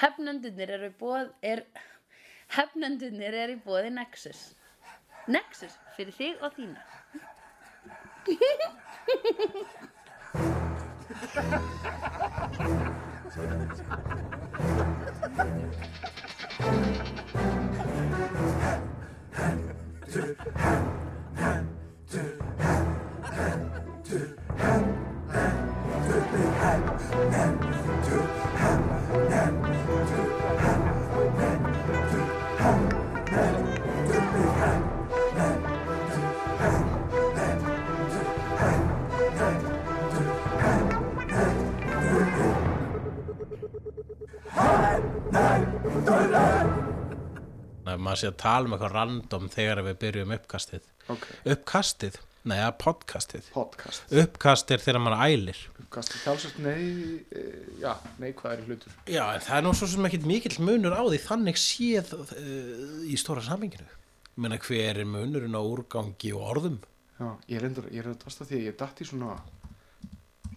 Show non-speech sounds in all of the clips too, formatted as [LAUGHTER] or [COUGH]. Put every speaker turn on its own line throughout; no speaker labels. Hefnendurnir eru í bóð er, Hefnendurnir eru í bóði Nexus Nexus fyrir þig og þína
Nei, maður sé að tala um eitthvað random þegar við byrjum uppkastið
Ok,
Uppkastið? Nei, að podcastið
podcast
Uppkast er þegar maður ælir
Uppkast er talsvist nei, eh, já, neikvæðari hlutur
Já, en það er nú svo sem ekkit mikill munur á því þannig séð uh, í stóra saminginu Menna hver er munurinn á úrgangi og orðum?
Já, ég er endur, ég er að tasta því að ég datt í svona,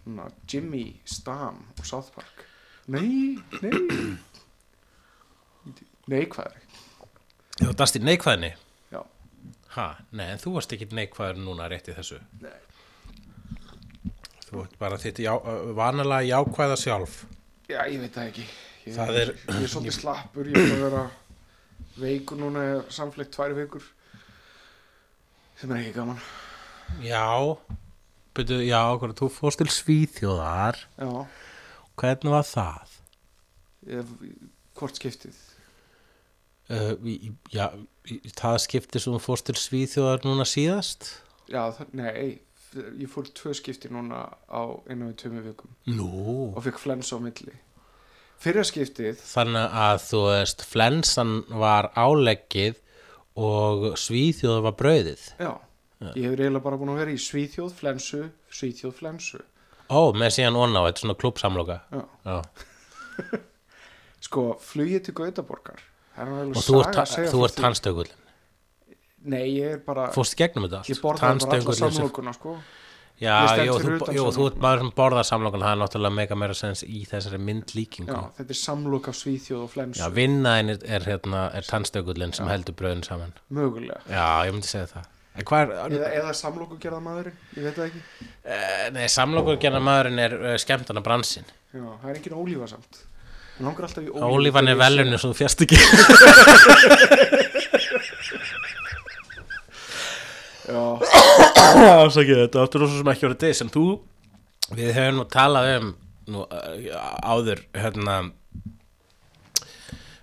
svona Jimmy Stam og South Park Nei, nei Neikvæðari
Þú dast í neikvæðinni?
Já,
Ha, nei, en þú varst ekkit neikvæður núna rétt í þessu
nei
Þú ert bara þitt já, vanalega jákvæða sjálf
Já, ég veit það ekki Ég,
Það er-
ég er svolítið slappur, ég er búinn að vera veikur núna, samflikt tvær veikur sem er ekki gaman
Já, betur, já, okkur, þú fórst til Svíþjóðar
Já,
Hvernig var það?
ef, hvort skiptið
Uh, í- í- já, í- það skipti sem þú fórst til Svíþjóðar núna síðast?
Já, það, nei, ég fór tvö skipti núna á einu við tömu vikum
Nú,
og fekk flens á milli Fyrra skiptið,
þannig að þú veist, flensan var áleggið og Svíþjóðar var brauðið.
já Ég hefur eiginlega bara búin að vera í Svíþjóð, flensu, Svíþjóð, flensu
Ó, með síðan onna á, þetta er svona klúbsamloka.
Já.
Já.
Sko, flugið til Gautaborgar Það er nú alveg
Og þú
saga að
ert,
segja
þú
frá
ert
því.
tannstökullin.
Nei, ég er bara,
Fórst í gegnum þetta allt.
ég borðaði bara alla
Tannstöngullinn sem-
samlokuna, sko
Já,
Ég stend
jú,
fyrir
þú,
utan
jú, þú
samlokuna.
ert maður sem borðar samlokan, það er náttúrulega mega meira sens í þessari myndlíkingu.
Já, þetta er samloka Svíþjóð og flensu
Já, vinnaðin er, er, hérna, er tannstökullin sem heldur brauðin saman.
Mögulega
Já, ég myndi segja það. En hvað er,
Eða, eða samloku gerða maðurinn, ég veit það ekki
Eh, Nei, samlokurgerna maðurinn er uh, skemmtana bransin
Já, það er engin ólífa samt Hún langar alltaf í ólífa
Ólífan er velunni sem þú fjast ekki [LAUGHS]
Já,
Ásakið, þetta áttur og svo sem ekki voru þið sem þú Við höfum nú talað um nú, eh, áður hérna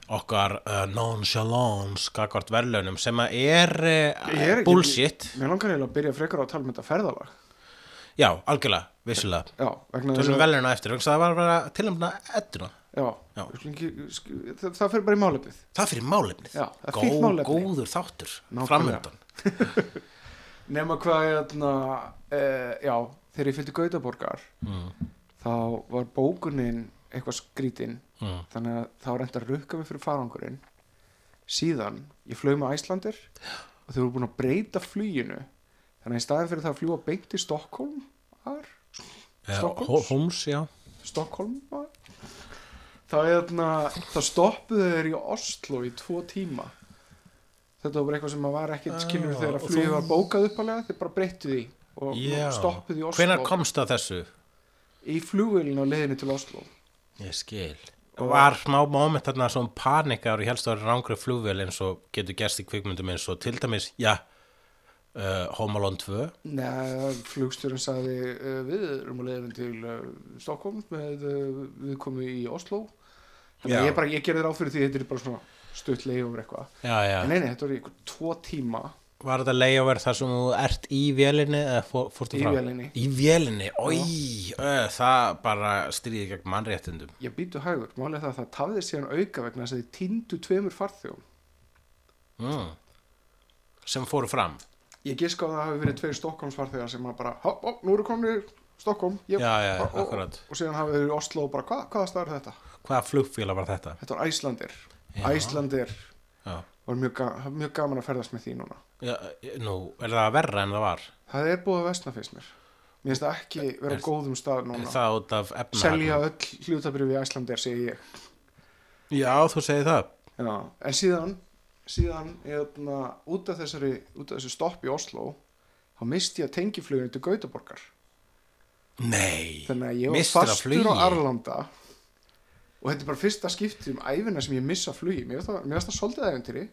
okkar uh, nonchalance gagvart verðlaunum sem að er,
Ég
uh,
er ekki-
bullshit
Mér langar eiginlega að byrja frekar á að tala um þetta ferðalag
Já, algjörlega, vissulega
Já, vegna
Þú sem verðlaunum eftir, vegna þess að það var bara tilnæmna edduna
Já,
Já.
við skulum ekki- sk- það, það fyrir bara í málefnið
Það fyrir málefnið
Já, það er
Gó,
fínt málefni.
Góður þáttur,
Nákvæmlega.
framundan
Nefna hvað hérna, uh, Já, þegar ég fylgdi Gautaborgar
mm,
Þá var bókunin eitthvað skrítin
mm.
Þannig að þá reynda að rukka mig fyrir farangurinn Síðan, ég flög með Æslandir Og þau voru búin að breyta fluginu Þannig að í staðin fyrir það að fljúa beint í Stokkólm Ar,
Eh,
Stockholms?
Hó- Hóms, já
Stokkólm var Þá, hérna, þá stoppuðu þeir í Oslo í tvo tíma Þetta var bara eitthvað sem að var ekkit skilur
Ah, og
þegar að flugið
þú-
var bókað uppalega Þeir bara breyttu því og
Já.
stoppuðu í Oslo
Hvenær komst það þessu?
Í flugvélinu á leiðinu til Oslo
Ég skil Var smá moment þarna svona panikar og helst að vera rángri flugvél eins og getur gerst í kvikmyndum eins og til dæmis, já uh, Home Alone 2
Nei, flugstjórun sagði uh, við erum að leiðin til uh, Stockholm með uh, við komum í Oslo þannig
Já.
að ég, bara, ég gerði ráð fyrir því þetta er bara svona stutt leiðjóður eitthvað
Já, já,
en neini, þetta var eitthvað tvo tíma
var þetta layover þar sem þú ert í vélinni eða fó- fórstu
Í
frá?
vélinni.
Í vélinni, oi, ö, það bara stríði gegn mannréttindum
ég býtu hægur, málið er það að það tafði síðan auka vegna þess að þið týndu tveimur farþjón
mm. sem fóru fram
ég giska á að það hafi verið tveir Stockholms farþjóðar sem að bara, hopp, hopp, nú eru komin í Stockholm
Já,
ég,
já,
ó, ó, ó."
akkurat
og síðan hafið þið í Oslo og bara, Hva, hvaða stað er þetta?
Hvaða flugfélag var þetta?
þetta var Æslandir,
Já.
Æslandir
Já,
var mjög, ga- mjög gaman að ferðast með því núna
já nú, er það verra en það var?
Það er búið að vestna fyrst mér mér finnst það ekki vera á góðum stað núna
það út af efnahag
selja öll hlutabrif í Æslandir segi ég
já, þú segir það
Já, en síðan síðan eðna, út af þessari út af þessu stopp í Oslo þá misti ég tengifluginu til Gautaborgar
nei,
þannig að ég var
Misstir af
fastur á
flugi.
Arlanda og þetta er bara fyrsta skipti um æfina sem ég missa flugi mér finnst það, mér finnst það svolítið æfintýri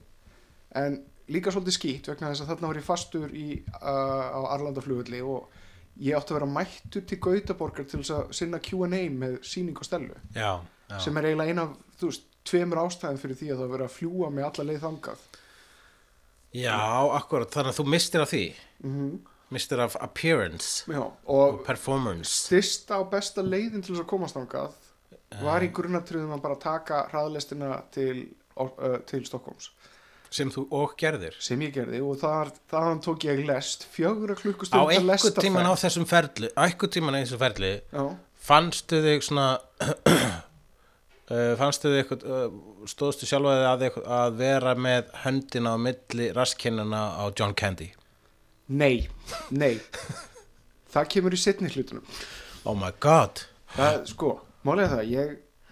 en líka svolítið skýtt vegna þess að þarna var ég fastur í, uh, á Arlanda flugulli og ég átti að vera mættur til Gautaborgar til þess að sinna Q&A með síning og stelu
já, já.
sem er eiginlega eina, þú veist, tveimur ástæðum fyrir því að það verið að fljúa með alla leið þangað
já, akkurat, þannig að þú mistir af því
mm
mistir af appearance
Já, og
og performance
styrsta og besta leiðin til þess að komast þangað
Eh.
var í grunnatröðum að bara taka hraðlestina til, uh, til Stokkóms
sem þú og gerðir
sem ég gerði og þar, þaðan tók ég lest fjögur
á
klukkustund
einhver tíman á þessum ferli á einhver tíman á þessum ferli
Já,
fannstu þig svona [CLEARS THROAT] uh, fannstu þig eitthvað uh, stóðstu sjálfa þig að, eitthvað- að vera með höndina á milli raskinnina á John Candy
nei, nei það kemur í setni hlutunum
oh my god
það, sko, málega það, ég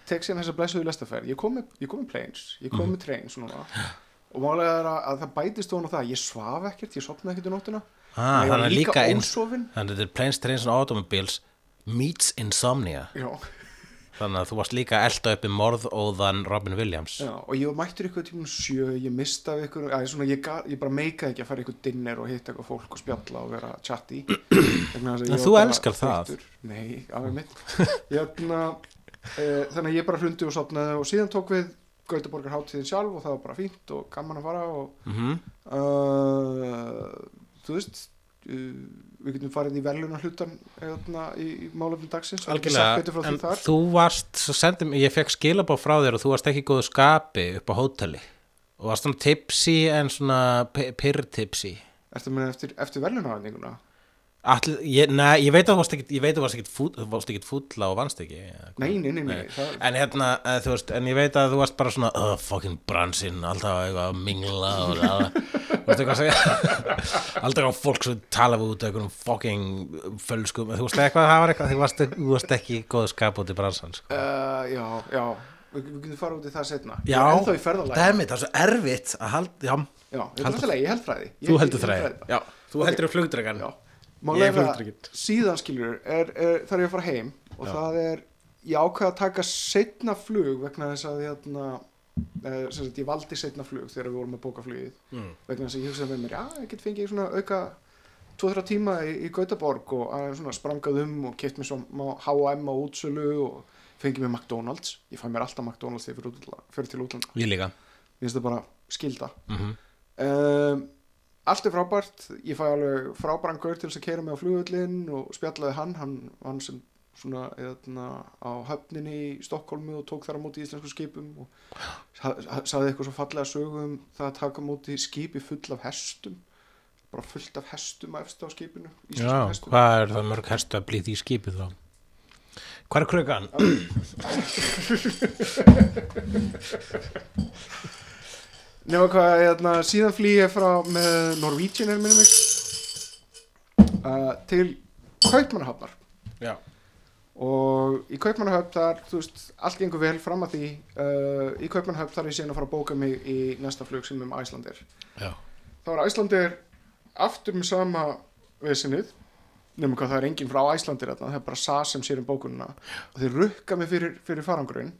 tek sér þessa blessuðu lestaferð, ég kom með, ég kom með planes ég
Mhm.
kom með trains og núna og málega það er að, að það bætist ofan á það ég svaf ekkert, ég sopnaði ekkert í nóttina
ah,
Ég var
þannig að líka eins
ósofin
þannig að þetta er Planes, Trains and Automobiles meets insomnia
já,
þannig að þú varst líka að elda upp í morðóðan Robin Williams
já, og ég var mættur eitthvað tímum sjö, ég mistaði eitthvað að, svona, ég, ga- ég bara meikaði ekki að fara í eitthvað dinner og hitta eitthvað fólk og spjalla og vera chatti
En
en
þú elskar það.
nei, alveg mitt Jörna, e, þannig að ég bara hlundi og sopnaði og síðan tók við Gautaborgar hátíðin sjálf og það var bara fínt og gaman að fara og
mm -hmm.
uh, þú veist uh, við getum farið í verðluna hlutan eðna, í, í málefni dagsins og ekki sagt betur frá
algjörlega
því
en
þar.
þú varst, svo sendi, mig- ég fekk skilabá frá þér og þú varst ekki í góðu skapi upp á hóteli og varst svona tipsy en svona pyrr-tipsy
Ertu að meina eftir, eftir verðlunahæfninguna?
All, ég, nei, ég veit að þú varst ekkit- ég veit að þú varst ekkit fúll- þú varst ekkit fúlla og vannst ekki eða hvað.
Nei, nei, nei, nei, það,
en hérna, eh, þú veist, en ég veit að þú varst bara svona oh, fucking bransinn, alltaf eitthvað að mingla og það [LAUGHS] veistu hvað að segja [LAUGHS] alltaf á fólk sem tala við út af einhverjum fucking fölskum þú veist eitthvað, það var eitthvað, þú varst, þú varst ekki í góðu skap út í bransan sko.
uh, já, já, við, við getum farið út í það setna.
já,
Ég er ennþá í ferðalæg.
dæmið, það er svo erfitt að halda, já,
Já, ég er alltaf leið, ég held fræði. Ég,
þú
ég-
heldur
ég held
þræði já, þú heldur í flugdregan
Já,
Ég er
málega
flugdrekinn.
síðan skilur, er, er, þarf ég að fara heim og
Já.
það er, ég ákveða að taka setna flug vegna þess að hérna, eh, sem sagt, ég valdi setna flug þegar við vorum að bóka flugið
Mm.
vegna þess að ég hugsaði með mér, já, ég get fengið svona auka 2-3 tíma í, í Gautaborg og aðeins svona sprangað um og keft mér svo H&M á útsölu og fengið mér McDonalds, ég fæ mér alltaf McDonalds þegar ég fer útla- fer til útlanda,
ég líka
mér finnst það bara skilda
mm
um, allt er frábært ég fæ alveg frábæran gaur til þess að keira mig á flugullin og spjallaði hann hann, hann sem svona eðna, á höfninni í Stokkólmi og tók þar á móti íslensku skipum og sa- sa- sagði eitthvað svo fallega sögu um það að taka á móti skipi full af hestum bara fullt af hestum eftir á skipinu íslenskum
Já,
hestum
hvað er það mörg hestu að blíð í skipið þá? Hvað er krukan?
nema hvað, eðna, síðan flý ég frá með Norwegian er minni mig uh, til Kaupmannahafnar
Já.
og í Kaupmannahöfn þar, þú veist, allt gengur vel fram að því uh, í Kaupmannahöfn þar er ég síðan að fara að bóka mig í næsta flug sem um Æslandir
Já.
þá er Æslandir aftur með sama vesinið nema hvað það er enginn frá Æslandir þarna, það er bara SAS sem sér um bókunina og þeir rukka mig fyrir, fyrir farangurinn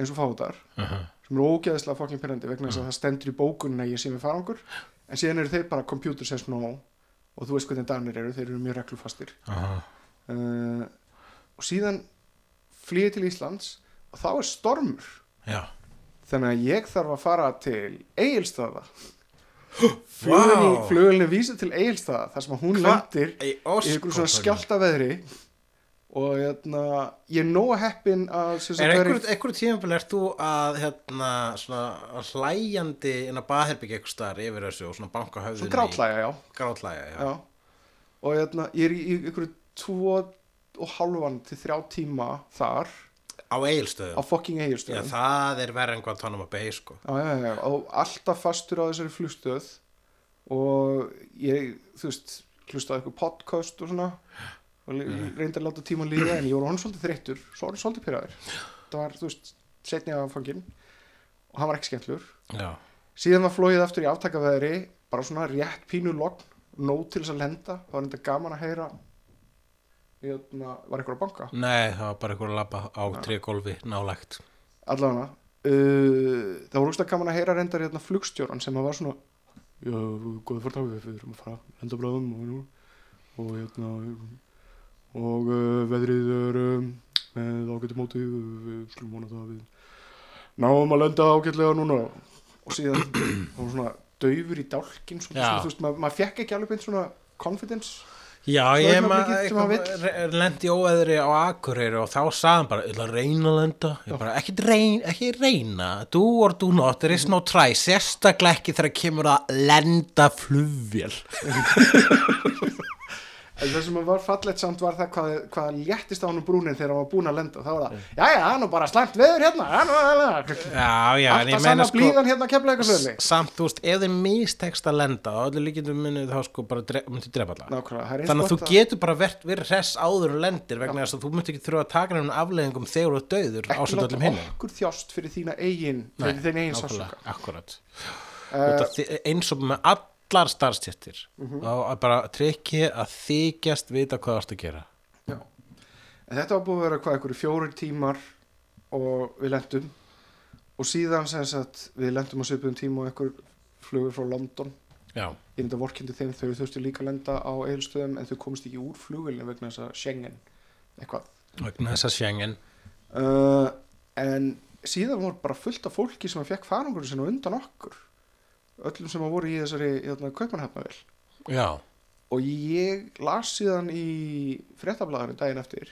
eins og fátar sem er ógeðslega fokkin pyrrandi vegna þess að það stendur í bókunina að ég sé með farangur en síðan eru þeir bara computer says no og þú veist hvernig danir eru, þeir eru mjög reglufastir
Aha.
uh, og síðan flýði til Íslands og þá er stormur
Já.
þannig að ég þarf að fara til
[GASPS]
Egilstaða
Vá.
flugulni vísi til Egilstaða þar sem að hún
Hva-
lendir
Í
í ykkur svona skjálta veðri og hérna, ég er nóga heppin að sem sagt
Er
vera í-
einhver, einhver tímabil ert þú að hérna svona að hlæjandi inn á baðherbyggja einhver staðar yfir þessu og svona banka höfðinu
svona grátlæja, já,
í grátlæja já.
já. og hérna, ég er í, í ykkur tvo og halvan til þrjá tíma þar
á
á
eigilstöðum
fucking
Já,
Egilstöðum
það er verið en Guantanamo Bay sko
já, já, já, já, og alltaf fastur á þessari flugstöð og ég, þú veist hlustaði eitthvað podcast og svona og li- reyndi að láta tíma líða en ég voru hann svolítið þreyttur, svo var hann svolítið pyrraður það var, þú veist, setni af fangin og hann var ekki skemmtlur
já,
síðan var flóið aftur í aftakaveðri bara svona rétt pínu logn nóg til þess að lenda, það var enda gaman að heyra hérna, var eitthvað að banka
nei, það var bara eitthvað að labba á trególfi nálægt
allavega uh, það voru úrst að gaman að heyra reyndar hérna flugstjóran sem að var svona já, góði fórtak við við erum að fara enda bráðum og, nú, og hérna og uh, veðrið er um, með ágættu móti uh, við slum vona það að við náum að lenda ágætlega núna og síðan það var svona daufur í dálkin svona,
Já.
svona, þú veist, maður maður fekk ekki alveg beint svona confidence
já,
Svo
ég
er maður
maður
ekki sem maður vill.
eitthvað lendi óveðri á Akureyri og þá sagðan bara, ég ætla að reyna að lenda ég bara, ekki reyna, ekki reyna do or do not, there is no try sérstaklega ekki þegar kemur að lenda flugvél
En það sem var fallegt samt var það hvað, hvað léttist á hann um brúnin þegar hann var búinn að lenda. Það var það, jæja, það er nú bara slæmt veður hérna, það er nú aðlega.
já, já, en
Alltaf
ég meina
sama
sko
blíðan hérna að kemla eitthvað svolítið.
samt, þú veist, ef þið mistekst að lenda og allir líkjum minni þá sko bara dre myndi drepa alla
Nákvæmlega, það er eins
þannig að þú
gott
getur bara verið, verið hress áður og lendir vegna þess að þú myndi ekki þurfa að taka nefnum afleðingum þegar þú ert döður
ekki
ásönd
láta
öllum hinn
okkur þjást fyrir þína eigin, fyrir þín eigin Eh, sásuka.
akkurat uh, eins og með allar starfstjættir uh
Mhm.
-huh. bara trikki að þykjast vita hvað þú ert að gera
Eh, Já. En þetta var búið að vera hvað einhverju fjórir tímar og við lendum og síðan sem sagt við lendum á svipum tíma og einhver flugur frá London
já,
ég enda vorkindi þeim þau þurftu líka að lenda á eilstöðum en þau komist ekki úr flugilin vegna þess að Schengen eitthvað
vegna þess að sjengin
uh, en síðan voru bara fullt af fólki sem fekk farangur sinna undan okkur öllum sem að voru í þessari hérna, kaupanhafnavel
já,
og ég las síðan í fréttablaðarinn daginn eftir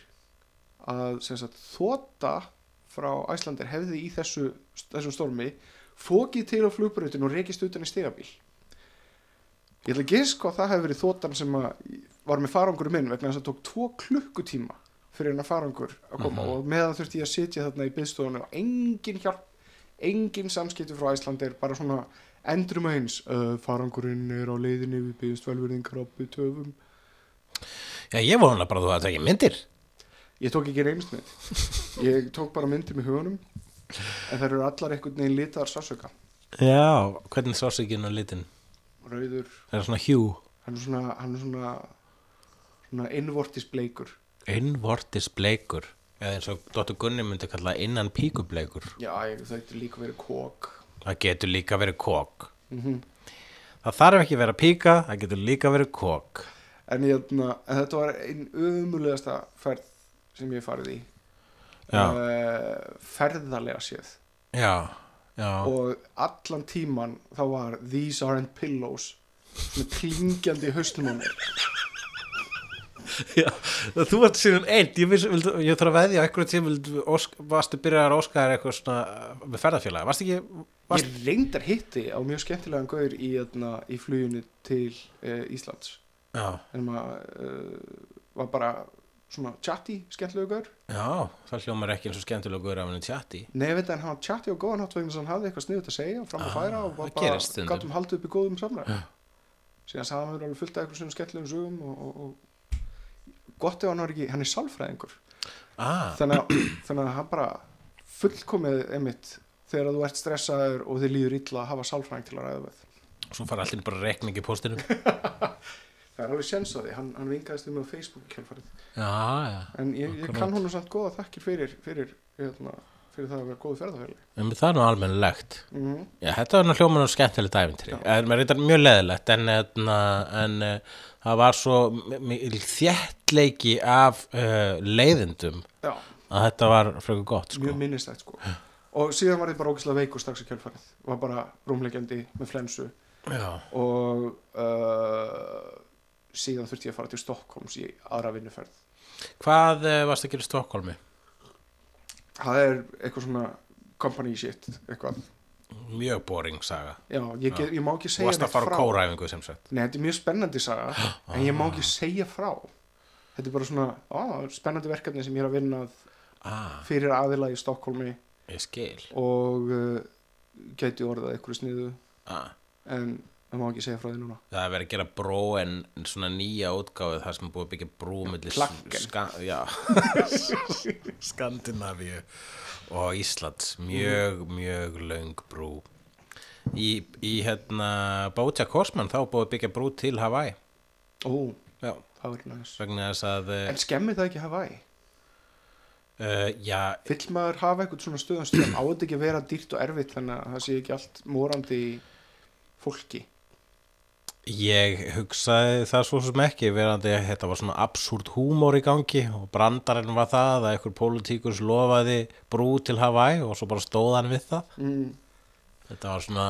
að sem sagt, þóta frá Æslandir hefði í þessu, þessum stormi fókið til á flugbrautin og rekist utan í stigabíl ég ætla að gisk og það hefði verið þótan sem að var með farangur minn vegna þess að það tók tvo klukkutíma fyrir hennar farangur að koma og meðan þurfti ég að sitja þarna í byggstofunni og engin hjálp engin samskipti frá Æslandir bara svona endrum eins uh, farangurinn er á leiðinni við byggjumst velverðingar á töfum
já ég vona bara að þú að tekja myndir
ég tók ekki reynst mynd ég tók bara myndir með hugunum en þær eru allar einhvern veginn litaðar sásöka
já, hvernig sásökin og litin
rauður,
það er svona hjú
hann er svona hann er svona, svona innvortis bleikur
innvortis bleikur eða eins og Dóttur Gunni myndi kalla innan píkubleikur
já, ég, það getur líka verið kók
það getur líka verið kók
Mhm.
það þarf ekki að vera píka það getur líka verið kók
en, ég, na, en þetta var einn umulegasta ferð sem ég hef farið í
Já.
Eh, ferðalega séð
já, já,
og allan tíman þá var these aren't pillows með klingjandi í haustum á mér
já þú ert síðan einn ég, viss, vild, ég þarf að veðja á einhverjum tíma vild, ósk, varstu byrjaðar að óska þér eitthvað svona uh, með ferðarfélaga, varstu ekki varstu,
ég reyndar hitti á mjög skemmtilegan gaur í, öðna, í fluginu til uh, Íslands
já,
en maður uh, var bara svona chatty skemmtilegu gaur
já, það hljómar ekki eins og skemmtilega guður af henni tjatti
nei ég veit að hann var chatty og góðan hátt vegna þess að hann hafði eitthvað sniðut að segja og fram að
Ah,
færa og var
það gerist
bara
stundum.
gátum haldið upp í góðum samræð síðan sagði hann mér alveg fullt af eitthvað svona skemmtilegum sögum og, og, og gott ef hann var ekki, hann er sálfræðingur
ah,
þannig að, þannig að hann bara fullkomið einmitt þegar þú ert stressaður og þið líður illa að hafa sálfræðing til að ræða við
svo fara allir bara rekning í póstinum já,
það er alveg séns á því, hann, hann vingaðist um á Facebook kjálfarið,
[LAUGHS] já,
en ég, ég
Akkurat.
kann honum samt góða þakkir fyrir fyrir, hérna, fyrir það að vera góðu ferðarferðli
en Um, það er nú almennilegt
mm
Já, þetta var nú hljóman og skemmtilegt æfintri en maður reyndar mjög leðilegt en, en, en eh, það var svo mi- mi- þéttleiki af uh, leiðindum
já,
að þetta var frekar gott sko.
mjög minnistætt sko og síðan var ég bara ógislega veikur strax í kjálfarið var bara rúmlegjandi með flensu
Já,
og uh, síðan þurfti ég að fara til Stokkóms í aðra vinnuferð
Hvað uh, varst að gera í Stokkólmi?
það er eitthvað svona company shit, eitthvað
Mjög boring saga
Já, ég, get, ég má ekki
Þú
segja
varst að fara á kóræfingu sem sagt
Nei, þetta er mjög spennandi saga
[GASPS]
En ég má ekki segja frá Þetta er bara svona á, spennandi verkefni sem ég er að vinna að
Ah,
fyrir aðila í Stokkólmi
ég skil
og uh, gæti orðað einhverju sniðu
ah,
en það má ekki segja frá því núna
Það er verið að gera bró en en svona nýja útgáfið það sem er búið að byggja brú milli
Plakken.
ska, já, Skandinavíu og Íslands mjög, mjög löng brú í, í hérna Bóta Korsmann þá er búið að byggja brú til Hawaii
ó,
já,
það er næs
vegna þess að uh,
en skemmir það ekki Hawaii?
eh, já,
vill maður hafa eitthvað svona stöðan stöðan á þetta ekki að vera dýrt og erfitt þannig að það sé ekki allt morandi í fólki
Ég hugsaði það svo sem ekki verandi að þetta var svona absúrt húmór í gangi og brandarinn var það að einhver pólitíkus lofaði brú til Hawaii og svo bara stóð hann við það.
mm.
Þetta var svona,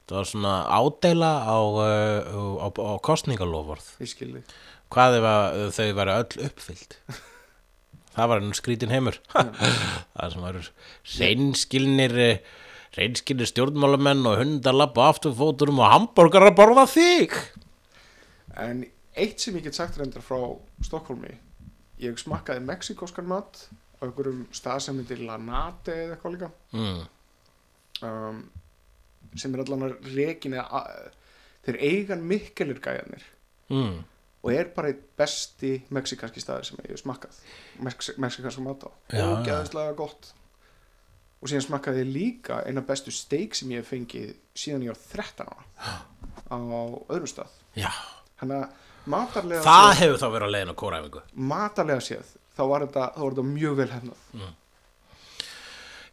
þetta var svona ádeila á, uh, á, á kostningalofurð.
ég skilði
Hvað ef að þau væri öll uppfyllt? Það var enn skrítin heimur. [LAUGHS] það sem var reynskilnir, reynskilnir stjórnmálamenn og hundar labba á afturfóturum og hambúrgar að borða þig.
en eitt sem ég get sagt reyndar frá Stokkólmi ég smakkaði mexikoskan mat á einhverjum stað sem heitir Lanate eða eitthvað líka
Mm.
um, sem er allan að rekin eða a- þeir eigan mikkelir gæjarnir
Mm.
og er bara eitt besti mexikanski staður sem ég hef smakkað Mex mexikansk mat á
Já, já.
ógeðslega gott og síðan smakkaði ég líka eina bestu steik sem ég hef fengið síðan ég var 13 ára
[GASPS]
á öðrum stað
Já,
hann að matarlega
það
séð,
hefur þá verið að leiðin á kóræfingu.
matarlega séð þá var þetta, þá var þetta mjög vel hennað
Mm.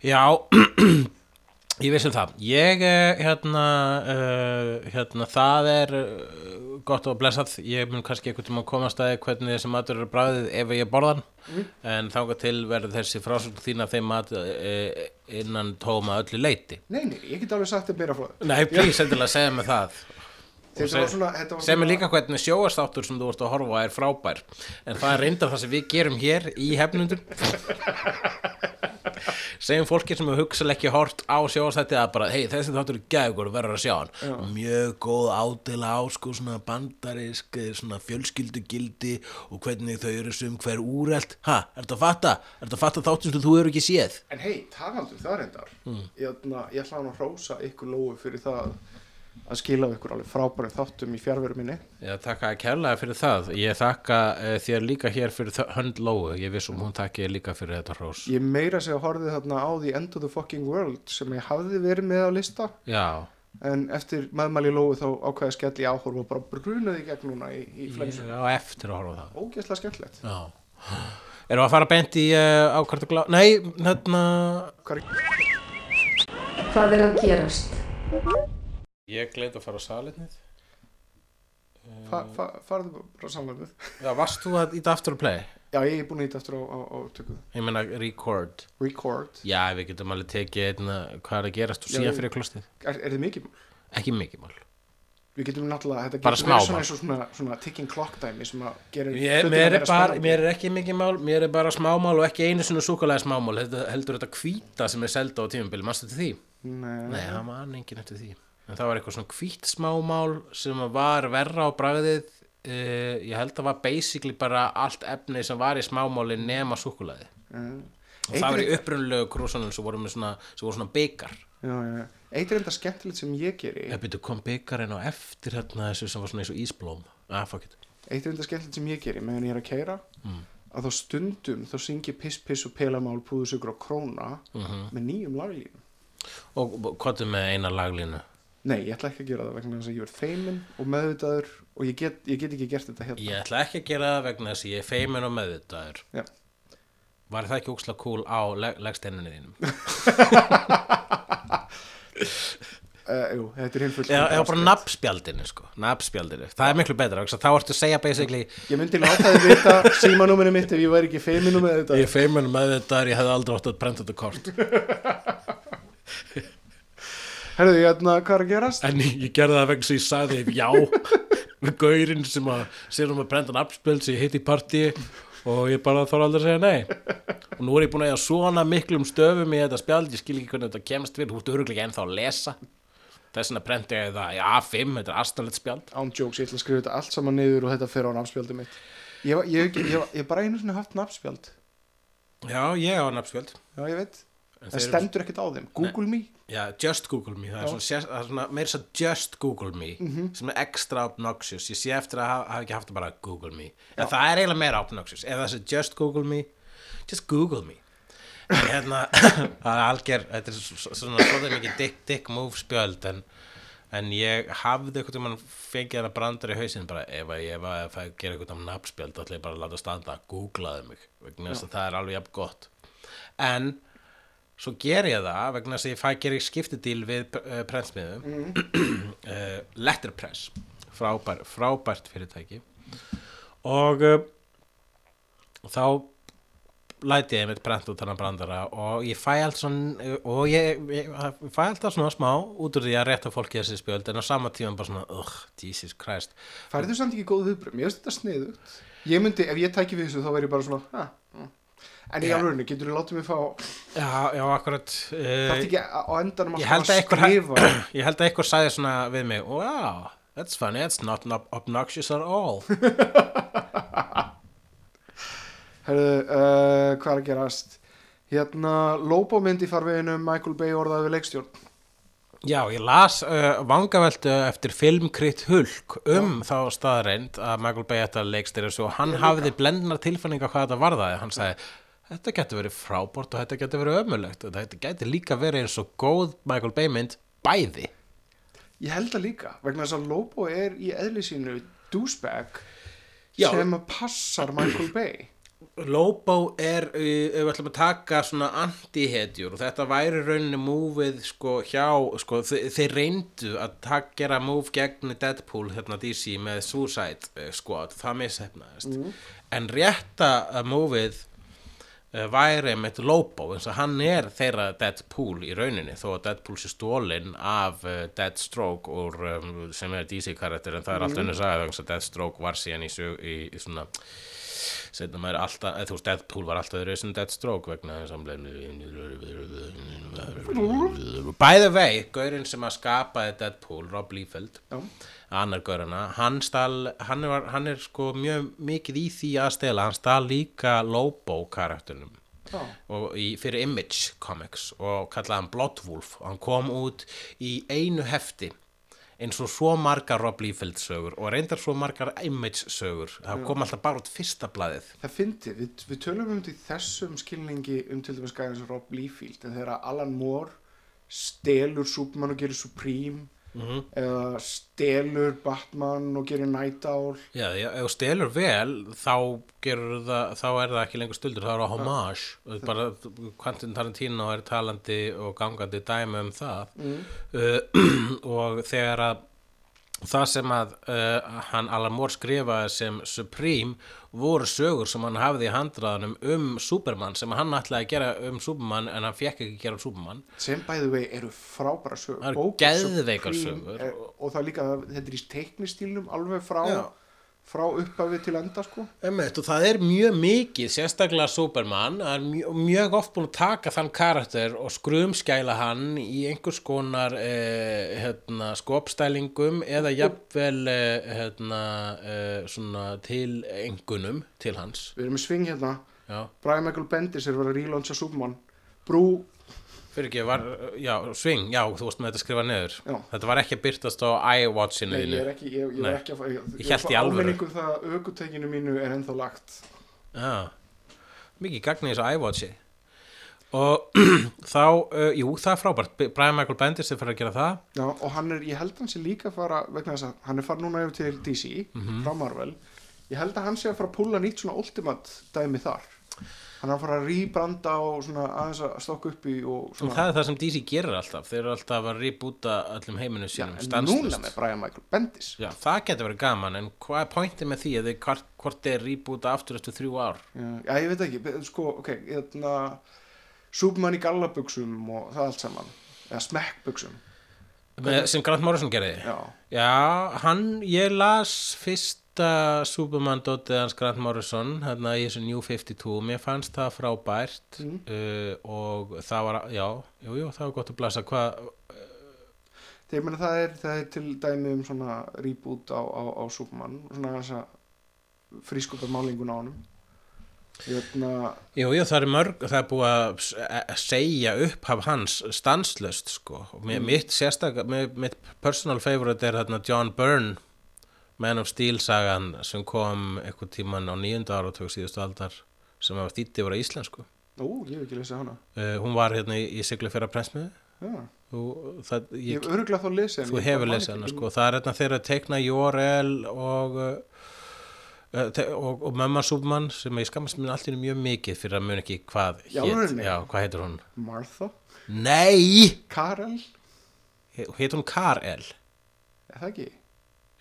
Já, [CLEARS THROAT] ég vissi um það. Ég, eh, hérna, uh, hérna, það er uh, gott og blessað. Ég mun kannski einhvern tímann komast að því hvernig þessi matur eru bræðið ef ég borða hann. En þangað til verður þessi frásögn þín að þeim mat uh, innan tóma öllu leiti.
nei, nei, ég get alveg sagt þetta meira frá þér
Nei, please, endilega segja mig það.
þetta
seg-
var svona, þetta var
Sem er
svona
líka hvernig sjóastáttur sem þú vorst að horfa á er frábær En það er reyndar það sem við gerum hér í hefnundum Segjum fólki sem hefur hugsal ekki hort á sjóastætti að bara Hei, þessi þáttur er gægur og verður að sjá hann Mjög góð ádela á sko svona bandarisk eh, svona fjölskyldugildi og hvernig þau eru sum hver úrelt Ha, ertu að fatta? Ertu að fatta þáttur sem þú eru ekki séð?
En hei, talandu það reyndar
Mm.
ég, ætla- ég ætla hann að hrósa ykkur lóu fyrir það að skila af ykkur alveg frábæru þáttum í fjárveru minni
Já, þakka kærlega fyrir það. Ég þakka uh, þér líka hér fyrir þ- hönd Lóu. Ég vissum hún takki þér líka fyrir þetta hrós.
Ég meira segja horfið þarna á The End of the Fucking World sem ég hafði verið með á lista
Já,
en eftir meðmæli lóu þá ákveði að skella í áhorf og bara brunaði í gegn núna í, í
ég
flensu.
er á eftir að horfa á það.
Ógeðslega skemmtilegt.
Já. Erum við að fara beint í uh, ákvært og glá... Nei, hérna...
Hvað er að gerast?
Ég gleit að fara á salinnið.
Fa, fa, farðu bara samlega við.
Já, varst þú að íta aftur að play?
Já, ég er búin að íta eftir á, á, á tökum.
Ég meina record.
Record.
Já, við getum alveg tekið einna hvað er að gerast og
Já,
síðan
ég-
fyrir klostið.
Er, er þið mikið mál?
Ekki mikið mál.
Við getum náttúrulega, þetta
Bara
getur
smá
verið svona
mál.
eins og svona, svona ticking clock dæmi sem að gerir
Ég,
hlutina
mér, er
meira
bara,
spennandi.
mér er ekki mikið mál, mér er bara smámál og ekki einu svona súkulega smámál, heldur, heldur þetta hvíta sem er selda á tímubili, mannstu til því?
Nei,
Nei, það man enginn eftir því. En það var eitthvað svona hvít smámál sem var verra á bragðið, uh, ég held það var basically bara allt efni sem var í smámáli nema súkulegið.
eh.
Og það var í upprunlegu krúsunum sem voru, með svona, sem voru svona byggar.
já, já, já. Eitt er enda skemmtilegt sem ég geri
Ég byrju, Eh, kom byggarinn á eftir hérna þessu sem var svona eins og ísblóm. Ah, fuck it.
Eitt er enda skemmtilegt sem ég geri meðan ég er að keira
Mm.
að þá stundum þá syngi piss piss og pelamál púðusugur og króna
Mhm.
með nýjum laglínum
Og hvað er með eina laglínu?
Nei, ég ætla ekki að gera það vegna þess að ég er feimin og meðvitaður og ég get, ég get ekki gert þetta hérna
Ég ætla ekki að gera það vegna þess að ég er feimin og meðvitaður.
Já.
Var það ekki úksla kúl á leg legsteinunni þínum?
uh, Jú, þetta er heimfull
Eða eða bara nafnspjaldinu, sko. Nafnspjaldinu. Það er miklu betra. vegna þess að Þá ertu að segja basically,
Ég myndi láta þið vita símanúminu mitt ef ég væri ekki feimin og
ég
meðvitaður
er feimin og meðvitaður, ég hefði aldrei átt að prenta þetta kort.
Herðu, ég ætla hvað er að gerast?
En ég gerði það vegna þess að ég sagði þeim já með gaurinn sem að sér um að brenda nafnspjöld sem ég hitt í partíi og ég bara þóra aldrei að segja nei. Og nú er ég búin að eiga svona miklum stöfum í þetta spjald, ég skil ekki hvernig þetta kemst við, þú ert öruglega ennþá að lesa. Þess vegna prenta ég það í A5, þetta er astanlegt spjald.
Án jokes, ég ætla að skrifa þetta allt saman niður og þetta fer á nafnspjaldið mitt Ég hef ég, ég, ég, ég bara einu sinni haft nafnspjald
Já, ég á nafnspjöld.
Já, ég veit
En
það
þeir eru-
stendur ekkert á þeim Google me,
Já, just Google Me, það er svona, sér- það er svona meira svo just Google Me sem er extra obnoxious, ég sé eftir að hafa, hafa ekki haft það bara Google Me, en það er eiginlega meira obnoxious, ef það sé just Google Me just Google Me en hérna, það er alger þetta er svo- svo- svona svolítið mikið dick, dick move spjöld en, en ég hafði eitthvað tímann fengið hana brandar í hausinn bara ef að ég var að fæ- gera eitthvað um nafnspjöld þá ætla ég bara að láta standa að googlaði mig vegna þess að það er alveg jafn gott en svo ger ég það vegna þess að ég fæ gerir skiptidíl við uh, prentsmiðum uh, Letterpress frábær, frábært fyrirtæki og uh, þá læti ég mitt prent út hann brandara og ég fæ allt svona og ég, ég fæ alltaf svona smá út úr því að rétta fólki þessi spjöld en á sama tíma bara svona, ugh, Jesus Christ
færðu samt ekki góð viðbröð mér finnst þetta sniðugt ég myndi, ef ég tæki við þessu þá verð ég bara svona ha, mm. en í
Já.
yeah. alveg, getur þú látið mig fá þarf
Já, já, akkurat uh,
ekki að- á endanum
ég
alltaf
held að einhver
skrifa
ég held að einhver sagði svona við mig wow, that's funny, it's not ob- obnoxious at all
Herðu, uh, hvað er að gerast hérna, lóbómynd í farveginu Michael Bay orðaði við leikstjórn
já, ég las uh, vangaveltu eftir filmkritt hulk um þá staðreind að Michael Bay ætti að leikstýra svo hann hafði blendnar tilfinninga hvað þetta varðaði hann sagði, þetta getur verið frábort og þetta getur verið ömulegt og þetta getur líka verið eins og góð Michael Bay mynd bæði
ég held að líka, vegna þess að lóbó er í eðli sínu douchebag
Já.
sem að passar Michael Bay
Lobo er, uh, ef við ætlum að taka svona anti-hetjur og þetta væri í rauninni múfið sko hjá, sko þe- þeir reyndu að tak, gera múf gegn Deadpool hérna DC með Suicide uh, Squad, það mishefnaðist en rétta uh, múfið uh, væri með Lobo eins og hann er þeirra Deadpool í rauninni þó að Deadpool sé stólinn af uh, Deathstroke úr, um, sem er DC karakter en það er allt önnur sagði þannig að Deathstroke var síðan í, sög, í, í svona setna maður alltaf, eða þú veist, Deadpool var alltaf öðru sem Deathstroke vegna þess að hann By the way, gaurinn sem að skapaði Deadpool, Rob Liefeld
Já.
annar gaurana, hann stal hann er, hann er sko mjög mikið í því að stela, hann stal líka Lobo karakternum
Já.
og í, fyrir Image Comics og kallaði hann Bloodwolf og hann kom út í einu hefti eins og svo margar Rob Liefeld sögur og reyndar svo margar Image sögur það kom alltaf bara út fyrsta blaðið
Það fyndi, við, við tölum um því þessum skilningi um til dæmis gæðins Rob Liefeld en þegar Alan Moore stelur Superman og gerir Supreme
Mhm.
eða stelur Batman og gerir Night Owl
Já, já, ef þú stelur vel þá, gerur það, þá er það ekki lengur stöldur, þá er það homage og bara Quentin Tarantino er talandi og gangandi dæmi um það uh, [CLEARS THROAT] og þegar að það sem að uh, hann Alan Moore skrifaði sem Supreme voru sögur sem hann hafði í handraðanum um Superman sem hann ætlaði að gera um Superman en hann fekk ekki að gera um Superman
sem bæðu vei eru frábæra sögur
Það eru
Bókin
geðveikar
Supreme
sögur.
er, og það er líka, þetta er í teiknistílnum alveg frá,
Já.
frá upphafi til enda sko
Emmett, og það er mjög mikið, sérstaklega Superman, það er mjög, mjög oft búin að taka þann karakter og skrumskæla hann í einhvers konar eh, hérna, skopstælingum eða jafnvel eh, hérna, eh, svona, til engunum til hans.
við erum í sving hérna,
Já,
Brian Michael Bendis er verið að relauncha Superman brú,
fyrir ekki, var, já, sving, já, þú varst með þetta að skrifa niður.
Já.
Þetta var ekki að byrtast á iWatchinu
nei ég er
þínu.
ekki ég, ég
Nei.
er ekki að fá, ég,
Ég hélt í alvöru.
áminningum það að aukutekinu mínu er ennþá lagt
Já, mikið gagnið þessu iWatchi og [CLEARS THROAT] þá, uh, jú, það er frábært Brian Michael Bendis er fyrir að gera það
Já, og hann er, ég held hann sé líka að fara vegna þess að hann er farin núna yfir til DC
Mhm.
frá Marvel, ég held að hann sé að fara að púla nýtt svona ultimate dæmi þar hann er að fara að rýbranda og svona aðeins að stokka upp í og
og
svona,
það er það sem DC gerir alltaf þeir eru alltaf að reboota öllum heiminu sínum
en
stanslaust.
núna með Brian Michael Bendis
Já, það getur verið gaman en hvað er pointið með því að þið hvort, hvort er reboota aftur eftir þrjú ár
já, já, ég veit ekki, be- sko, ok hérna, Superman í gallabuxum og það allt saman eða smekkbuxum,
með, sem Grant Morrison gerði
já
Já, hann, ég las fyrsta Superman dotið hans Grant Morrison hérna í þessu New 52 mér fannst það frábært
Mhm.
uh, og það var, já, jú, jú, það var gott að blasa hvað,
þegar ég meina það er, það er til dæmi um svona rýbút á, á, á Superman svona aðeins að frískupa málinguna á honum Hérna, Jötna,
Jú, jú, það er mörg, það er búið að s- að segja upphaf hans stanslust, sko. Og mér- Mitt sérstakar, mitt personal favorite er þarna John Byrne, Man of Steel sagan sem kom einhvern tíman á nýjunda áratug síðustu aldar sem var þýtti voru á íslensku.
ó, ég hef ekki lesið hana
Uh, hún var hérna í, í siglu fyrir að prensmiðu
Já,
og það,
ég
ég,
hef öruglega þá lesið
þú hefur lesið hana, sko. Það er hérna þeirra að teikna Jor-El og... Uh, uh, te- og, og mamma Súbmann sem ég skammast mér allir mjög mikið fyrir að mun ekki hvað
Í
hét,
alvörunni?
já, hvað heitir hún
Martha,
Nei,
Karel
heit hún Kar-El
Er það ekki?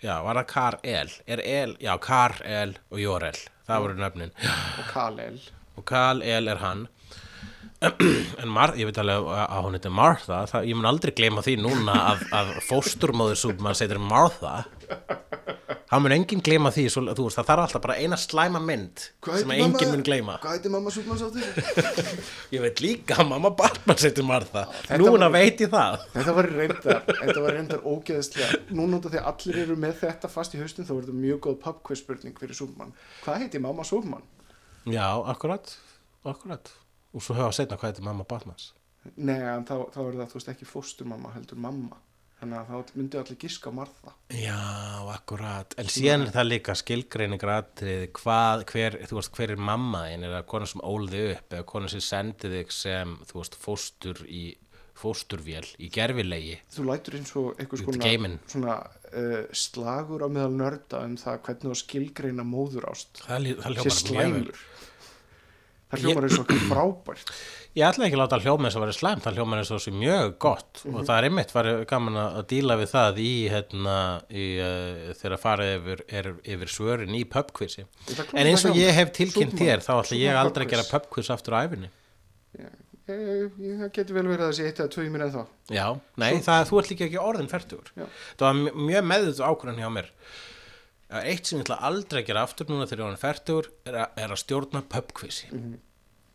Já, var það Kar-El Er El, já, Kar-El og Jor-El Það voru nöfnin
Og Kalel
Og Kal-El er hann [CLEARS THROAT] En Mar, ég veit alveg að, að hún heitir Martha það, Ég mun aldrei gleyma því núna að, að fósturmóður Superman heitir Martha Það mun enginn gleyma því svo, þú veist, Það þarf alltaf bara eina slæma mynd sem að enginn mun gleyma
Hvað heitir mamma Súbmanns áttur?
Ég veit líka að mamma Batman heitir Martha
þetta
Núna
var-
veit ég það
Þetta var reyndar, þetta var reyndar ógeðslega Núna út af því að allir eru með þetta fast í haustin þá er þetta mjög góð pubquiz spurning fyrir Súbmann Hvað heitir mamma Súbmann?
Já, akkurat, akkurat Og svo höfum við að segna hvað heitir mamma Batmans
Nei, en þá, þá er það, þú veist, ekki fósturmamma heldur mamma Þannig að þá myndu allir giska á Martha
Já, akkurat, en síðan er það líka skilgreiningar atrið hvað, hver, þú veist, hver er mamma þín, er það konar sem ólði upp eða konar sem sendi þig sem, þú veist, fóstur í, fósturvél í gerfilegi,
Þú lætur eins og
Þetta
einhvers
er
konar
geiminn.
svona, uh, slagur á meðal nörda um það hvernig þú á skilgreina móður ást
það, lí- það
sé
hljómar mjög vel.
slæmur Það hljómar eins og okkur frábært
Ég ætla ekki að láta hljóma eins og verið slæmt, það hljóma eins og sé mjög gott
Mhm.
og það er einmitt var gaman að að díla við það í, hérna, í, uh, þegar farið yfir, er, yfir svörin í pubquizi.
Ég ætla að klára
En eins og
það hjá
ég
mér.
hef tilkynnt
Súpmann-
þér, þá ætla ég
Súpmann
aldrei að gera
pubquiz.
pubquiz aftur á æfinni.
Eh, ég- Það getur vel verið að þessi eitt eða tvö í mér en þá
Já, nei, það, þú ert líka ekki orðin færtugur.
Já.
Það var mj- mjög meðut ákvörðan hjá mér. Það er Eitt sem ég ætla aldrei að gera aftur núna þegar ég er orðin færtugur er, að- er að stjórna pubquizi.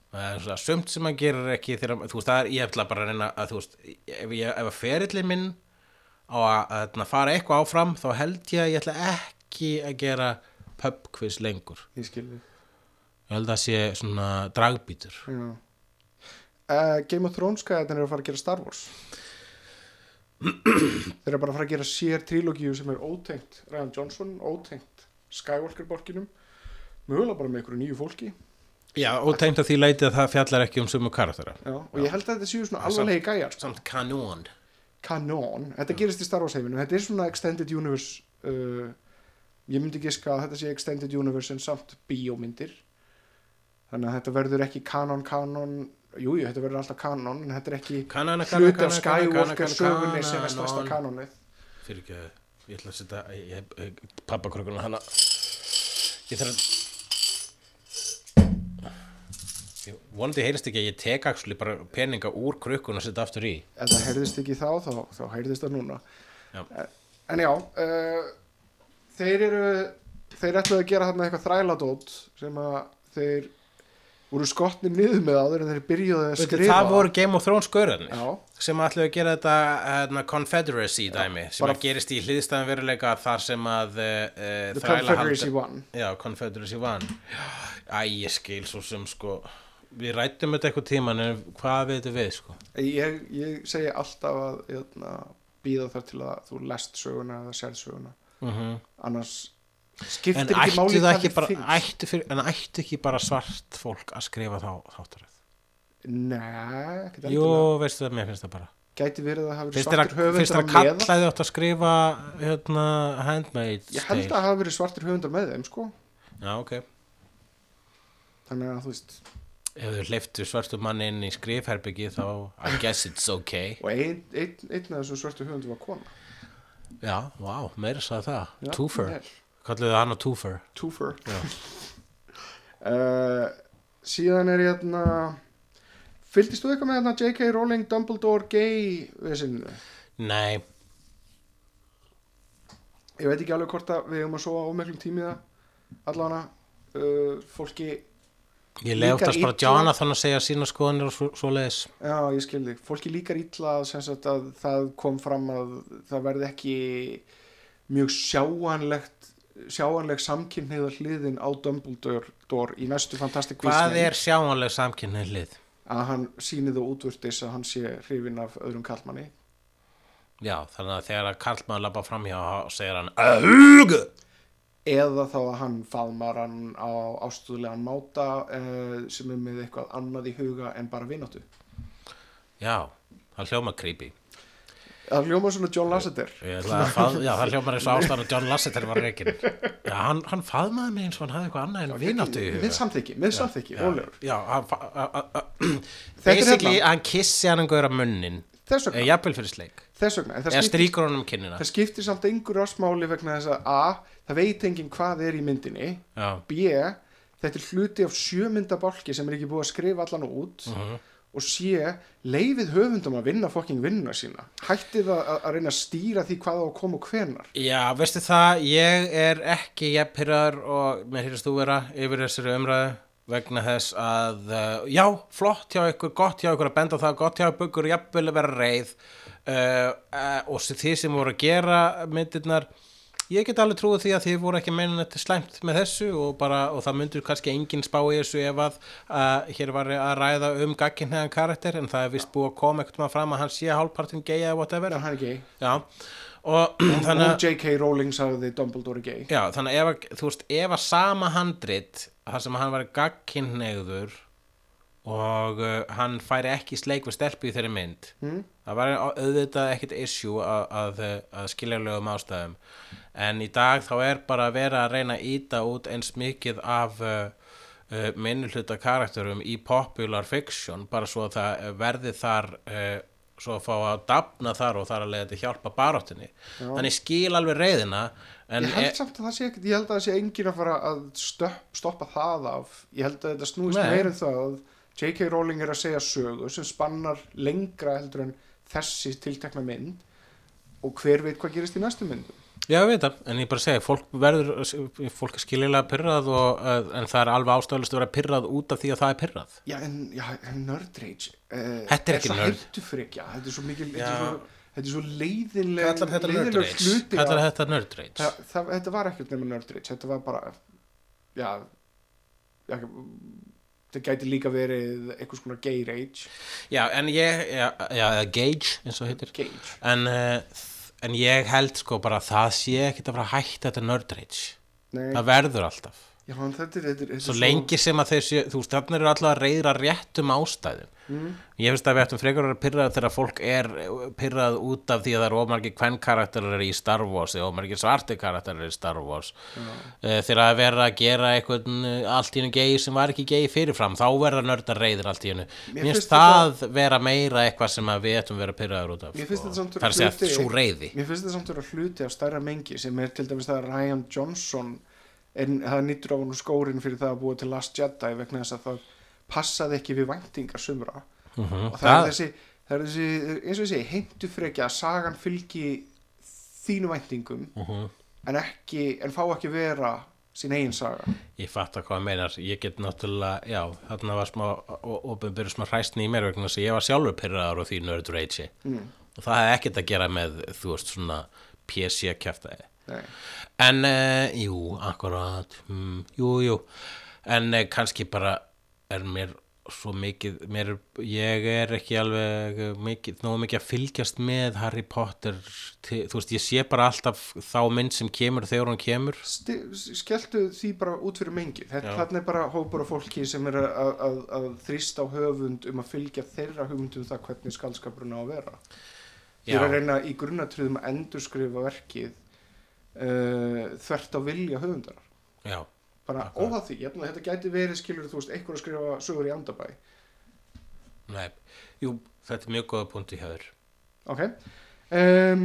Það er svona sumt sem maður gerir ekki þegar, þú veist, það er, ég ætla bara að reyna að, þú veist, ef, ég, ef að ferillin minn á að, að, að fara eitthvað áfram, þá held ég að ég ætla ekki að gera pubquiz lengur.
Ég skilði
Ég held að það sé svona dragbítur.
uh, Eh, Game of Thrones skæðan er að fara að gera Star Wars [CLEARS THROAT] Þeir eru bara að fara að gera sér trilogíu sem er ótengt Ryan Johnson, ótengt Skywalker-borkinum mögulega bara með einhverju nýju fólki
Já, og tengt að því leiti að það fjallar ekki um sumu karaktera.
Já, og ég held að þetta séu svona alvarlegi gæjar sko.
Samt kanón.
kanón, þetta gerist í Star Wars heiminu þetta er svona Extended Universe uh, ég myndi giska að þetta sé Extended Universe en samt bíómyndir þannig að þetta verður ekki kanon kanon, jújú, þetta verður alltaf kanon en þetta er ekki
Kanana, kanana,
hluti af
kanana, kanana,
Skywalker
kanana,
sögunni sem er stærsta
kanana.
kanonið
Fyrir ekki að ég ætla að setja ég hef pappakrökkuna hana Ég þarf að Ég vonandi heyrist ekki að ég tek axli bara peninga úr krökkuna og setja aftur í
ef það heyrðist ekki þá, þá, þá heyrðist það núna
Já.
en já uh, þeir eru þeir ætlaðu að gera þarna eitthvað þræladót sem að þeir voru skotni niður með áður en þeir byrjuðu að
Veitir,
skrifa
Það voru Game of Thrones görðarnir
Já.
sem ætlaðu að gera þetta hérna, Confederacy dæmi sem
bara-
að gerist í hliðstæðan veruleika þar sem að uh,
The Confederacy One
Já, Confederacy One Æ, ég skil svo sem sko Við rættum þetta eitthvað tíman en hvað veitum við sko
ég, ég segi alltaf að jötna, býða þar til að þú lest söguna eða sér söguna
mm
annars
en
skiptir ekki
ættu
máli
það
hvað
ekki
þér
bara
finnst.
ættu fyrir, en ættu ekki bara svart fólk að skrifa þá þáttaröð
Nei, ekkert
jú,
endilega.
veistu það, mér finnst það bara
gæti verið að það hafi verið
finnst þér að,
svartur
finnst
höfundar
þér að
með
kalla þið átt að skrifa hérna handmade
ég held að það hafi verið svartur höfundar með þeim sko.
já, ok
þannig að þú veist
ef þau hleyftu svartum manni inn í skrifherbyggi þá I guess it's okay
og einn ein, ein af þessum svartur höfundum var kona
já, wow, meira sagði það,
Já,
twofer
vel.
kalluðu það hann á twofer
Twofer
Já.
[LAUGHS] uh, síðan er ég hérna fylgdist þú eitthvað með hérna J.K. Rowling Dumbledore gay vesinu
nei,
ég veit ekki alveg hvort að við hefum að sofa ómeklum tími í það allavega uh, fólki
ég
Líka
lef oftast bara
illa-
Jonathan að segja sína skoðanir og svo, svo leiðis
já ég skildi, fólki líkar illa sem sagt að það kom fram að það verði ekki mjög sjáanlegt sjáanleg samkynniða hliðin á Dumbledore Dor í næstu Fantastic
Hvað
Beasts-mynd,
er sjáanleg samkynnið hlið?
að hann sýni það útvördis að hann sé hrifin af öðrum kallmanni
Já, þannig að þegar að Karlmann labba framhjá og segir hann Öhug!
eða þá að hann faðmar hann á ástúðulegan máta uh, sem er með eitthvað annað í huga en bara vináttu
Já, það hljóma creepy
það hljóma svona John Lasseter
Ég ætla að fað, Já, það hljóma eins og ástæðan að John Lasseter var reikin Já, hann, hann faðmaði mig eins og hann hafði eitthvað annað en vináttu í
með
huga
samþykki, með samþykki, rólegur
Já, hann fa- a- a- a-
Þetta er
Basically,
hérna.
hann kissi hann einhverja munnin
þess
Eða
vegna,
jafnvel fyrir sleik
þess vegna en það
Eða
skiptir-
strýkur honum um kinnina
það skiptir samt einhverju ásmáli vegna þess að a, það veit enginn hvað er í myndinni
Já,
b, þetta er hluti af sjömyndabálki sem er ekki búið að skrifa allan út
Mhm.
og c, leifið höfundum að vinna fokking vinnuna sína hættið að, að- að reyna að stýra því hvað á að koma og hvenar
Já, veistu það, ég er ekki jafn pyrraður og mér hýrst þú vera yfir þessari umræðu vegna þess að, uh, já, flott hjá ykkur, gott hjá ykkur að benda á það, gott hjá ykkur, jafnvel að vera reið uh, uh, og sem- þið sem voru að gera myndirnar, ég get alveg trúið því að þið voru ekki að meina þetta slæmt með þessu og, bara, og það myndur kannski engin spá í þessu ef að uh, hér var að ræða um gagkinhæðan karakter en það er vist búið að koma ekkert maður fram að hann sé hálfpartin geið eða whatever.
en hann er gay
Já, og [CLEARS THROAT] þannig að
og J.K. Rowling sagði Dumbledore er gay
Já, þannig að ef, að- þú veist, ef að sama handrit þar sem hann var gagkinnegður og uh, hann færi ekki í sleik við stelpu í þeirri mynd
Hmm?
mm. það var auðvitað ekkit issue að, að, uh, að skiljarlegum ástæðum en í dag þá er bara að vera að reyna að íta út eins mikið af uh, uh, minnuluta karakterum í popular fiction bara svo að það eh, verði þar uh, svo að fá að dafna þar og þar að leiða til hjálpa baráttinni þannig ég skil alveg reyðina en e-
ég held samt að það sé ekkert, ég held að það sé enginn að fara að stöpp, stoppa það af ég held að þetta snúist
Nei.
meira um það að J.K. Rowling er að segja sögu sem spannar lengra heldur en þessi tiltekna mynd og hver veit hvað gerist í næstu myndu
Já, ég veit það, en ég bara segi, fólk verður, fólk er skiljulega pyrrað og, eh, en það er alveg ástæðalist að vera pyrrað út af því að það er pyrrað.
já en já, en nerd rage uh,
Þetta er ekki nerd.
hættufrikja, þetta er svo mikil þetta
Já.
er svo, þetta er svo leiðinlega
Kallar þetta
leiðilegur
nördreits?
hluti
Kallar
að-
þetta nördreits?
það, það, þetta var ekkert nema nerd rage þetta var bara já, já það gæti líka verið einhvers konar gay rage
Já, en ég, já, já, eða gauge, eins og heitir.
Gage.
En, eh, þ- en ég held sko bara að það sé ekkit að fara að hætta þetta nördreits.
Nei,
Það verður alltaf.
já, en þetta er, þetta er, þetta er
Svo lengi sem að þessi, þú veist, þannig eru alltaf að reyðra réttum ástæðum.
Mm.
Ég finnst að við ættum frekar að vera pyrrað þegar fólk er eh, pyrrað út af því að það eru ómargi kvennkarakterar í Star Wars eða ómargi svarti karakterar í Star Wars. Eh, Þegar að vera að gera eitthvað allt í hennu gei sem var ekki gei fyrirfram, þá verða nördar reyðir allt í hennu. Mér
finnst
finnst það vera meira eitthvað sem að við ættum að vera pyrraður út af.
Mér finnst
sko.
þetta samt
Það er að segja svo reyði.
Mér finnst þetta samt vera hluti af stærra mengi sem er til dæmis það að Ryan Johnson en það nýttur á hann skórin fyrir það að búa til Last Jedi vegna þess að það passaði ekki við væntingar sumra og það
Mhm. Það-
er þessi það er þessi, eins og ég segi, heimtu frekja að sagan fylgi þínu væntingum
Mhm.
en ekki, en fá ekki vera sín eigin saga
Ég fatt að hvað það meinar, ég get náttúrulega, já, þarna var smá, ofinbyrður smá hræstni í mér vegna þess að ég var sjálfur pyrraður og því nörd reysi mm. og það hefði ekkert að gera með, þú veist, svona PC kjaftaði.
Nei.
En, uh, jú, akkurat, mm, jú, jú, en uh, kannski bara er mér svo mikið, mér, er- ég er ekki alveg eh, mikið, nógu mikið að fylgjast með Harry Potter, til, þú veist, ég sé bara alltaf þá mynd sem kemur þegar hún kemur.
Sti- skelltu því bara út fyrir mengi þetta þarna er bara hópur af fólki sem er að, að, að þrýsta á höfund um að fylgja þeirra höfundum það hvernig skaldskapurinn á að vera ég er
Já.
að reyna í grunnatröðum að endurskrifa verkið uh, þvert á vilja höfundar
Já,
bara óhað því, ég, þetta gæti verið skilur þú veist, einhver að skrifa sögur í andabæ
Nei, jú, þetta er mjög góða punktu hjá þér.
ok um,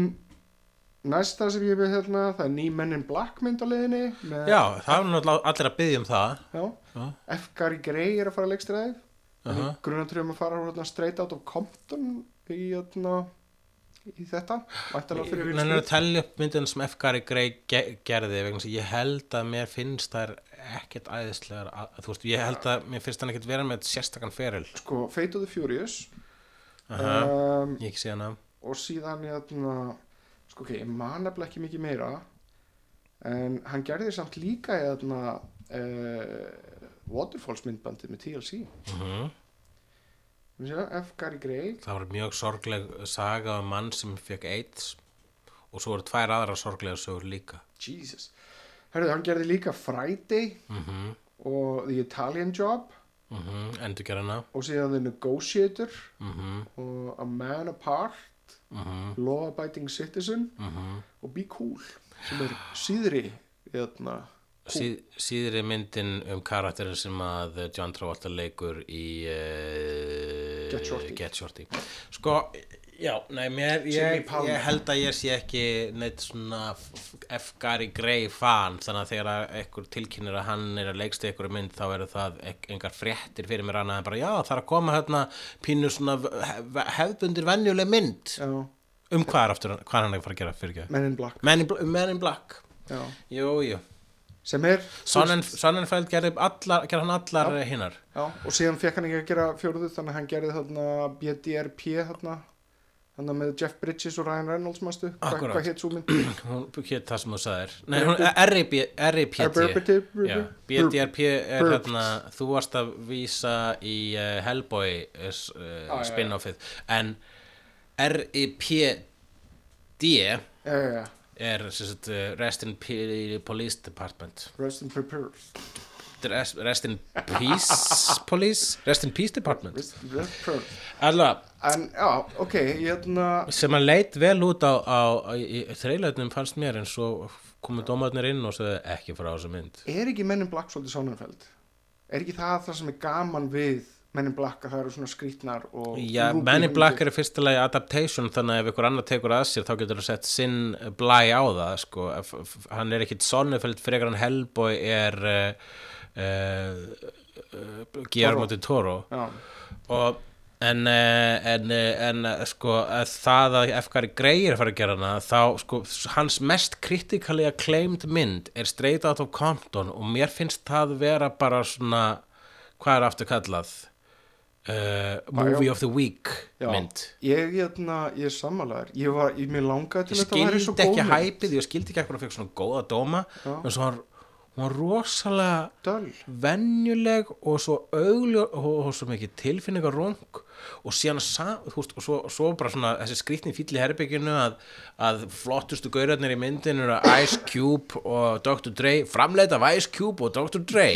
næsta sem ég við hérna það er ný menn in black mynd á leiðinni með,
Já, það er náttúrulega allir að byggja um það.
já,
Já.
F. Gary Gray er að fara að leikstræði
Uh
-huh. grunatröfum að fara hérna, straight out of Compton í, hérna, í þetta væntanlega fyrir Will
Þannig að
Smith
telja upp myndin sem F. Gary Grey ge gerði vegna þess að ég held að mér finnst þær ekkert æðislegar að, þú veist, ég held að mér finnst hann ekkert vera með sérstakann feril
sko, Fate of the Furious
Aha.
um,
ég ekki sé hana
og síðan hérna, sko, ok, ég man nefnilega ekki mikið meira en hann gerði samt líka eðna, uh, Waterfalls myndbandið með TLC Við sjá, F. Gary Gray
Mhm. Það var mjög sorgleg saga um mann sem fekk AIDS og svo eru tvær aðra sorglega sögur líka.
Jesus Hörðu, hann gerði líka Friday og The Italian Job
Mm -hmm. Endurgerðina.
og síðan The Negotiator
Mm -hmm.
og A Man Apart Law Abiding Citizen og Be Cool sem er síðri eðna,
síðri myndin um karakterin sem að John Travolta leikur í uh,
Get Shorty.
Get Shorty. Sko, já, nei, mér,
Jimmy
ég,
Palmer.
ég held að ég sé ekki neitt svona f- F. Gary Gray fan þannig að þegar að einhver tilkynir að hann er að leikstu einhverju mynd þá eru það ek- engar fréttir fyrir mér annað en bara já það er að koma hérna pínu svona hef- hefðbundir venjuleg mynd
já,
um hvað er aftur hvað er hann að fara að gera fyrir ekki
Men in Black
Men in, Bl- Men in Black
já.
jú, jú
sem er
Sonnenf- Sonnenfeld gerði allar, gerði hann allar hinnar
já, og síðan fekk hann ekki að gera fjóruðu þannig að hann gerði þarna BDRP þarna, þarna með Jeff Bridges og Ryan Reynolds mastu, Hva,
Akkúrat.
hvað hétt svo mynd
hún hétt það sem þú sagðir Nei, hún RIP RIPT
Burp-
Já,
Burp-
BDRP er
Burp.
hérna þú varst að vísa í uh, Hellboy uh, s- uh,
já, já.
spin-offið en RIPD
já, já, já,
er sem sagt, uh, Rest in P Police Department
Rest in Prepares
Rest, rest in Peace Police Rest in Peace Department
Rest in Prepares
Alla,
en já, ok, hérna
sem að leit vel út á, á, á í, í þreilöðnum fannst mér en svo komu dómarnir inn og sagði ekki frá þessu mynd
er ekki Men in Black svolítið Sonnenfeld er ekki það það sem er gaman við Men in Black að það eru svona skrýtnar og
Já,
rúbímyndir?
Manny Black er í fyrsta lagi adaptation þannig að ef ykkur annar tekur að sér þá getur það sett sinn blæ á það sko. F- f- hann er ekkit sonnufeld frekar en Hellboy er uh, uh, uh, Guillermo del Toro
já,
og en, eh, en, eh, en eh, sko að það að FKR Grey er að fara að gera hana þá sko hans mest kritikali acclaimed mynd er Straight Out of Compton og mér finnst það vera bara svona hvað er aftur kallað uh, Movie of the Week
já.
mynd
ég, hérna, ég er sammálaður ég var, ég mér langaði til
ég
að þetta væri svo
skildi
góð
ekki
mynd.
hæpið ég skildi ekki eitthvað að fekk svona góða dóma
Já.
en svo hann, hún var rosalega
Döl.
venjuleg og svo augljó og, og svo mikið tilfinningar rung og síðan sa, þú veist, og svo, svo bara svona þessi skrýtni fýll í herbygginu að, að flottustu gaurarnir í myndinu eru Ice Cube og Dr. Dre framleita af Ice Cube og Dr. Dre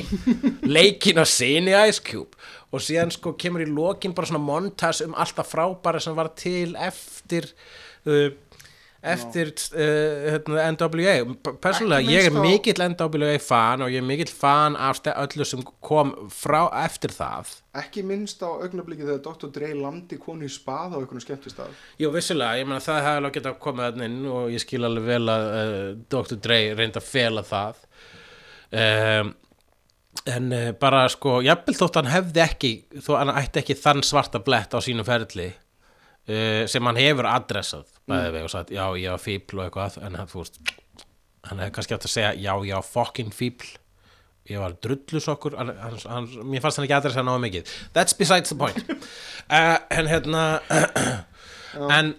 leikin að sinni Ice Cube og síðan sko kemur í lokin bara svona montas um alltaf frábæra sem var til eftir uh, eftir uh, hérna, NWA P- persónulega,
Ekki
ég er
minnst á-
mikið mikill NWA fan og ég er mikill fan af ste- öllu sem kom frá eftir það
ekki minnst á augnablikið þegar Dr. Dre landi konu í spað á einhvern skemmtistað
Jú, vissulega, ég meina það hefði alveg getað komið þannig inn og ég skil alveg vel að uh, Dr. Dre reyndi að fela það um, en uh, bara sko, jafnvel þótt hann hefði ekki þó hann ætti ekki þann svarta blett á sínum ferli uh, sem hann hefur adressað bæði við og sagt, já, já, fíbl og eitthvað en hann, þú veist, hann hefði kannski átt að segja já, já, fokkin fíbl ég var drullusokkur hann, hann, hann, mér fannst hann ekki adressa náðu mikið that's besides the point uh, en hérna [CLEARS THROAT] en,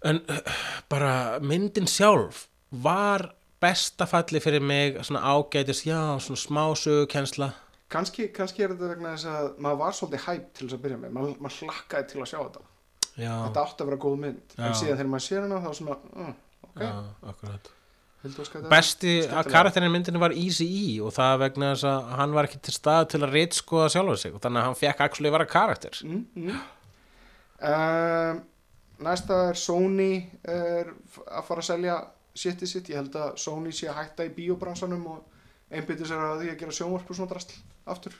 en uh, bara myndin sjálf var besta falli fyrir mig svona ágætis, já, svona smásugukensla
kannski, kannski er þetta vegna þess að maður var svolítið hæp til þess að byrja með maður, maður hlakkaði til að sjá þetta
já,
þetta átti að vera góð mynd
Já.
en síðan þegar maður sér hana þá sem að uh, ok,
já, akkurat
heldur að skata
besti að
Skemmtilega.
karakterin í myndinu var Easy E og það vegna þess að hann var ekki til stað til að ritskoða sjálfur sig og þannig að hann fekk actually vera karakter
mm, mm. Um, næsta er Sony er f- að fara að selja sétti sitt, ég held að Sony sé að hætta í bíóbransanum og einbyttir sér að því að gera sjónvarp og svona drastl aftur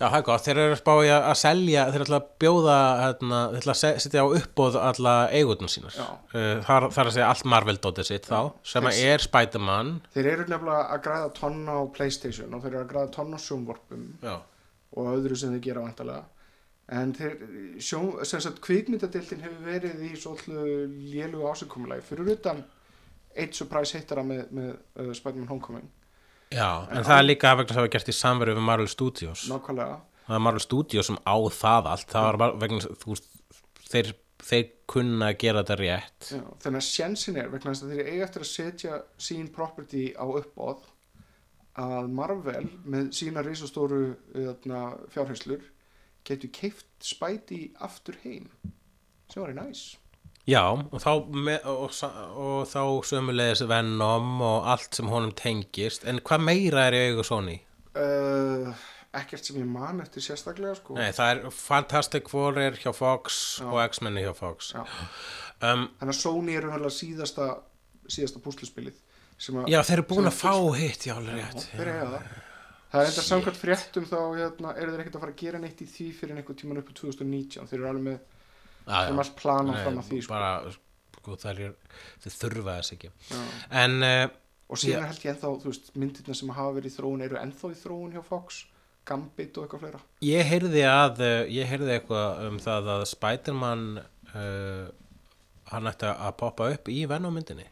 Já, það er gott, þeir eru að spáði að að selja, þeir eru alltaf að bjóða, hérna, þeir eru að se- setja á uppbóð alla eigutnum sínar.
Já.
Uh, þar, þar að segja allt Marvel-dótið sitt þá, sem að er Spiderman.
þeir eru nefnilega að græða tonna á Playstation og þeir eru að græða tonna á sjónvarpum
Já.
og öðru sem þeir gera vantalega en þeir, sjón, sem sagt kvikmyndadeltin hefur verið í svolítið lélugu ásakumulagi fyrir utan eitt surprise hittara með, með uh, Spiderman Homecoming
en það er líka vegna þess að það var gert í samverju við Marvel Studios.
nákvæmlega
Það er Marvel Studios sem á það allt, það var bara vegna, þess- þú veist, þeir þeir kunna að gera þetta rétt
Já, þannig að sjensin er vegna þess að þeir eiga eftir að setja sín property á uppbóð að Marvel með sína risastóru hérna, fjárhengslur getur keift spæti aftur heim sem var í næs
Já, og þá, með, og, sa- og þá sömulegis Venom og allt sem honum tengist en hvað meira er í augu Sony?
uh, ekkert sem ég man eftir sérstaklega sko.
Nei, það er Fantastic Four er hjá Fox og X-Men er hjá Fox
Já.
um,
þannig að Sony er umhverflega síðasta síðasta púsluspilið sem að
Já, þeir eru búin
sem
að fá hitt, já, alveg rétt
þeir eiga það það er þetta samkvæmt fréttum þá hérna, eru þeir ekkert að fara að gera neitt í því fyrir einhvern tíman upp á 2019 þeir eru alveg með
Já,
sem
já.
allt plana fram að því sko.
bara, sko, það er þeir þurfa þess ekki
Já.
en uh,
og síðan held ég ennþá, þú veist, myndirna sem hafa verið í þróun eru ennþá í þróun hjá Fox Gambit og eitthvað fleira
ég heyrði að uh, ég heyrði eitthvað um það að Spiderman uh, hann ætti að poppa upp í Venommyndinni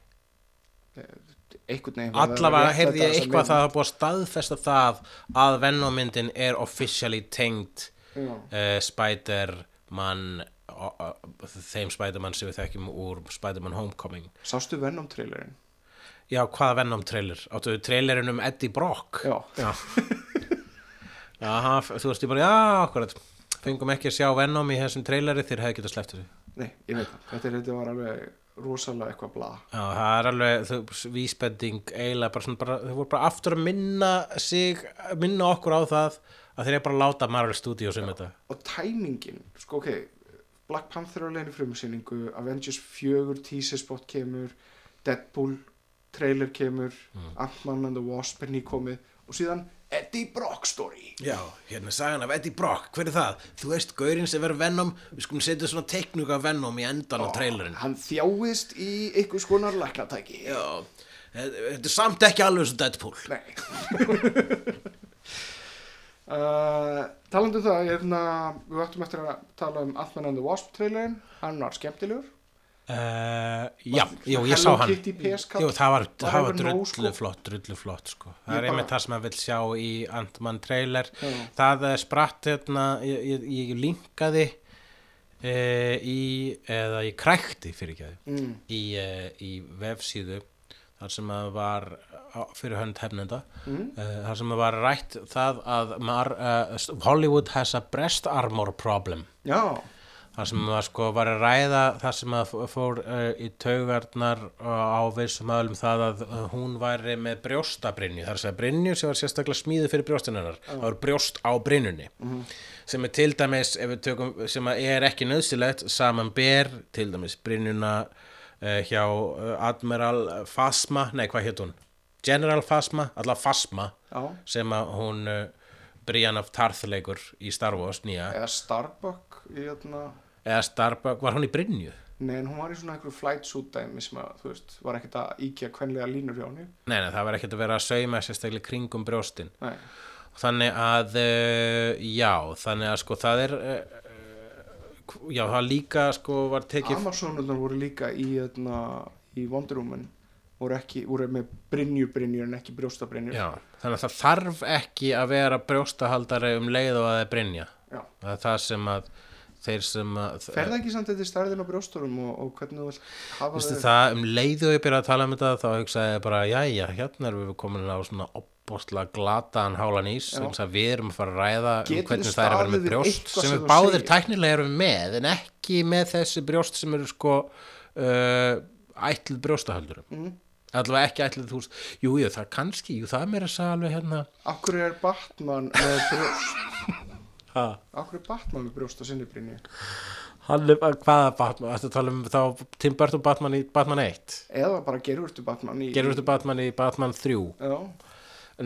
einhvern veginn verða að
allavega
réttlæta
heyrði ég
þessa
eitthvað
mynd.
það að búa að staðfesta það að Venommyndin er officially tengd
Já.
uh, Spiderman o- o- þeim Spiderman sem við þekkjum úr Spiderman Homecoming
sástu Venom trailerinn
já, hvaða Venom trailer? áttu trailerin um Eddie Brock
já,
Já Aha, þú veist ég bara, já, akkurat Fengum ekki að sjá Venom í þessum traileri Þeir hefði getað sleppt þessu
nei, ég veit það þetta, er, þetta var alveg rosalega eitthvað bla
Já, það er alveg, þú, vísbending eiginlega bara svona, bara, þau voru bara aftur að minna sig, minna okkur á það að þeir eru bara að láta Marvel Studios um þetta
og tæmingin, sko ok Black Panther á leginu frumusinningu Avengers 4 teaser spot kemur Deadpool trailer kemur
Mm.
Ant-Man and the Wasp er nýkomið og síðan Eddie Brock story
Já, hérna er sagan af Eddie Brock, hver er það? Þú veist, gaurinn sem verður Venom, við skulum setja svona teiknuga Venom í endan á trailerin
hann þjáist í ykkur skonar læknatæki
Já, þetta er samt ekki alveg svo Deadpool [LAUGHS]
Nei uh, Talandi um það hérna, Við ættum eftir að tala um Ant-Man and the Wasp trailerin Hann var skemmtilegur
Uh, já, jú, ég
Hello
sá hann
Kitty PS-kall?
Jú, það var,
Var
það var
alveg nóg, sko?
drullu flott, drullu flott sko. Það er
bara-
einmitt það sem maður vill sjá í Ant-Man trailer
Já.
Það eh, spratt hérna ég, ég, ég linkaði e, í, eða ég krækti fyrir ekki
mm.
í, e, í vefsíðu þar sem að var á- fyrir hönd hefnenda mm. þar sem að var rætt það að mar, uh, Hollywood has a breast armor problem
Já,
Það sem var sko var að ræða það sem að f- fór uh, í taugarnar uh, á vissum aðlum það að uh, hún væri með brjóstabrinju þar sem að brinju sem var sérstaklega smíðu fyrir brjóstinarnar það var brjóst á brinjunni sem er til dæmis ef við tökum, sem að er ekki nöðsilegt saman ber til dæmis brinjuna uh, hjá uh, Admiral Fasma nei hvað hétt hún? General Fasma, allavega Fasma
já
sem að hún uh, Brian of Tarth leikur í Star Wars nýja
Eða Starbuck í, hérna,
eða Starbuck, var hún í Brynju?
Nei, en hún var í svona einhverju flight suit dæmi sem að, þú veist, var ekkert að íkja kvenlega línur hjá henni
Nei, nei, það var ekkert að vera að sauma sérstaklega kringum brjóstin
Nei,
þannig að, uh, já þannig að sko það er uh, uh, já, það líka sko var tekið,
Amazonunar voru líka í, hérna, í Wonder Woman voru, ekki, voru með brinju brinju en ekki brjósta brinju
já, þannig að það þarf ekki að vera brjóstahaldari um leið og að það er Brynja
Já.
það er það sem að þeir sem að
Fer það ekki samt þetta stærðin á brjósturum og, og hvernig þú vilt hafa
Vistu,
þau?
það, um leiðu ég byrjaði að tala um þetta þá hugsaði ég bara, jæja, hérna erum við komin á svona opbóstla glataðan hálan ís
Já.
eins að við erum að fara að ræða um
Geturðu
hvernig það er að vera
staðið
með
við
brjóst
eitthvað
sem
sem
við
þú
báðir
segir?
tæknilega erum með en ekki með þessi brjóst sem eru sko uh, ætlið brjóstahöldurum
Mhm.
mm. allavega ekki ætlið þú jú, jú, það kannski, jú, það er mér að segja alveg hérna
Akkur er Batman með brjóst?
ha.
Akkur er Batman með brjóst á sinni brinni?
hann er, hvaða Batman, þetta tala um þá Tim Burton Batman í Batman 1
Eða bara gerurtu Batman í...
gerur þetta Batman í Batman 3
Já,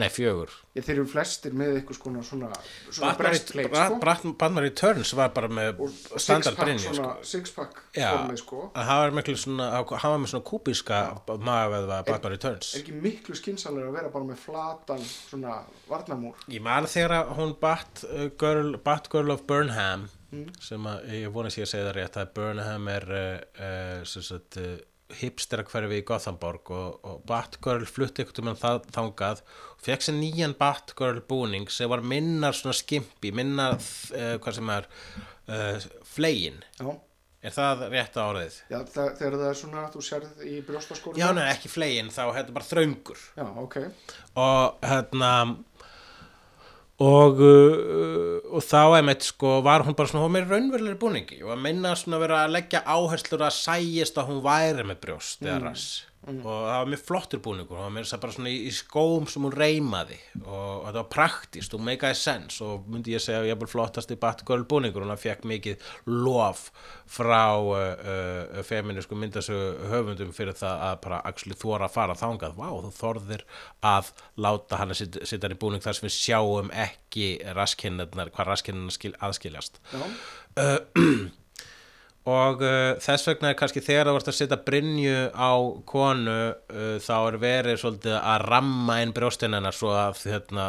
nei, 4
ég þeir eru flestir með eitthvað skona svona, svona
Batman,
breastplate,
Bra-
sko.
Bra- Batman Returns var bara með standard
Sixpack
brinni sko.
svona, sixpack
Já,
formið, sko.
en það var miklu svona hann var með svona kúbíska magaveðva Batman Returns
Er ekki miklu skinsanlega að vera bara með flatan svona varnamúr?
ég man þegar að hún Bat uh, Girl, Bat Girl of Burnham
Mm.
sem að ég vonast ég að segja það rétt að Burnham er uh, uh, sem sagt, uh, hipstera hverfi í Gothenburg og, og Batgirl flutti ykkur tímann það þangað og fekk sér nýjan Batgirl búning sem var minnar svona skimpi minnar, uh, hvað sem er uh, flegin
Já,
Er það rétt á orðið?
Já, það, þegar það er svona þú sérð í brjóstaskórum
Já, neða, ekki flegin, þá hérna bara þröngur
Já, ok
og hérna og uh, og þá einmitt sko var hún bara svona, hún var meira raunverulegri búningi og að minna svona vera að leggja áherslur að sæjist að hún væri með brjóst eða rass og það var mjög flottur búningur, hún var meira þess að bara svona í, í skóm sem hún reymaði og, og þetta var praktist og meikaði sens og myndi ég segja að ég er bara flottasti Batgirl búningur, hún fekk mikið lof frá uh, uh, feminísku myndasögu höfundum fyrir það að bara actually þóra að fara þangað, vá, þú þorðir að láta hann að sitja sitja hann í búning þar sem við sjáum ekki raskinnarnar, hvað raskinnarnar skil, aðskiljast
Já,
og uh, þess vegna er kannski þegar það vart að setja brinju á konu uh, þá er verið svolítið að ramma inn brjóstin hennar svo að hérna,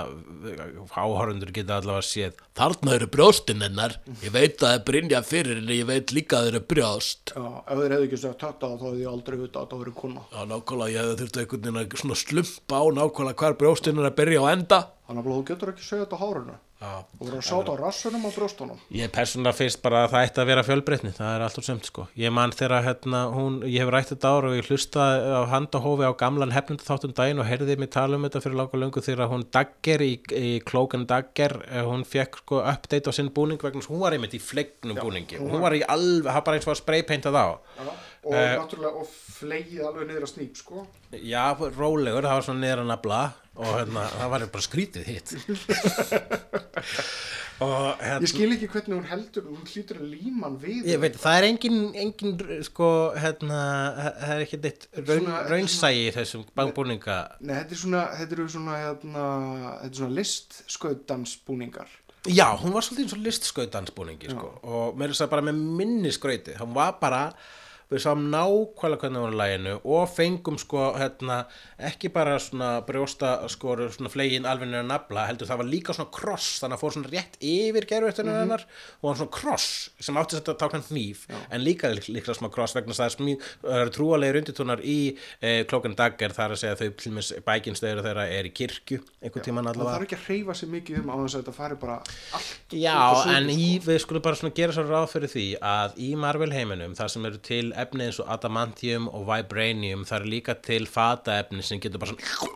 áhorfundur geta allavega séð
Þarna eru brjóstin hennar Ég veit að það er Brynja fyrir henni Ég veit líka að það eru brjóst
já, ef þeir hefðu ekki sagt þetta þá hefði ég aldrei vita að það voru kona
Já, nákvæmlega, ég hefði þurft einhvern veginn að svona slumpa á nákvæmlega hvar brjóstin hennar byrja og enda
Þannig að þú getur ekki segja þetta á hárinu Já Þú voru að sjá þetta á rassunum og brjóstunum
Ég persónulega finnst bara að það ætti að vera fjölbreytni, það er allt og semt sko. Ég man þegar hérna, hún, ég hef rætt þetta ára og ég hlustaði af handahófi á gamlan hefnundu þáttum daginn og heyrði mig tala um þetta fyrir lágu löngu þegar hún Dagger í, í klókan Dagger, eh, hún fekk sko update á sinn búning vegna þess að hún var einmitt í flegnum búningi og hún var í alveg, það bara eins og að spraypaintað á.
Já Og
Eh,
náttúrulega, og flegið alveg niður að snýp, sko
Já, rólegur, það var svona niður að nafla og hérna, það var bara skrítið hitt. og hérna.
Ég skil ekki hvernig hún heldur, hún hlýtur að líman við
Ég veit, það er engin, engin sko, hérna, það er ekki neitt raun,
Svona-
raunsæi í þessum bangbúninga.
Nei, þetta er svona, þetta eru svona, hérna, þetta er svona listskautdansbúningar
Já, hún var svolítið eins og listskautansbúningi, sko, og mér er það bara með minni skrauti, hún var bara, við sáum nákvæmlega hvernig hún var í læginu og fengum, sko, hérna, ekki bara svona brjósta, sko, svona flegin alveg nýra nafla, heldur það var líka svona kross, þannig að fór svona rétt yfir gerfettunum hennar og hann svona kross sem átti þetta að tákna hníf, en líka lík- líklega smá kross vegna þess að það er smíð, það eru trúalegir undirtónar í e, klókan daggar, það er að segja að þau, til dæmis bækinstöður þeirra er í kirkju, einhvern tímann
Það
allavega.
þarf ekki að hreyfa sér mikið um á þess að þetta fari bara allt
Já, en í, við skulum bara svona gera svo ráð fyrir því að í Marvel heiminum þar sem eru til efni eins og adamantium og vibranium, þar er líka til fataefni sem getur bara svona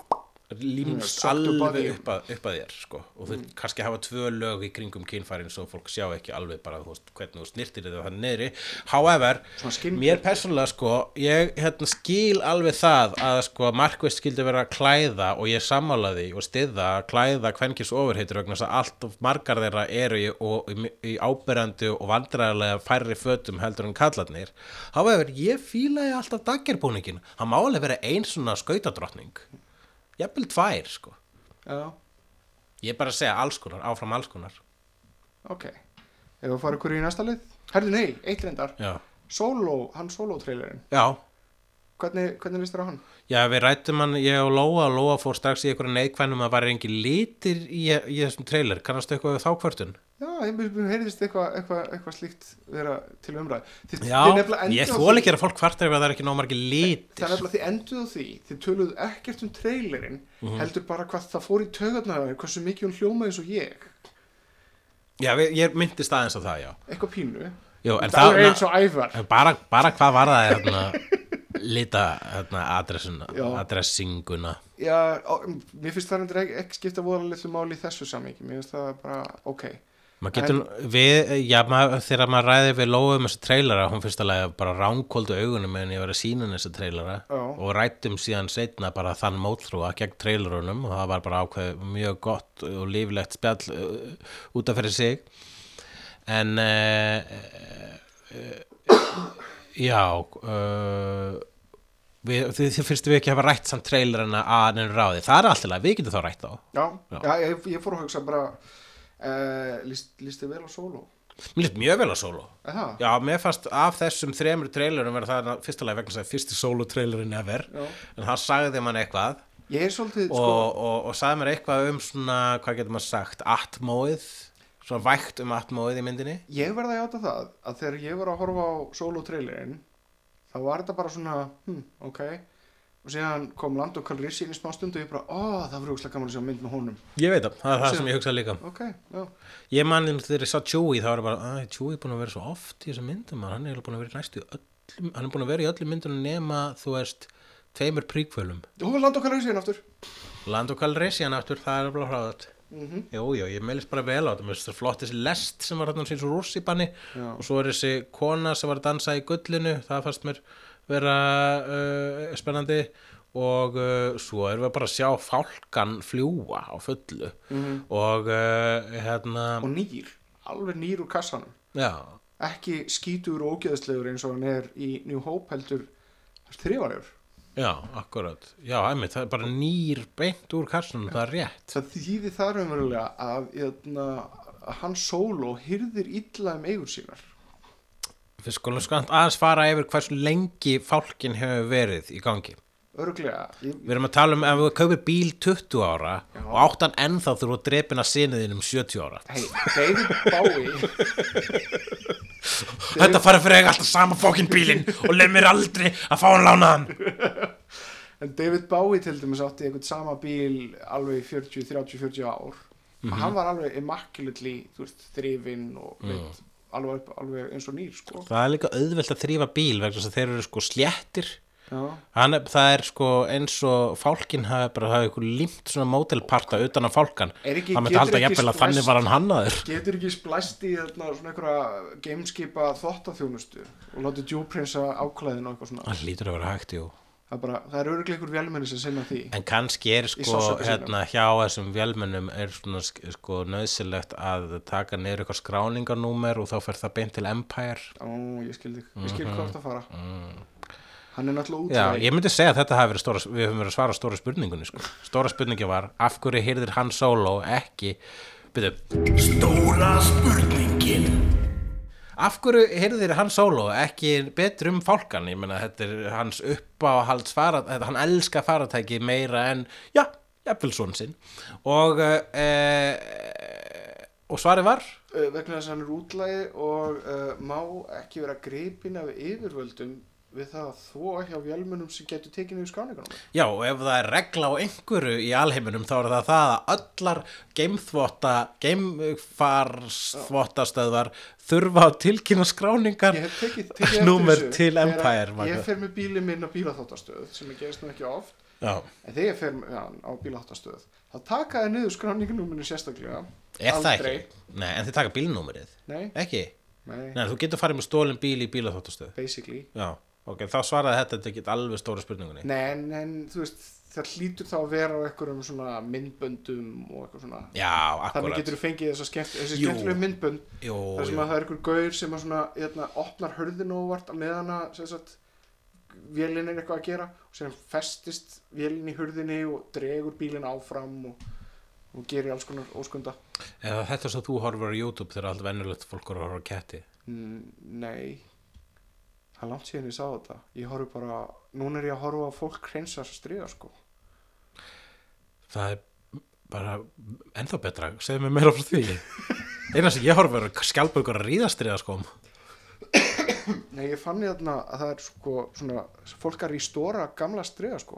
límst
sökkt upp að
alveg
þér.
upp að, upp að þér sko. og þau kannski hafa tvö lög í kringum kynfærin svo fólk sjá ekki alveg bara þú veist, hvernig þú snirtir þetta þannig niðri however,
Svona skinn-
mér persónulega sko ég hérna, skil alveg það að sko markvist skildi vera að klæða og ég sammála því og stiða að klæða kvenkis ofurheitur vegna þess að allt of margar þeirra eru í, og, í, í ábyrjandi og vandræðarlega færri fötum heldur en kallarnir however, ég fílaði alltaf daggerbúningin hann má alveg vera ein svona skautadrottning jafnvel tvær sko
Já,
ég er bara að segja alls konar, áfram alls konar
ok Ef við farið hverju í næsta lið? Herðu, nei, eitt reyndar
já,
Solo, hann solo-trailerinn
já
Hvernig, hvernig listir á hann?
Já, við rættum hann, ég og Lóa, Lóa fór strax í einhverju neikvænum að væri engin litir í, í þessum trailer, kannastu eitthvað við þá hvörtun?
Já, ég mér heyrðist eitthvað eitthva, eitthva slíkt vera til umræð þið,
Já,
þið nefnilega enduð
ég
á
þól
því-
ekki að fólk kvartar ef það er ekki nóg margir
Það er
litir.
nefnilega þið enduð á því Þið töluðu ekkert um trailerinn
Mhm.
heldur bara hvað það fór í tögarnar hversu mikið hún hljómaði eins og ég
Já, við, ég myndist aðeins á það, já.
eitthvað pínu
Jú, en
Það
það,
er eins og ævar
na, bara, bara hvað var það, [LAUGHS] hérna, lita, hérna, adressuna,
Já.
adressinguna.
Já, á, mér finnst það reyndar ekki, ekki skipta voða litlu máli í þessu samíki mér finnst það bara, ok
Maður getur, við, já, maður, þegar maður ræði við Lóa um þessu trailera, hún fyrst alveg bara ránkóldu augunum meðan ég var að sína henni þessu trailera
Já.
og rættum síðan setna bara þann mótrúa gegn trailerunum og það var bara ákveð mjög gott og líflegt spjall uh, út af fyrir sig en uh, já uh, við, þið, þið fyrstu við ekki hafa rætt samt trailerina að nefnir ráði, það er alltaf við getum þá rætt á
Já,
Já.
já ég, ég fór að hugsa bara uh, líst, líst þið vel á solo
mér líst mjög vel á solo
Er það?
Já, mér fannst af þessum þremur trailerum verða það fyrsta lagi vegna þess að fyrsti solo trailerin ever,
Já.
en það sagði mann eitthvað
Ég er svolítið,
og, og, og sagði mér eitthvað um svona, hvað getur maður sagt, atmóið, svona vægt um atmóið í myndinni.
ég verða að játa það að þegar ég var að horfa á solo trailerinn þá var þetta bara svona hm, "Hmm, ok, og síðan kom land og kallir sín í smá stund og ég bara, ó, það var rúgslega gaman að sjá mynd með honum
Ég veit það, það er það sem ég hugsa líka
ok, já,
Ég man þegar þegar ég sá Chewie þá er bara að Chewie er búin að vera svo oft í þessum myndum maður. hann er eiginlega búin að vera í næstu öll hann er búin að vera í öllum myndunum nema þú veist tveimur príkvölum
og land og kallir sín aftur
Land og Calrissian aftur, það er alveg hráðat mm -hmm. Jú, jú, ég meilist bara vel á þetta Mér finnst það flott þessi lest sem var þarna síns úr rússipanni og svo er þessi kona sem var að dansa í gullinu það fannst mér vera uh, spennandi og uh, svo erum við bara að sjá fálkan fljúa á fullu og uh, hérna
og nýr, alveg nýr úr kassanum
já,
ekki skítur og ógeðslegur eins og hann er í New Hope heldur þrifalegur
já, akkurat já, einmitt, það er bara nýr beint úr kassunum, það er rétt
það þýði þar umverulega að, jötna, að hann solo hyrðir illa um eigur sínar
Við skulum skant aðeins fara yfir hversu lengi fálkin hefur verið í gangi
örglega, ég,
Við erum að tala um ef þú kaupir bíl 20 ára og áttan ennþá þú eru drepin að sinniðin um 70 ára.
hei, David Bowie
Þetta fara fyrir eitthvað alltaf sama fókin bílinn og leið mér aldrei að fá hann lánaðan.
en David Bowie til dæmis átti einhvern sama bíl alveg í 40, 30, 40 ár og hann var alveg immaculately þú veist, þrifinn og veit, alveg, upp- alveg eins og nýr sko.
Það er líka auðvelt að þrýfa bíl vegna þess að þeir eru sko sléttir.
Já.
Hann, er- það er sko eins og fálkin hafi bara hafi ykkur límt svona mótelparta utan á fálkan.
Er ekki-
það myndi
getur
halda
ekki
jafnvel að
splæst-
þannig var hann hannaður.
getur ekki splæst í þarna, svona einhverja gameskipa þvottaþjónustu og látið djúprinsa áklæðin og eitthvað svona
Það lítur að vera hægt, jú.
það er, bara, það er örglega einhver velmenni sem sinna því
En kannski er sko
sársauka sínum.
hérna, hjá þessum vélmennum er svona sk- sko nöðsilegt að taka niður eitthvað skráningarnúmer og þá fer það beint til Empire.
Ó, ég skil þig, ég skil hvað þú ert að fara Hann er náttúrulega
Já,
útlæg
ég myndi segja að þetta hafi verið stóra, við höfum verið að svara stóra spurningunni sko. Stóra spurningi var, af hverju heyrðir hann solo ekki, byrju,
Stóra spurningin
af hverju heyrðir hann solo ekki betur um fálkan? Ég meina, þetta er hans uppáhalds fara, þetta- hann elska faratæki meira en, já, jafnvelsson sinn. Og, uh, uh, og svarið var,
uh, Vegna þess að hann er útlægi og uh, má ekki vera gripin af yfirvöldum við það að þvó hjá vélmunum sem getur tekinu í skráningunum
Já, og ef það er regla á einhverju í alheiminum þá er það það að allar geimþvotta, geimfarsþvottastöðvar þurfa að tilkynna skráningar
Ég hef tekið, tekið eftir
Númer
þessu
til
þegar
Empire, Magga.
Ég fer með bílið minn á bílaþáttastöð sem ég gerist nú ekki oft
Já,
En þegar ég fer með hann á bílaþáttastöð þá taka þið niður skráningunuminu sérstaklega
er það
Aldrei.
ekki? Nei, en þið taka bílnúmerið,
Nei,
ekki?
nei,
Nei, þú getur farið með stólinn bíl í bílaþvottastöð
basically
Já, ok, þá svaraði þetta þetta ekki alveg stóra spurningunni
Nei, en, en þú veist, það hlýtur þá að vera á einhverjum svona myndböndum og eitthvað svona
Já,
Þannig
akkurat
getur þú fengið þess að skemmt, þessi
Jú.
skemmtilegu myndbönd
Jú,
þar sem
jú.
að það er einhver gaur sem að svona, hérna, opnar hörðin óvart á meðan að sem sagt, vélinn er eitthvað að gera og sem festist vélinn í hörðinni og dregur bílinn áfram og, og gerir alls konar óskunda
Eða þetta er svo þú horfur á YouTube þegar allt venjulegt fólk er að horfa á ketti
mm, Nei Það er langt síðan ég sá þetta Ég horf bara, núna er ég að horfa að fólk hreinsar stríða sko
Það er bara ennþá betra, segðu mér meira frá [LAUGHS] því eina sem ég horf verið að skjálpa ykkur að ríðast ríða sko
Nei, ég fann ég þarna að það er sko svona, fólk að restóra gamla stríða sko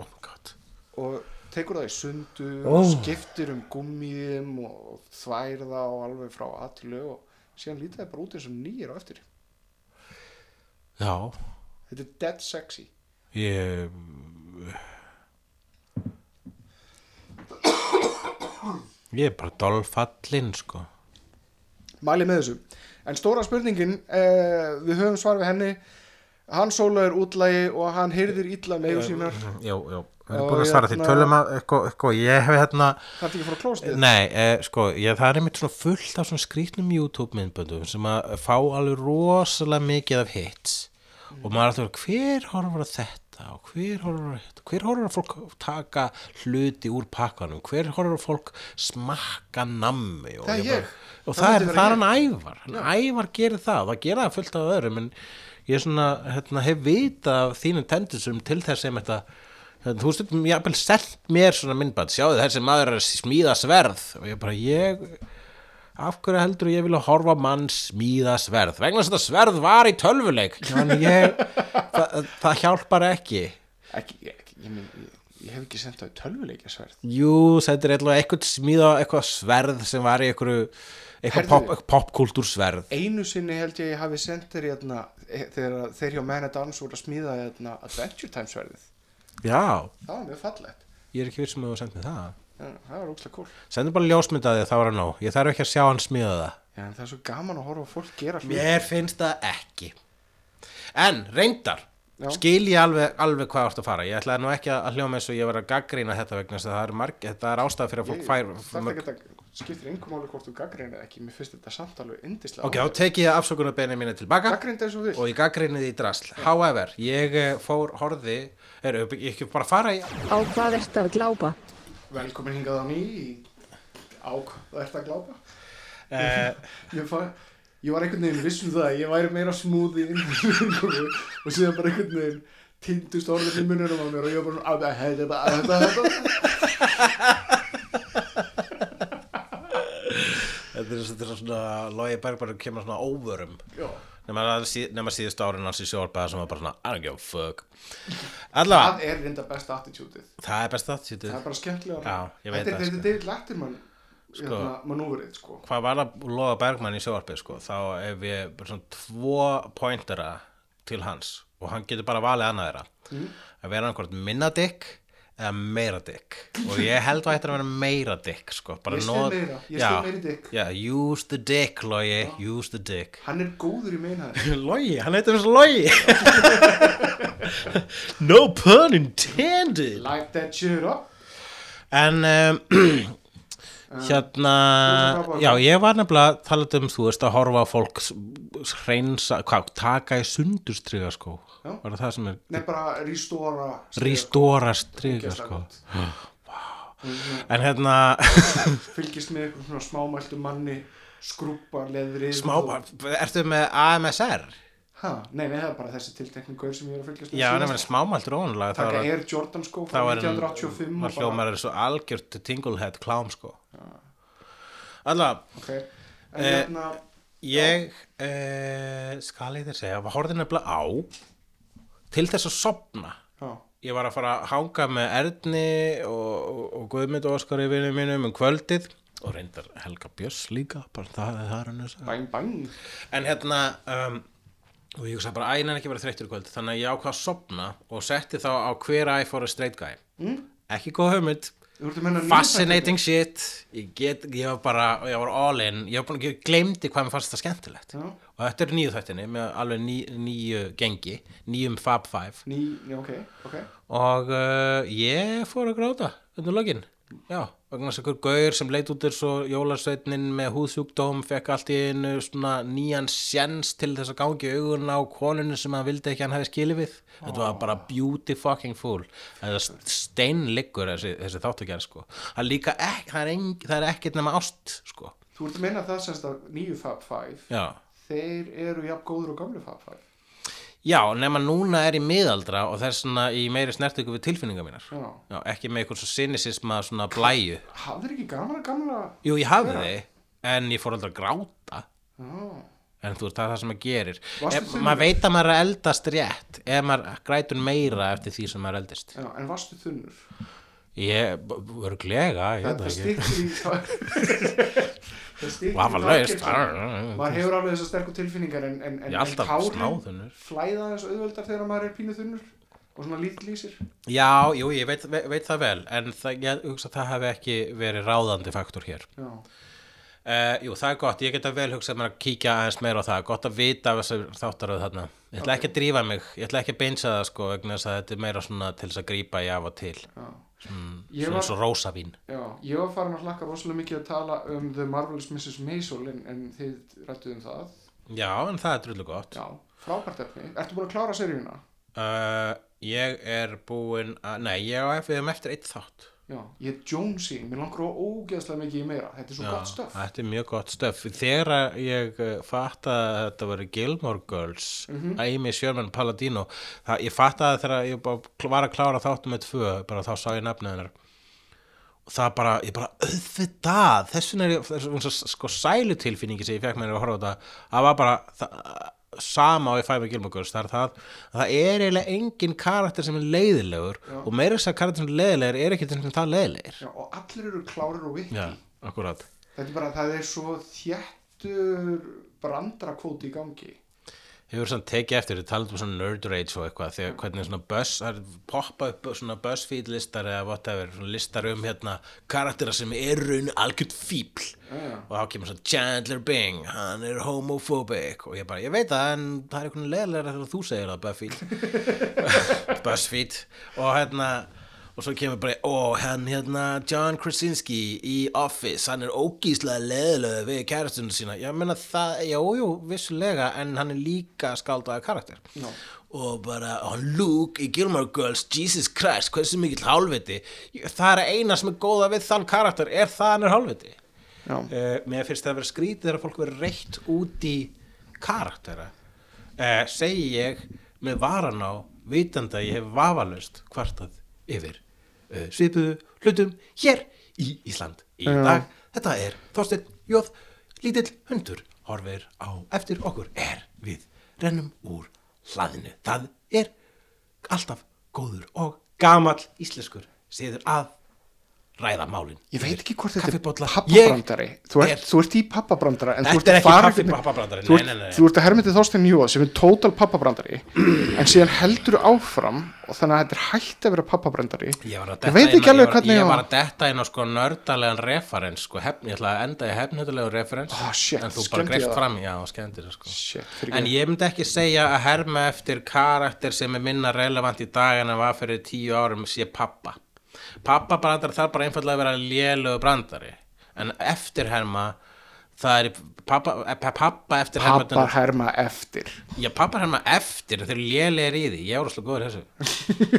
Oh my god
og tekur það í sundu
Ó.
og skiptir um gummiðum og þvær það og alveg frá að til lög og síðan lítið það bara út eins og nýjir á eftir
Já,
þetta er dead sexy
ég Ég er bara dolfallinn sko
mæli með þessu en stóra spurningin, eh, við höfum svar við henni hann sóla er útlægi og hann heyrðir illa með eigur sínar
Jú, jú, við
Já,
erum búin að svara því
hérna-
tölum að, eitthvað, eitthvað, ég hef hérna
þarf ekki að fara að klósa þið
Nei, eh, sko, ég, það er einmitt svona fullt af svona skrýtnum YouTube myndböndum sem að fá alveg rosalega mikið af hits og maður er alltaf að vera, hver horfur að þetta og hver horfur að þetta, hver horfur að fólk taka hluti úr pakkanum, hver horfur að fólk smakka nammi og
Það er ég.
bara, og
Það
það,
myndi
er,
vera
það er
ég.
hann ævar, hann ævar gerir það og það gera það fullt af öðrum en ég svona, hérna, hef vita af þínum tendisum til þess sem þetta hérna, þú stundum, ég hafði selt mér svona myndbætt, sjáðu þessi maður er að smíða sverð og ég bara, ég af hverju heldur ég vilja horfa á mann smíða sverð, [LAUGHS] vegna þess að þetta sverð var í tölvuleik, þannig ég það, það hjálpar ekki
ekki, ég, ekki, ég, meina, ég, ég hef ekki sendt það í tölvuleikja sverð
Jú, þetta er eitthvað eitthvað smíða eitthvað sverð sem var í eitthvað
Herðu.
eitthvað pop- popkultúrsverð
einu sinni held ég að ég hafi sendt þér hérna, eh, þegar þeir hjá Man at Arms voru að smíða hérna, Adventure Time sverðið
Já,
það var mjög fallegt
ég er ekki viss um að þú sendið það
en, það var ókslega cool
Sendur bara ljósmyndaði það var að nóg Ég þarf ekki að sjá hann smíða það
Já, en það er svo gaman að horfa á fólk gera hlut
Mér finnst það ekki En reyndar
Já.
skil ég alveg, alveg hvað þú ert að fara ég ætlaði nú ekki að hljóma eins og ég var að gaggrína þetta vegna þess að það er, marg, þetta er ástæð fyrir að fólk fær
þarf
mörg-
ekki að skiptir einhver máli hvort þú gaggrinir eða ekki mér finnst þetta samt alveg indislega
ok, þá teki ég afsökunarbeinu mínu tilbaka
gaggrinir eins og við
og ég gaggrinni því drasl however, ég eh, fór horði er, ég ekki bara fara í
Á hvað ert að glápa?
velkomin hingað á ný í ák það ert að glápa
uh,
ég, fæ, ég var einhvern veginn viss um það að ég væri meira smúði og síðan bara einhvern veginn tindust orðin í mununum á mér og ég var bara að þetta, að þetta, að þetta
þetta er þetta er svona Lói Bergberg kemur svona óvörum
Já.
nema, að sí- nema síðust árin hans í sjórbaða sem var bara svona I don't give a fuck allavega,
það er reynda besta attitútið
það er best að
það er bara skemmtilega
Já, ég veit
þetta
það,
er þetta er lættirmann
Sko.
sko. manúverið sko
hvað var að loða Bergmann í sjóarpið sko, þá ef ég bara svona tvo pointera til hans og hann getur bara valið annað þeirra
Mm.
að vera einhvern minna dykk eða meira dykk og ég held að þetta er að vera meira dykk sko, bara
Ég styð
nóg-
meira, ég styð
Já,
meiri dykk.
já, use the dick, Logi, use the dick
hann er góður í meinaði
Logi, hann heitir þessu Logi [LAUGHS] no pun intended
Light that shit up
En [CLEARS THROAT] um,
þú ert að
hérna,
tapa.
já ég var nefnilega talað um þú veist að horfa á fólk s- s- hreinsa, hvað, taka í sundur striga sko,
Já.
var það sem er
Nei, bara restóra
rístóra striga
Ógeðslega
sko.
gott.
Vá.
Mhm.
En hérna, [LAUGHS]
Fylgist með einhverjum svona smámæltu manni Skrúpa, leðri
smá, ertu með AMSR?
Ha, nei, nei, það er bara þessi tiltekningur sem ég er að fylgjast með
Já,
síðast.
nefnilega smámæltur ónulega, það
Taka
var,
Air Jordan sko frá
það var, maður
1985 og bara-
hljómar er svo algjört tinglehead klám sko. Alla,
Ok, en
Eh,
hérna
Ég uh, skal ég þér segja, var horfði nefnilega á til þess að sopna.
Já,
Ég var að fara að hanga með Erni og, og Guðmynd og Óskari vinnu mínum um kvöldið og reyndar Helga Björns líka, bara það, það er hann að segja.
bæn, bæn
En hérna, um, og ég hugsaði bara, æ, neina ekki að vera þreyttur í kvöld, þannig að ég ákvað að sopna og setti þá á hver æ for a straight guy. Mm? Ekki góð hugmynd,
Þú ert að menna
fascinating shit ég get, ég var bara, ég var all in ég var búin, ég glemdi hvað mér fannst það skemmtilegt
Já.
og þetta eru nýju þættinni með alveg ný, nýju gengi, nýjum Fab Five
Ný, já, ok, ok
og uh, ég fór að gráta undir lokin, já vegna þess að hver gaur sem leit út er svo jólarsveitnin með húðsjúkdóm fekk allt í einu svona nýjan sjens til þess að gangi augun á konunni sem hann vildi ekki að hann hefði skilið við þetta var bara beauty fucking fool þetta steinliggur þessi, þessi þáttugjær sko það er líka ekki, það er, eng, það er ekkert nema ást sko,
Þú ert að menna það semst að nýju Fab Five
já
Þeir eru jafn góður og gamlu Fab Five
Já, nema núna er ég miðaldra og það er svona í meiri snertingu við tilfinningar mínar.
Já.
ekki með eitthvað svo sinisisma svona blæju.
Hafður ekki gaman að gamla
Jú, ég hafði þið en ég fór aldrei að gráta
Já,
en þú veist, það er það sem maður gerir
Varstu
ef,
þunnur?
maður veit að maður er að eldast rétt ef maður grætur meira eftir því sem maður eldist
já, en varstu þunnur
ég, örglega, ég veit
Þetta
það ekki
styrkir í
[LAUGHS]
Það styrkir í
vafalaust
takkir. Maður hefur alveg þessar sterkur tilfinningar en, en, en,
Ég er alltaf
en
smáþunnur.
flæða þess auðveldar þegar maður er pínu þunnur og svona lítlýsir
já, jú, ég veit, ve- veit það vel en það, ég hugsa að það hefði ekki verið ráðandi faktor hér
Já,
Uh, jú, það er gott, ég geta vel hugsað mér að kíkja aðeins meira á það, gott að vita af þessu þáttaröð þarna. Ég ætla ekki að drífa mig, ég ætla ekki að beinsa það sko vegna þess að þetta er meira svona til þess að grípa í af og til,
já. Ég,
svona
var,
eins og rósavín.
já, ég var farin að hlakka rosalega mikið að tala um The Marvelous Mrs. Maisel en, en þið rættuð um það
Já, en það er drullu gott.
Já, frábært efni Ertu búin að klára seríuna?
Uh, ég er búinn að, nei, ég á við um eftir eitt þátt.
Já, ég er Jonesy, mér langar á ógeðslega mikið í meira Þetta er svo gott stöf
þetta er mjög gott stöf. Þegar ég eh, fattaði að þetta voru Gilmore Girls, Amy Sherman Palladino, það, ég fattaði þegar ég bara var að klára þáttum með tvö, bara þá sá ég nafnið hennar. Og það bara, ég bara, auðvitað, þessun er, þessun er svo, sko sælutilfinningi sem ég fekk með henni að horfa á þetta, það var bara, það, sama á ég fæma gilmokurs það er það að það er eiginlega engin karakter sem er leiðilegur og meira þess að karakter sem er leiðilegur er ekki þess að það leiðilegir
Já, og allir eru klárir og vitt
já, akkurat
þetta er bara, það er svo þjættur brandrakvóti í gangi
hefur svona tekið eftir, þið talaðum um svona nerd rage og eitthvað, þegar hvernig svona buzz það er poppa upp svona buzzfeed listar eða whatever, svona listar um hérna karaktera sem er raun algjörn fíbl og þá kemur svona Chandler Bing, hann er homophobic og ég bara, ég veit það, en það er einhvern leðilega þegar þú segir það Buffy Buzzfeed og hérna og svo kemur bara, ó, hann hérna John Krasinski í Office hann er ógíslega leðilega við kærastunum sína, ég meina það, jú, jú vissulega, en hann er líka skáldaði karakter Já. og bara, og hann Luke í Gilmore Girls Jesus Christ, hversu mikill hálfviti Ég- það er eina sem er góða við þann karakter er það hann er hálfviti
Já.
uh, mér finnst það að vera skrítið þegar fólk verið reitt út í karaktera uh, segi ég með varan á vitandi að ég hef vafalust kvartað yfir uh, svipuðu hlutum hér í Ísland í
Já.
dag þetta er Þorsteinn Jóð lítill hundur horfir á eftir okkur er við rennum úr hlaðinu það er alltaf góður og gamall íslenskur siður að ræða málin
ég veit ekki hvort þetta
Kaffibolla.
er
Ég
pappabrandari þú ert,
er-
þú ert í pappabrandara en þú
Þetta
ert
er
að
ekki
fara-
kaffi pappabrandari,
þú
nei, nei,
ert,
nei, nei.
þú ert að hermyndið Þorstein Jóa sem er total pappabrandari en síðan heldur áfram og þannig að þetta er hægt að vera pappabrandari
Ég, var að
ég
detta
veit
inn á-
ekki
ég
alveg
var,
hvernig
ég var að detta inn á sko nördalegan referens sko, hefn, ég ætla að enda í hefnhundalegu referens
Ah, shit,
en þú bara
skemmdi ég
greift
það?
fram já, skemmtir það sko
Shit, fyrirgefðu.
en ég myndi ekki segja að herma eftir karakter sem er minna relevant í dag en að var fyrir tíu árum sé pappa pappa brandar þarf bara einfallega að vera lélögu brandari en eftirherma það er pappa, eh, pappa eftirherma
pappa herma eftir
Já, pappa er hann maður eftir, þeir eru lélegir í því, ég er óslega góður í þessu.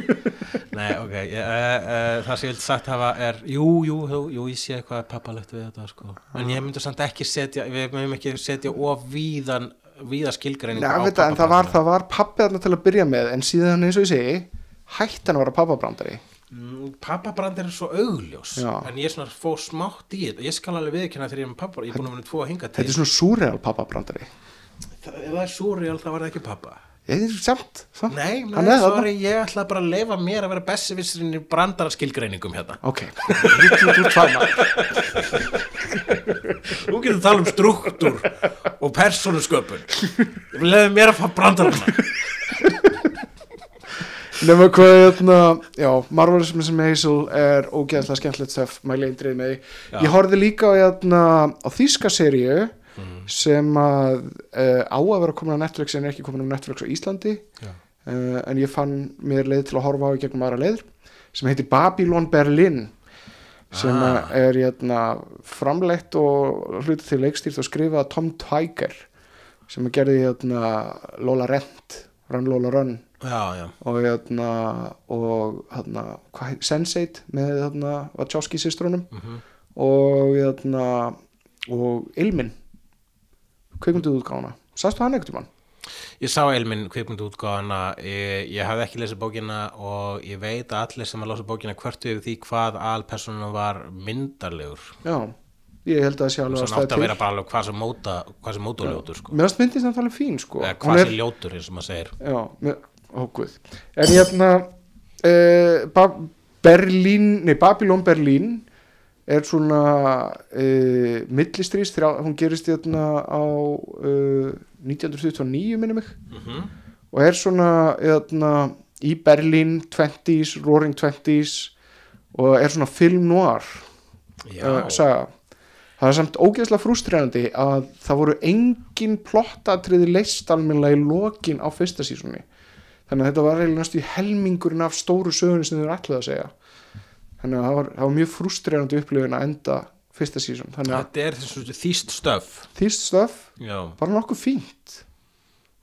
[LAUGHS]
Nei, ok, ég, uh, uh, það sem ég vildi sagt hafa er, jú, jú, jú, jú ég sé eitthvað pappalegt við þetta, sko. En ég myndi samt ekki setja, við mögum ekki setja of víðan, víða skilgreiningu
Nei, ég veit það, en það var, það var pappi þarna til að byrja með en síðan eins og ég segi hættan var að pappabrandari
Pappabrand Mm, er svo augljós,
Já.
en ég er svona fó smátt í þetta. Ég skal alveg viðkynna þegar ég er með pappa, ég er búin að vera tvo að hinga til.
þetta er svona súreal pappabrandari
Það, ef það er súrjál, það var það ekki pappa.
ég er samt, samt.
Nei,
Hann
nei,
er þarna.
sorry, ég ætla bara að leifa mér að vera bessivissirinn í brandararskilgreiningum hérna.
ok, Rikki, þú ert tvær maður.
Þú getur að tala um struktúr og persónusköpun. Ég vil leiða mér að fá brandarana.
nema hvað hérna, já, Marvelous Miss Maisel er ógeðslega skemmtilegt stöf mæli eindrið með því ég horfði líka á, hérna, á þýska seríu sem að uh, á að vera komin á Netflix en er ekki komin á Netflix á Íslandi uh, en ég fann mér leið til að horfa á í gegnum aðra leiðir sem heitir Babylon Berlin sem ah. er hérna, framleitt og hluti til leikstýrt og skrifað af Tom Tiger sem að gerði hérna, Lola Rent Run Lola Run
Já, já.
og hérna og hérna hvað heit- Sense8 með hérna Wachowski sýstrunum
Mhm.
og hérna og Ilmin kveikmynduð útgána sagstu hann einhvern tímann?
Ég sá Elmin kvikmyndu útgáðana, ég, ég hafði ekki lesið bókina og ég veit að allir sem að lása bókina hvertu yfir því hvað alpersonum var myndarlegur.
Já, ég held að það sé alveg
Svo
að
hann átti
stæða
að
til
vera bara alveg hvað sem móta, hvað sem mótuljótur, sko.
Mér finnst myndist hann alveg fín sko
Eða
Hún
hvað
er-
sem ljótur, eins og maður segir.
Já, með, ó guð En hérna uh, ba Berlín, nei Babylon Berlín er svona uh, millistrís þrjá, hún gerist hérna á uh, 1929 minni mig og er svona hérna, í Berlín 20s, Roaring 20s og er svona film noir
Já,
uh, saga það er samt ógeðslega frústræðandi að það voru engin plottatriði leist almennilega í lokin á fyrsta sísunni þannig að þetta var eiginlega næstu í helmingurinn af stóru sögunni sem þau eru allir að segja þannig að það var, það var mjög frústræðandi upplifin að enda fyrsta sísun þannig að
þetta er þessu þýst stöf.
þýst stöf
Já.
bara nokkuð fínt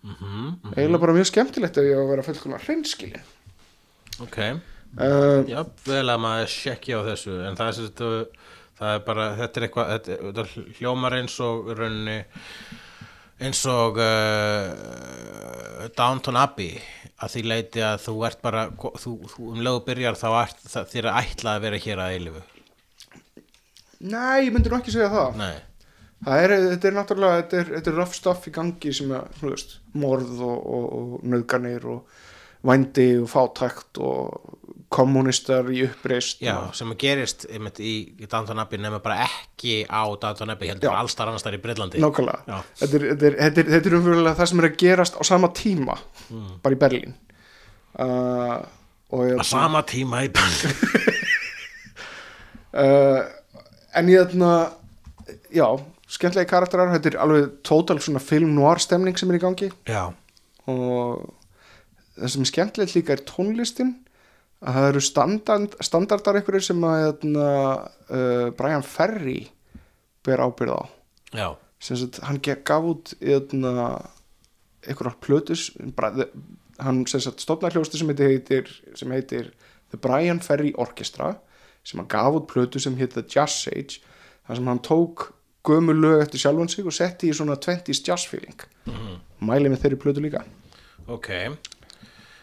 Mhm,
eiginlega bara mjög skemmtilegt ef ég á að vera fullkomlega hreinskili
Ok,
uh,
já, vel að maður sjekki á þessu, en það er, sem sagt, uh, það er bara, þetta er eitthvað, þetta, þetta hljómar eins og í rauninni, eins og uh, Downton Abbey, að því leiti að þú ert bara, þú, þú um lögu byrjar þá ert, það, þér er ætlað að vera hér að eilifu.
nei, ég myndi nú ekki segja það
Nei,
það er, þetta er náttúrulega þetta er, þetta er rough stuff í gangi sem að, þú veist, morð og, og, og nöðganir og vændi og fátækt og kommunistar í uppreist
Já,
og,
sem að gerist einmitt í í Downton Abbey nema bara ekki á Downton Abbey heldur
Já.
alls þar annars þar í Breitlandi
nákvæmlega
Já.
þetta er, þetta, er, þetta, er, þetta er umfyrirlega það sem er að gerast á sama tíma
Mm.
bara í Berlín uh, og
á
ég,
sama tíma í Breitlandi
uh, en ég þarna já, skemmtlegi karakterar þetta er alveg tótal svona film noir stemning sem er í gangi
Já,
og það sem er skemmtilegt líka er tónlistin að það eru standard, standardar einhverjir sem að hérna, uh, Brian Ferry ber ábyrð á
já,
sem sagt, hann ge- gaf út hérna, einhverjar plötus bara, the- hann sem sagt, stofnar hljósti sem heitir, sem heitir The Brian Ferry Orchestra sem hann gaf út plötu sem heit The Jazz Age þar sem hann tók gömul lög eftir sjálfan sig og setti í svona 20s jazz feeling
Mhm.
mæli með þeirri plötu líka
ok uh,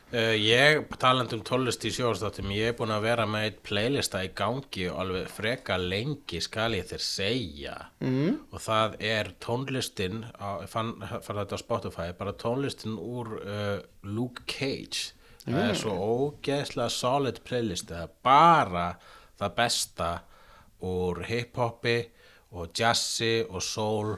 Ég, talandi um tólest í sjóðstáttum ég er búin að vera með eitt playlista í gangi og alveg freka lengi skal ég þér segja mm. og það er tónlistin á, ég fann, fann þetta á Spotify bara tónlistin úr uh, Luke Cage það er svo ógeðslega solid playlist það er bara það besta úr hiphopi og jazzi og soul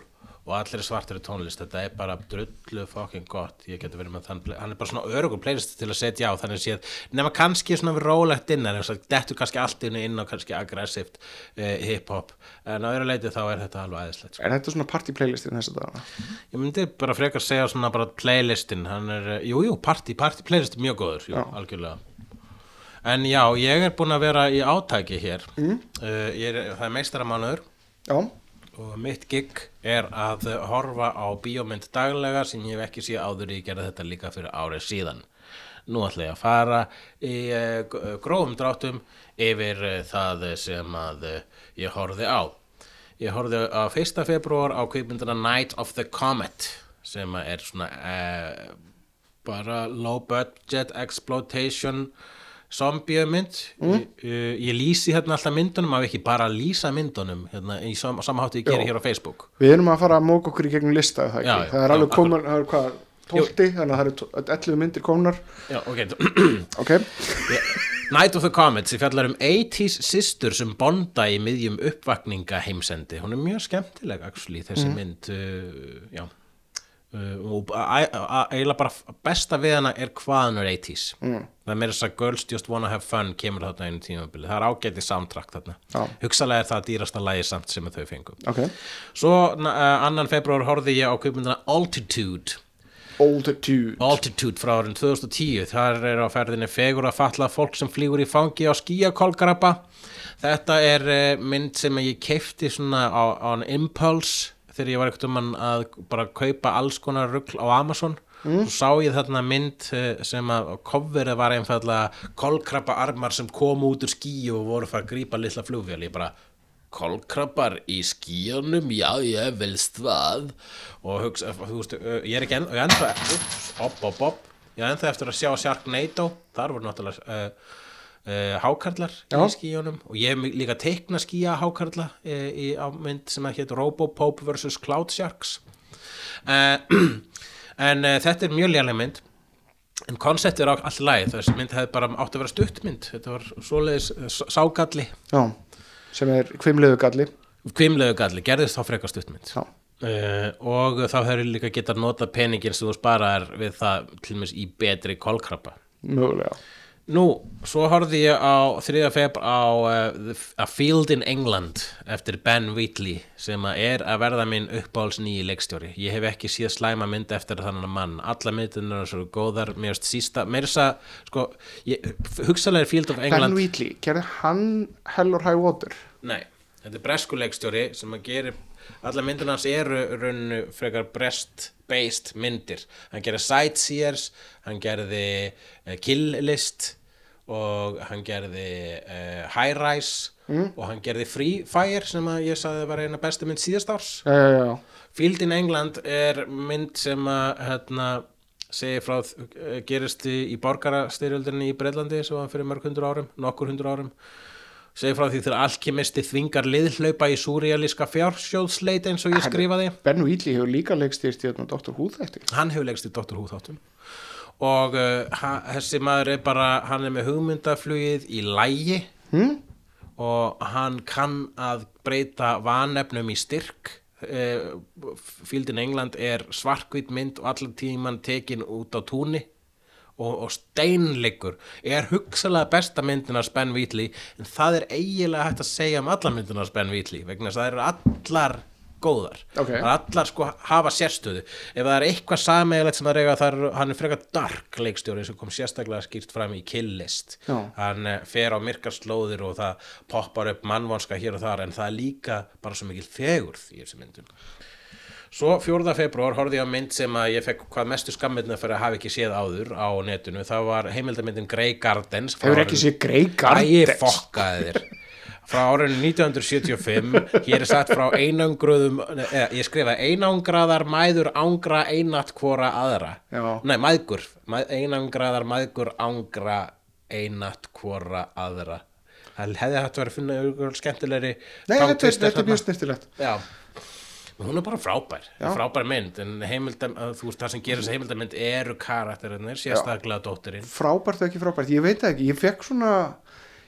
og allir svartir í tónlist þetta er bara drullu fucking gott ég geti verið með þann, play- hann er bara svona örugur playlist til að setja á þannig séð nema kannski svona við rólegt inn en þetta er kannski allt inni inn á kannski aggressivt uh, hiphop en á öðru leiti þá er þetta alveg sko. aðeinslegt sko.
Er þetta svona party playlistin þess að það?
ég myndi bara frekar segja svona bara playlistin hann er, eh, jú jú, party, party playlist er mjög góður, jú, algjörlega en já, ég er búin að vera í átæki hér mm. er, það er meistaramánuður
Já,
og mitt gig er að horfa á bíómynd daglega sem ég hef ekki séð áður ég gerði þetta líka fyrir árið síðan nú ætla ég að fara í eh, g- eh, grófum dráttum yfir eh, það sem að eh, ég horfði á ég horfði á 1. februar á kvikmyndina Night of the Comet sem að er svona eh, bara low budget exploitation zombiumynd mm. ég, ég lýsi hérna alltaf myndunum af ekki bara lýsa myndunum hérna, í sam, samháttu ég gera hér á Facebook
við erum að fara að móka okkur í gegnum lista er það,
Já,
ekki?
já,
það er
já,
alveg
akkurat.
komin, það er hvað, 12 þannig að það eru tó- 11 myndir komnar
Já, ok,
ok,
Night of the Comets, ég fjallar um 80s systur sem bonda í miðjum uppvakninga heimsendi. Hún er mjög skemmtileg, actually, þessi mynd, uh, já. Uh, og a- a- a- eiginlega bara besta við hana er hvað hann er 80s. Mm. Það er meira þess að Girls Just Wanna Have Fun kemur þarna einu tímabili. Það er ágæti samtrakt þarna.
Já.
Hugsalega er það dýrasta lagi samt sem að þau fengu.
ok
Svo uh, annan februar horfði ég á kvipmyndina Altitude
Altitude
Altitude frá árin 2010 þar er á ferðinni fegur að falla fólk sem flýgur í fangi á skíakolgrapa þetta er eh, mynd sem ég keifti svona á, á an impulse þegar ég var ekkert um hann að bara kaupa alls konar rugl á Amazon mm. og sá ég þarna mynd eh, sem að kofverið var einfallega kolkrabba armar sem kom út úr skíu og voru að fara að grípa litla flugvél ég bara kolkrabbar í skíunum já, ég velst það og hugsa, þú veist, ö, ég er ekki enn og ég er ennþá, ups, op, op, op ég er ennþá eftir að sjá Sharknado þar voru náttúrulega uh, uh, hákarlar
Já.
í skíunum og ég hef líka teikna skíja hákarla uh, í á mynd sem að hétt Robopop vs. Cloud Sharks uh, [CLEARS THROAT] en uh, þetta er mjög lélega mynd En konceptið er á allt lagið, þessi mynd hefði bara átt að vera stuttmynd, þetta var svoleiðis eh, s- ságalli,
Já, sem er kvimliðu galli
kvimlegu galli, gerðist þá frekar stuttmynd
Já.
Uh, og þá hefur líka geta nota peningin sem þú sparaðar við það til mér í betri kolkrabba
mögulega
Nú, svo horfði ég á 3. feb á uh, The F- A Field in England eftir Ben Wheatley sem að er að verða minn uppáhalds nýji leikstjóri. Ég hef ekki síða slæma mynd eftir þannig mann. Alla myndin er svo góðar, mér veist sísta, mér þess að, sko, ég, hugsalega er Field of England.
Ben Wheatley, gerði hann Hell or High Water
Nei, þetta er breskuleikstjóri sem að gerir, alla myndir hans eru rauninu frekar brest-based myndir. Hann gerir Sightseers, hann gerði uh, Kill List og hann gerði uh, High Rise og hann gerði Free Fire sem að ég sagði var eina bestu mynd síðast árs.
Já, já, já,
Field in England er mynd sem að hérna, segir frá eh, gerist í, í borgarastyrjöldinni í Breitlandi sem var fyrir mörg hundur árum, nokkur hundur árum segir frá því þegar alkimisti þvingar liðhlaupa í súrialíska fjársjóðsleit eins og ég skrifaði
Ben Wheatley hefur líka leikstýrt í þetta Dr. Who þætti
hann hefur leggst í Dr. Who þáttum og uh, ha- þessi maður er bara hann er með hugmyndaflugið í lægi hmm? og hann kann að breyta vanefnum í styrk uh, fíldin England er svarkvít mynd og allan tíman tekin út á túni og, og steinleikur er hugsalega besta myndina Spenn Vítli en það er eiginlega hægt að segja um allar myndina Spenn Vítli vegna þess að það eru allar góðar
Ok.
Það eru allar sko hafa sérstöðu ef það er eitthvað sameigilegt sem það reyga þar, hann er frekar dark leikstjóri sem kom sérstaklega skýrt fram í killist
Já.
hann eh, fer á myrkar slóðir og það poppar upp mannvonska hér og þar en það er líka bara svo mikil fegurð í þessu myndum Svo 4. februar horfði ég á mynd sem að ég fekk hvað mestu skammirna fyrir að hafa ekki séð áður á netinu. Það var heimildamyndin Grey Gardens. frá
Hefur ekki
árinu-
séð Grey Gardens?
Æ, fokkaði þér. Frá árinu 1975, hér er satt frá einangruðum, eða, ég skrifaði einangraðar mæður ángra einatt hvora aðra.
Já.
Nei, mæðgur. Mæ, einangraðar mæðgur ángra einatt hvora aðra. Það hefði hægt að vera að finna skemmtilegri
Nei, þetta er,
tangtvistar
þetta er
þarna.
mjög snirtilegt
Já Hún er bara frábær,
Já.
frábær mynd en heimildam, að þú veist það sem gerir þess heimildamynd eru karakterinir, sérstaklega dóttirinn
Frábært eða ekki frábært, ég veit það ekki Ég fekk svona,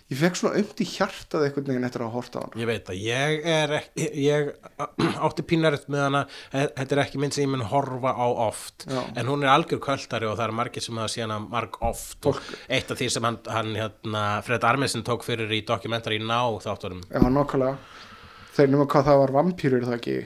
ég fekk svona umt í hjartað einhvern veginn eftir að horta á hana
Ég veit að ég er ekki, ég [CLEARS THROAT] átti pínaritt með hana, e- þetta er ekki mynd sem ég mun horfa á oft
Já.
en hún er algjör kvöldari og það er margir sem hafa síðan marg oft og eitt af því sem hann, hann hérna, Fred Armisen tók fyrir í dokumentari í Ná þáttunum
Já, nokkulega Þeir nema hvað það var vampýrur það ekki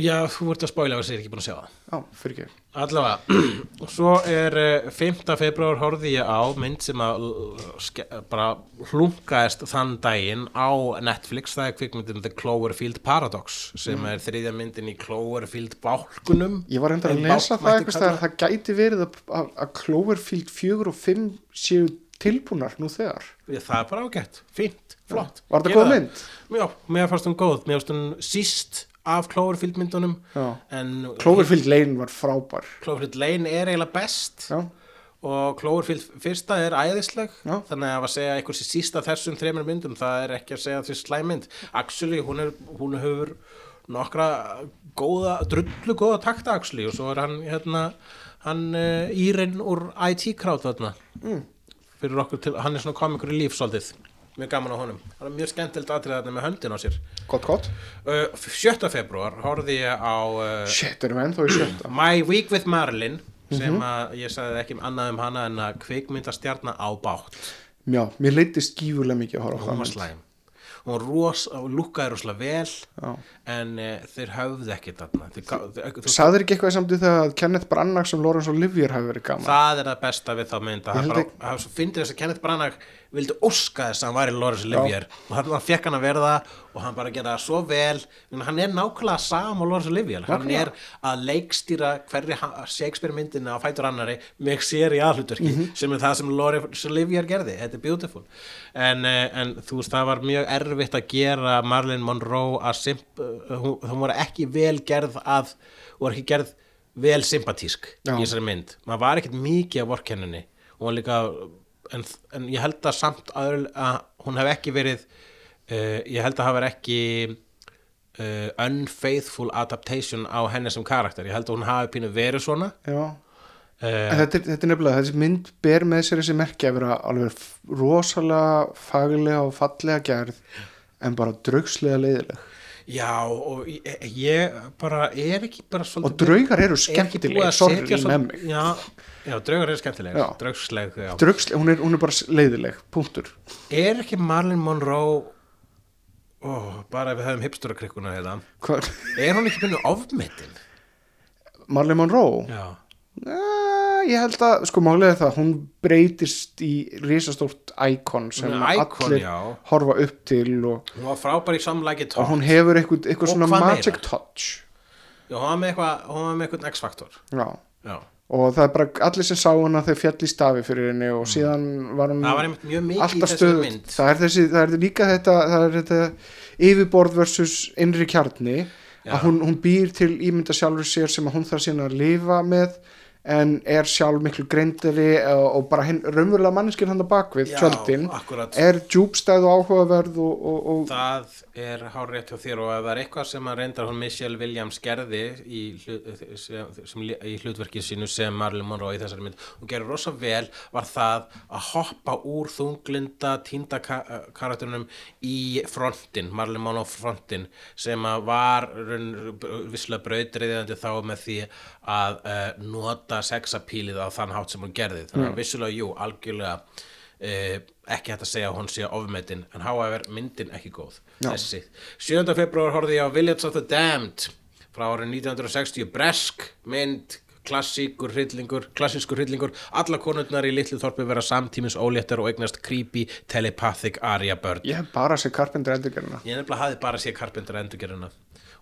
Já, þú ert að spóla þess að ég er ekki búin að sjá það
Já, fyrir ekki
Allavega, [CLEARS THROAT] svo er eh, 5. februar horfði ég á mynd sem að l- ske- bara hlungaðist þann daginn á Netflix, það er kvikmyndin The Cloverfield Paradox sem er þriðja myndin í Cloverfield bálkunum
Mhm. Ég var hendur að
En
lesa
bálk
það
mætti
eitthvað
kalla-
staðar Það gæti verið að, að, að Cloverfield 4 og 5 séu tilbúnar nú þegar
Já, það er bara ágætt, fínt, flott
Var þetta
Gera
góð mynd?
Já, mér fannst hún góð, mér fannst hún síst af Cloverfield myndunum
Já.
en
Cloverfield Lane var frábær
Cloverfield Lane er eiginlega best
Já,
og Cloverfield fyrsta er æðisleg
Já.
þannig að að segja eitthvað sér sísta þessum þreymur myndum, það er ekki að segja þessi slæmynd Axli, hún, er, hún hefur nokkra góða, drullu góða takta Axli og svo er hann hérna, hann uh, Írin úr IT-krát þarna mm. fyrir okkur til, hann er svona komikur í líf svolítið mjög gaman á honum, hann er mjög skemmtilegt aðrið þarna með höndin á sér
gott, gott
uh, 7. februar horfði ég á uh,
Shit, erum við ennþá í sjötta
My Week with Marilyn sem að ég sagði ekki um annað um hana en að kvikmyndastjarna á bátt
Já, mér leittist gífurlega mikið að horfa á
hún
það
var slæm hún ros, hún lúkkaði rosalega vel
Já.
en e, þeir höfðu ekki þarna þeir, gá- þeir, þeir,
Sæður ekki eitthvað samt í þegar að Kenneth Branagh sem Lawrence Olivier hafi verið gaman
það er það besta við þá mynd að
Ég
það
held
bara,
ekki-
að finnir þess að Kenneth Branagh vildi óska þess að hann var í Lawrence Olivier og hann, hann fekk hann að verða og hann bara gera það svo vel en hann er nákvæmlega sam á Lawrence Olivier hann er að leikstýra hverri ha- Shakespeare myndinni á fætur annari með sér í aðhluturki
Mhm.
sem er það sem Lawrence Olivier gerði, þetta er beautiful en, eh, en þú veist það var mjög erfitt að gera Marilyn Monroe að simp, eh, hún, hún var ekki vel gerð að, hún var ekki gerð vel sympatísk
Já.
í þessari þessari mynd maður var ekkert mikið af vorkenninni hún var líka en, en ég held að samt að, að hún hef ekki verið uh, ég held að hafa ekki uh, unfaithful adaptation á henni sem karakter ég held að hún hafi pínu verið svona
Já
uh,
En þetta, er- þetta er nefnilega, þessi mynd ber með sér þessi merki að vera alveg f- rosalega faglega og fallega gerð en bara draugslega leiðileg
já og ég, ég bara er ekki bara
og
svolítið
draugar eru
er ekki búið
skemmtileg
að
sorry
setja
með
svo-
mig
já, já, draugur er skemmtilegir
Já.
draugsleg já.
Draugsle, hún, er, hún er bara s- leiðileg, punktur
er ekki Marlon Monroe ó, bara ef við höfum hipsturakrikkuna hérna
Hvað-
er hún ekki pínu ofmetin
Marley Monroe
já
Næ, ég held að, sko málega það hún breytist í risastórt íkon sem
Hún er icon,
allir
já.
horfa upp til og,
hún var frábær í samlæki
og
tótt
hún hefur eitthvað,
Og
eitthvað svona
hvað meira?
magic touch
hún var með eitthvað, hún var með eitthvað X-faktor
já
já
og það er bara allir sem sá hana þau fjall í stafi fyrir henni og síðan var hún
Það var einmitt mjög mikið í
alltaf
þessari
stöðugt.
mynd.
það er, þessi, það er líka þetta, það er þetta yfirborð versus innri kjarni að hún, hún býr til ímynda sjálfur sér sem að hún þarf síðan að lifa með en er sjálf miklu greindari og, og bara hinn raunverulega manneskinn hann að bakvið,
Já,
tjöldin
akkúrat.
er djúbstæð og áhugaverð og, og, og
Það er hár hjá þér og ef það er eitthvað sem að reyndar hún Michelle Williams gerði í, hlut, sem, sem, í hlutverki sínu sem Marilyn Monroe í þessari mynd og gerði rosa vel var það að hoppa úr þunglinda tínda ka karakterunum í frontin, Marilyn Monroe frontin sem að var visslega brautriðandi þá með því að uh, nota sexapílið á þann hátt sem hún gerði þannig að vissulega, jú, algjörlega uh, ekki hægt að segja að hún sé ofmetin en however myndin ekki góð þessi 7. februar horfði ég á Village of the Damned frá árið 1960 bresk mynd klassíkur hryllingur, klassískur hryllingur alla konurnar í litlu þorpi vera samtímis óléttar og eignast creepy telepathic aria börn
ég hef bara sér Carpenter endurgerðina
ég nefnilega hafði bara séð Carpenter endurgerðina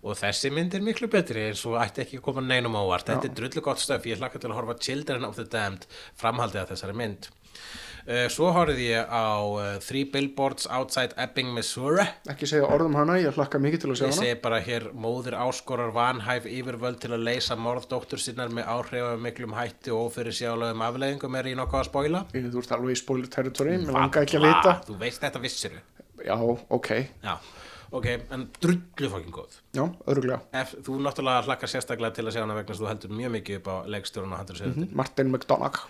og þessi mynd er miklu betri eins og ætti ekki að koma neinum ávart þetta er drullu gott stöf, ég hlakka til að horfa Children of the Damned framhaldið að þessari mynd uh, svo horfði ég á uh, Three Billboards Outside Ebbing, Missouri
ekki segja orðum hana, ég hlakka mikið til að sjá
ég
hana
segi bara hér móðir áskorar vanhæf yfirvöld til að leysa morðdóttur sinnar með áhrifum miklum hætti og fyrir sjálfum afleðingum er ég nokkuð að spoila
Ég, þú ert alveg í spoiler territory,
Mm,
mér langar ekki að vita
þú veist þetta vissiru
já, ok,
já, ok, en drullu fokkin góð
já, öruglega
Ef, þú náttúrulega hlakkar sérstaklega til að sjá hana vegna þess að þú heldur mjög mikið upp á leikstjórun og handur sér
Mhm. Martin McDonagh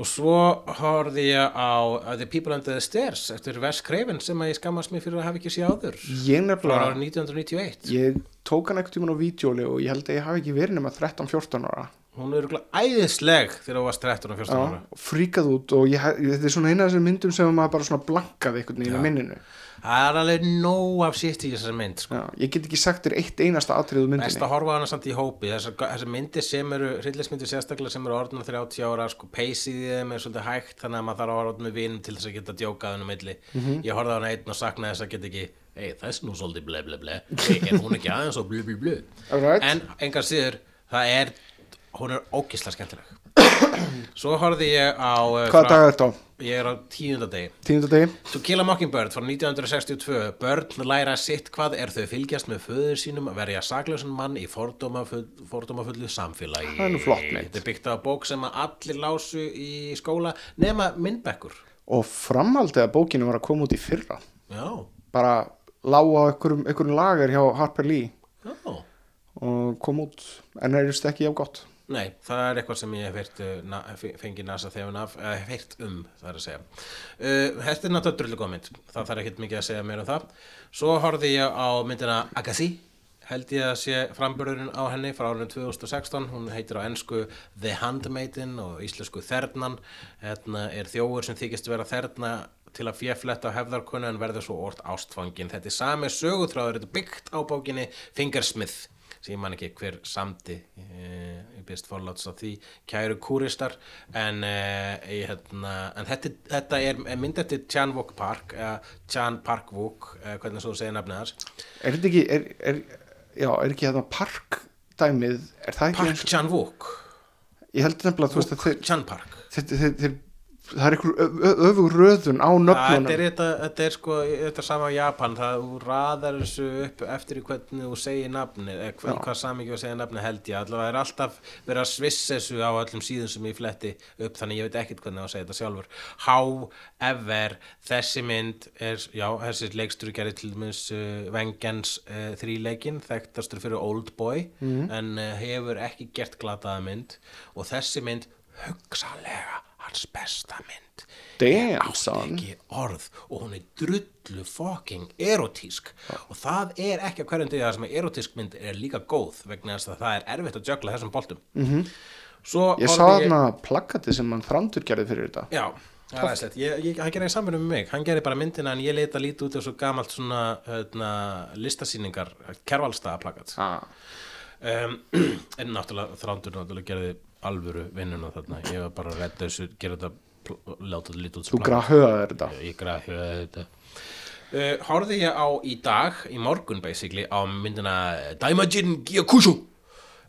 og svo horfði ég á uh, The People Under the Stairs eftir Wes Craven sem að ég skammast mér fyrir að hafa ekki séð áður
ég
frá
nefnilega,
árið 1991
ég tók hann ekkert tímann á vídjóli og ég held að ég hafi ekki verið nema 13-14 ára
hún er örugglega æðisleg þegar hún var 13 og 14 ára
og fríkað út og ég, hef- þetta er svona eina af þessum myndum sem maður bara svona blankaði einhvern veginn í minninu
það er alveg nóg af sitt í þessari mynd sko.
já, ég get ekki sagt þér eitt einasta atriðu
best
myndinni
að horfa á hana samt í hópi þessar, þessar myndir sem eru, hryllismyndir sérstaklega sem eru orðnar 30 ára, sko peysið í þeim er svolítið hægt, þannig að maður þarf að horfa á með vinum til þess að geta djókað hann um milli
Mhm.
ég horfði á hana einn og saknaði þess að geta ekki ei, það er nú svolítið ble ble ble ei, er hún ekki aðeins og ble ble ble
Alright.
en engar síður, það er hún er ókisla skemmtileg [COUGHS] svo horfði ég á eh,
hvaða dag
frá,
er þetta á?
ég er á tíundadegi
tíundadegi?
To Kill a Mockingbird frá 1962 Börn læra sitt hvað er þau fylgjast með föður sínum að verja saklausan mann í fordómafull- fordómafullu samfélagi
Það er nú flott mynd.
Þetta er byggt á bók sem að allir lásu í skóla nema myndbekkur
og framhaldið að bókinu var að koma út í fyrra
Já,
bara lága einhverjum, einhverjum lager hjá Harper Lee
já
og kom út en er just ekki jafn gott
Nei, það er eitthvað sem ég hef heyrt, uh, na, fe- fengið nasa þefun af, eða hef heyrt um, það er að segja. Uh, þetta er náttúrulega drullu góð mynd, það þarf ekkert mikið að segja meira um það. Svo horfði ég á myndina Agassi, held ég að sé framburðurinn á henni frá árinu 2016, hún heitir á ennsku The Handmaiden og íslensku Þernan, hérna er þjófur sem þykist vera þerna til að fjefletta hefðarkunni en verður svo orð ástfangin. Þetta er sami sögutráður, þetta er byggt á bókinni Fingersmith sem ég man ekki hver samdi eh, ég byrst forláts á því kæru kúristar en, eh, ég, hérna, en þetta, þetta er er mynd eftir Chan Wook Park eh, Chan Park Wook, eh, hvernig svo þú segir nafnið hans
er þetta ekki, er, er, já, er ekki þetta park dæmið, er það ekki
Park Chan Wook,
ég held nefnilega að þú veist að þeir,
Chan Park
þeir, þeir, þeir það er einhver öfugur röðun á
Það
nöfnunum
er þetta, þetta er sko þetta er sama á Japan, það þú raðar þessu upp eftir í hvernig þú segir nafni eða hva, hvað samingi þú segir nafni held ég allavega er alltaf verið að svissa þessu á öllum síðum sem ég fletti upp þannig ég veit ekkert hvernig það segja þetta sjálfur however, þessi mynd er, já, þessi leikstur gerir til dæmis uh, Vengeance uh, þríleikin, þekktastur fyrir Oldboy en uh, hefur ekki gert glataða mynd og þessi mynd hugsalega hans besta mynd
damn
átti
son
ekki orð og hún er drullu fucking erotísk og það er ekki að hverjum degi það sem er erotísk mynd er líka góð vegna þess að það er erfitt að jögla þessum boltum mm -hmm. Svo
Mhm. ég sá
horfði
þarna plakati sem hann þrandur gerði fyrir þetta
Já, það er aðeinslegt ég, ég, Hann gerði samvinni með mig, hann gerði bara myndina en ég leita lítið út af svo gamalt svona hérna, listasýningar, kervalstaða plakat
ah.
um, [CLEARS THROAT] en náttúrulega þrándur náttúrulega gerði alvöru vinnuna þarna ég var bara að redda þessu, gera þetta pl- láta þetta lítið út sem
þú
plakat.
grahöða þetta
ég græði þetta uh, Horfði ég á í dag, í morgun basically, á myndina eh, Daimajin Gyakushu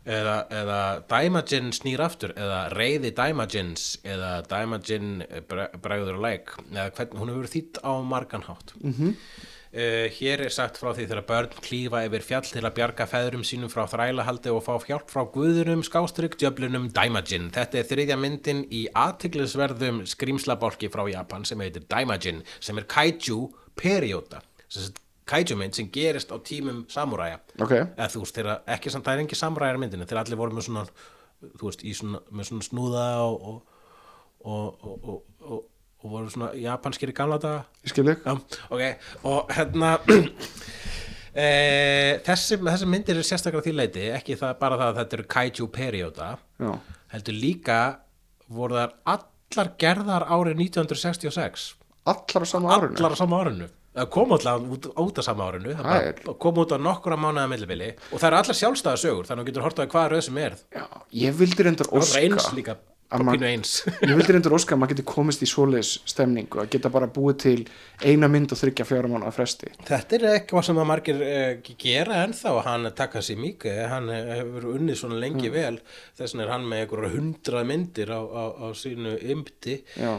eða, eða Daimajin snýr aftur eða Reyði Daimajins eða eh, Daimajin bregður á læk eða hvernig hún hefur þýtt á margan hátt mm -hmm. Uh, hér er sagt frá því þegar börn klífa yfir fjall til að bjarga feðrum sínum frá þrælahaldi og fá hjálp frá guðunum, skástrygg, djöflunum, Daimajin. Þetta er þriðja myndin í aðtiklisverðum skrýmslabálki frá Japan sem heitir Daimajin, sem er kaiju perióta. Kaiju mynd sem gerist á tímum samúræja
Ok.
eða þú veist, þeirra, ekki samt það er engin samræðar myndinu, þeir allir voru með svona þú veist, í svona, með svona snúða og og, og, og, og, og, og voru svona japanskir í gamla daga
Ég skil þig.
já, ok, og hérna [CLEARS THROAT] e, þessi, þessi myndir er sérstaklega því leiti, ekki það, bara það að þetta eru kaiju perióta
Já.
heldur líka voru þar allar gerðar árið 1966
Allar á sama árinu.
allar á sama árinu Það kom allar út, út á sama árinu það
Það
bara kom út á nokkura mánuða millibili og það eru allar sjálfstæða sögur þannig að þú getur hortað hvaða röð sem er
Já, ég vildi reyndar
og
óska.
eins líka,
að
bara
man-
pínu eins [LAUGHS]
Ég vildi reyndar óska að maður geti komist í svoleiðis stemningu að geta bara búið til eina mynd og þryggja fjóra mánu að fresti.
Þetta er eitthvað sem að margir uh, gera ennþá, hann Takashi Miike, hann eh, hefur unnið svona lengi
Mm.
vel, þess vegna er hann með einhverja hundrað myndir á, á, á sínu ymdi, uh,
Já.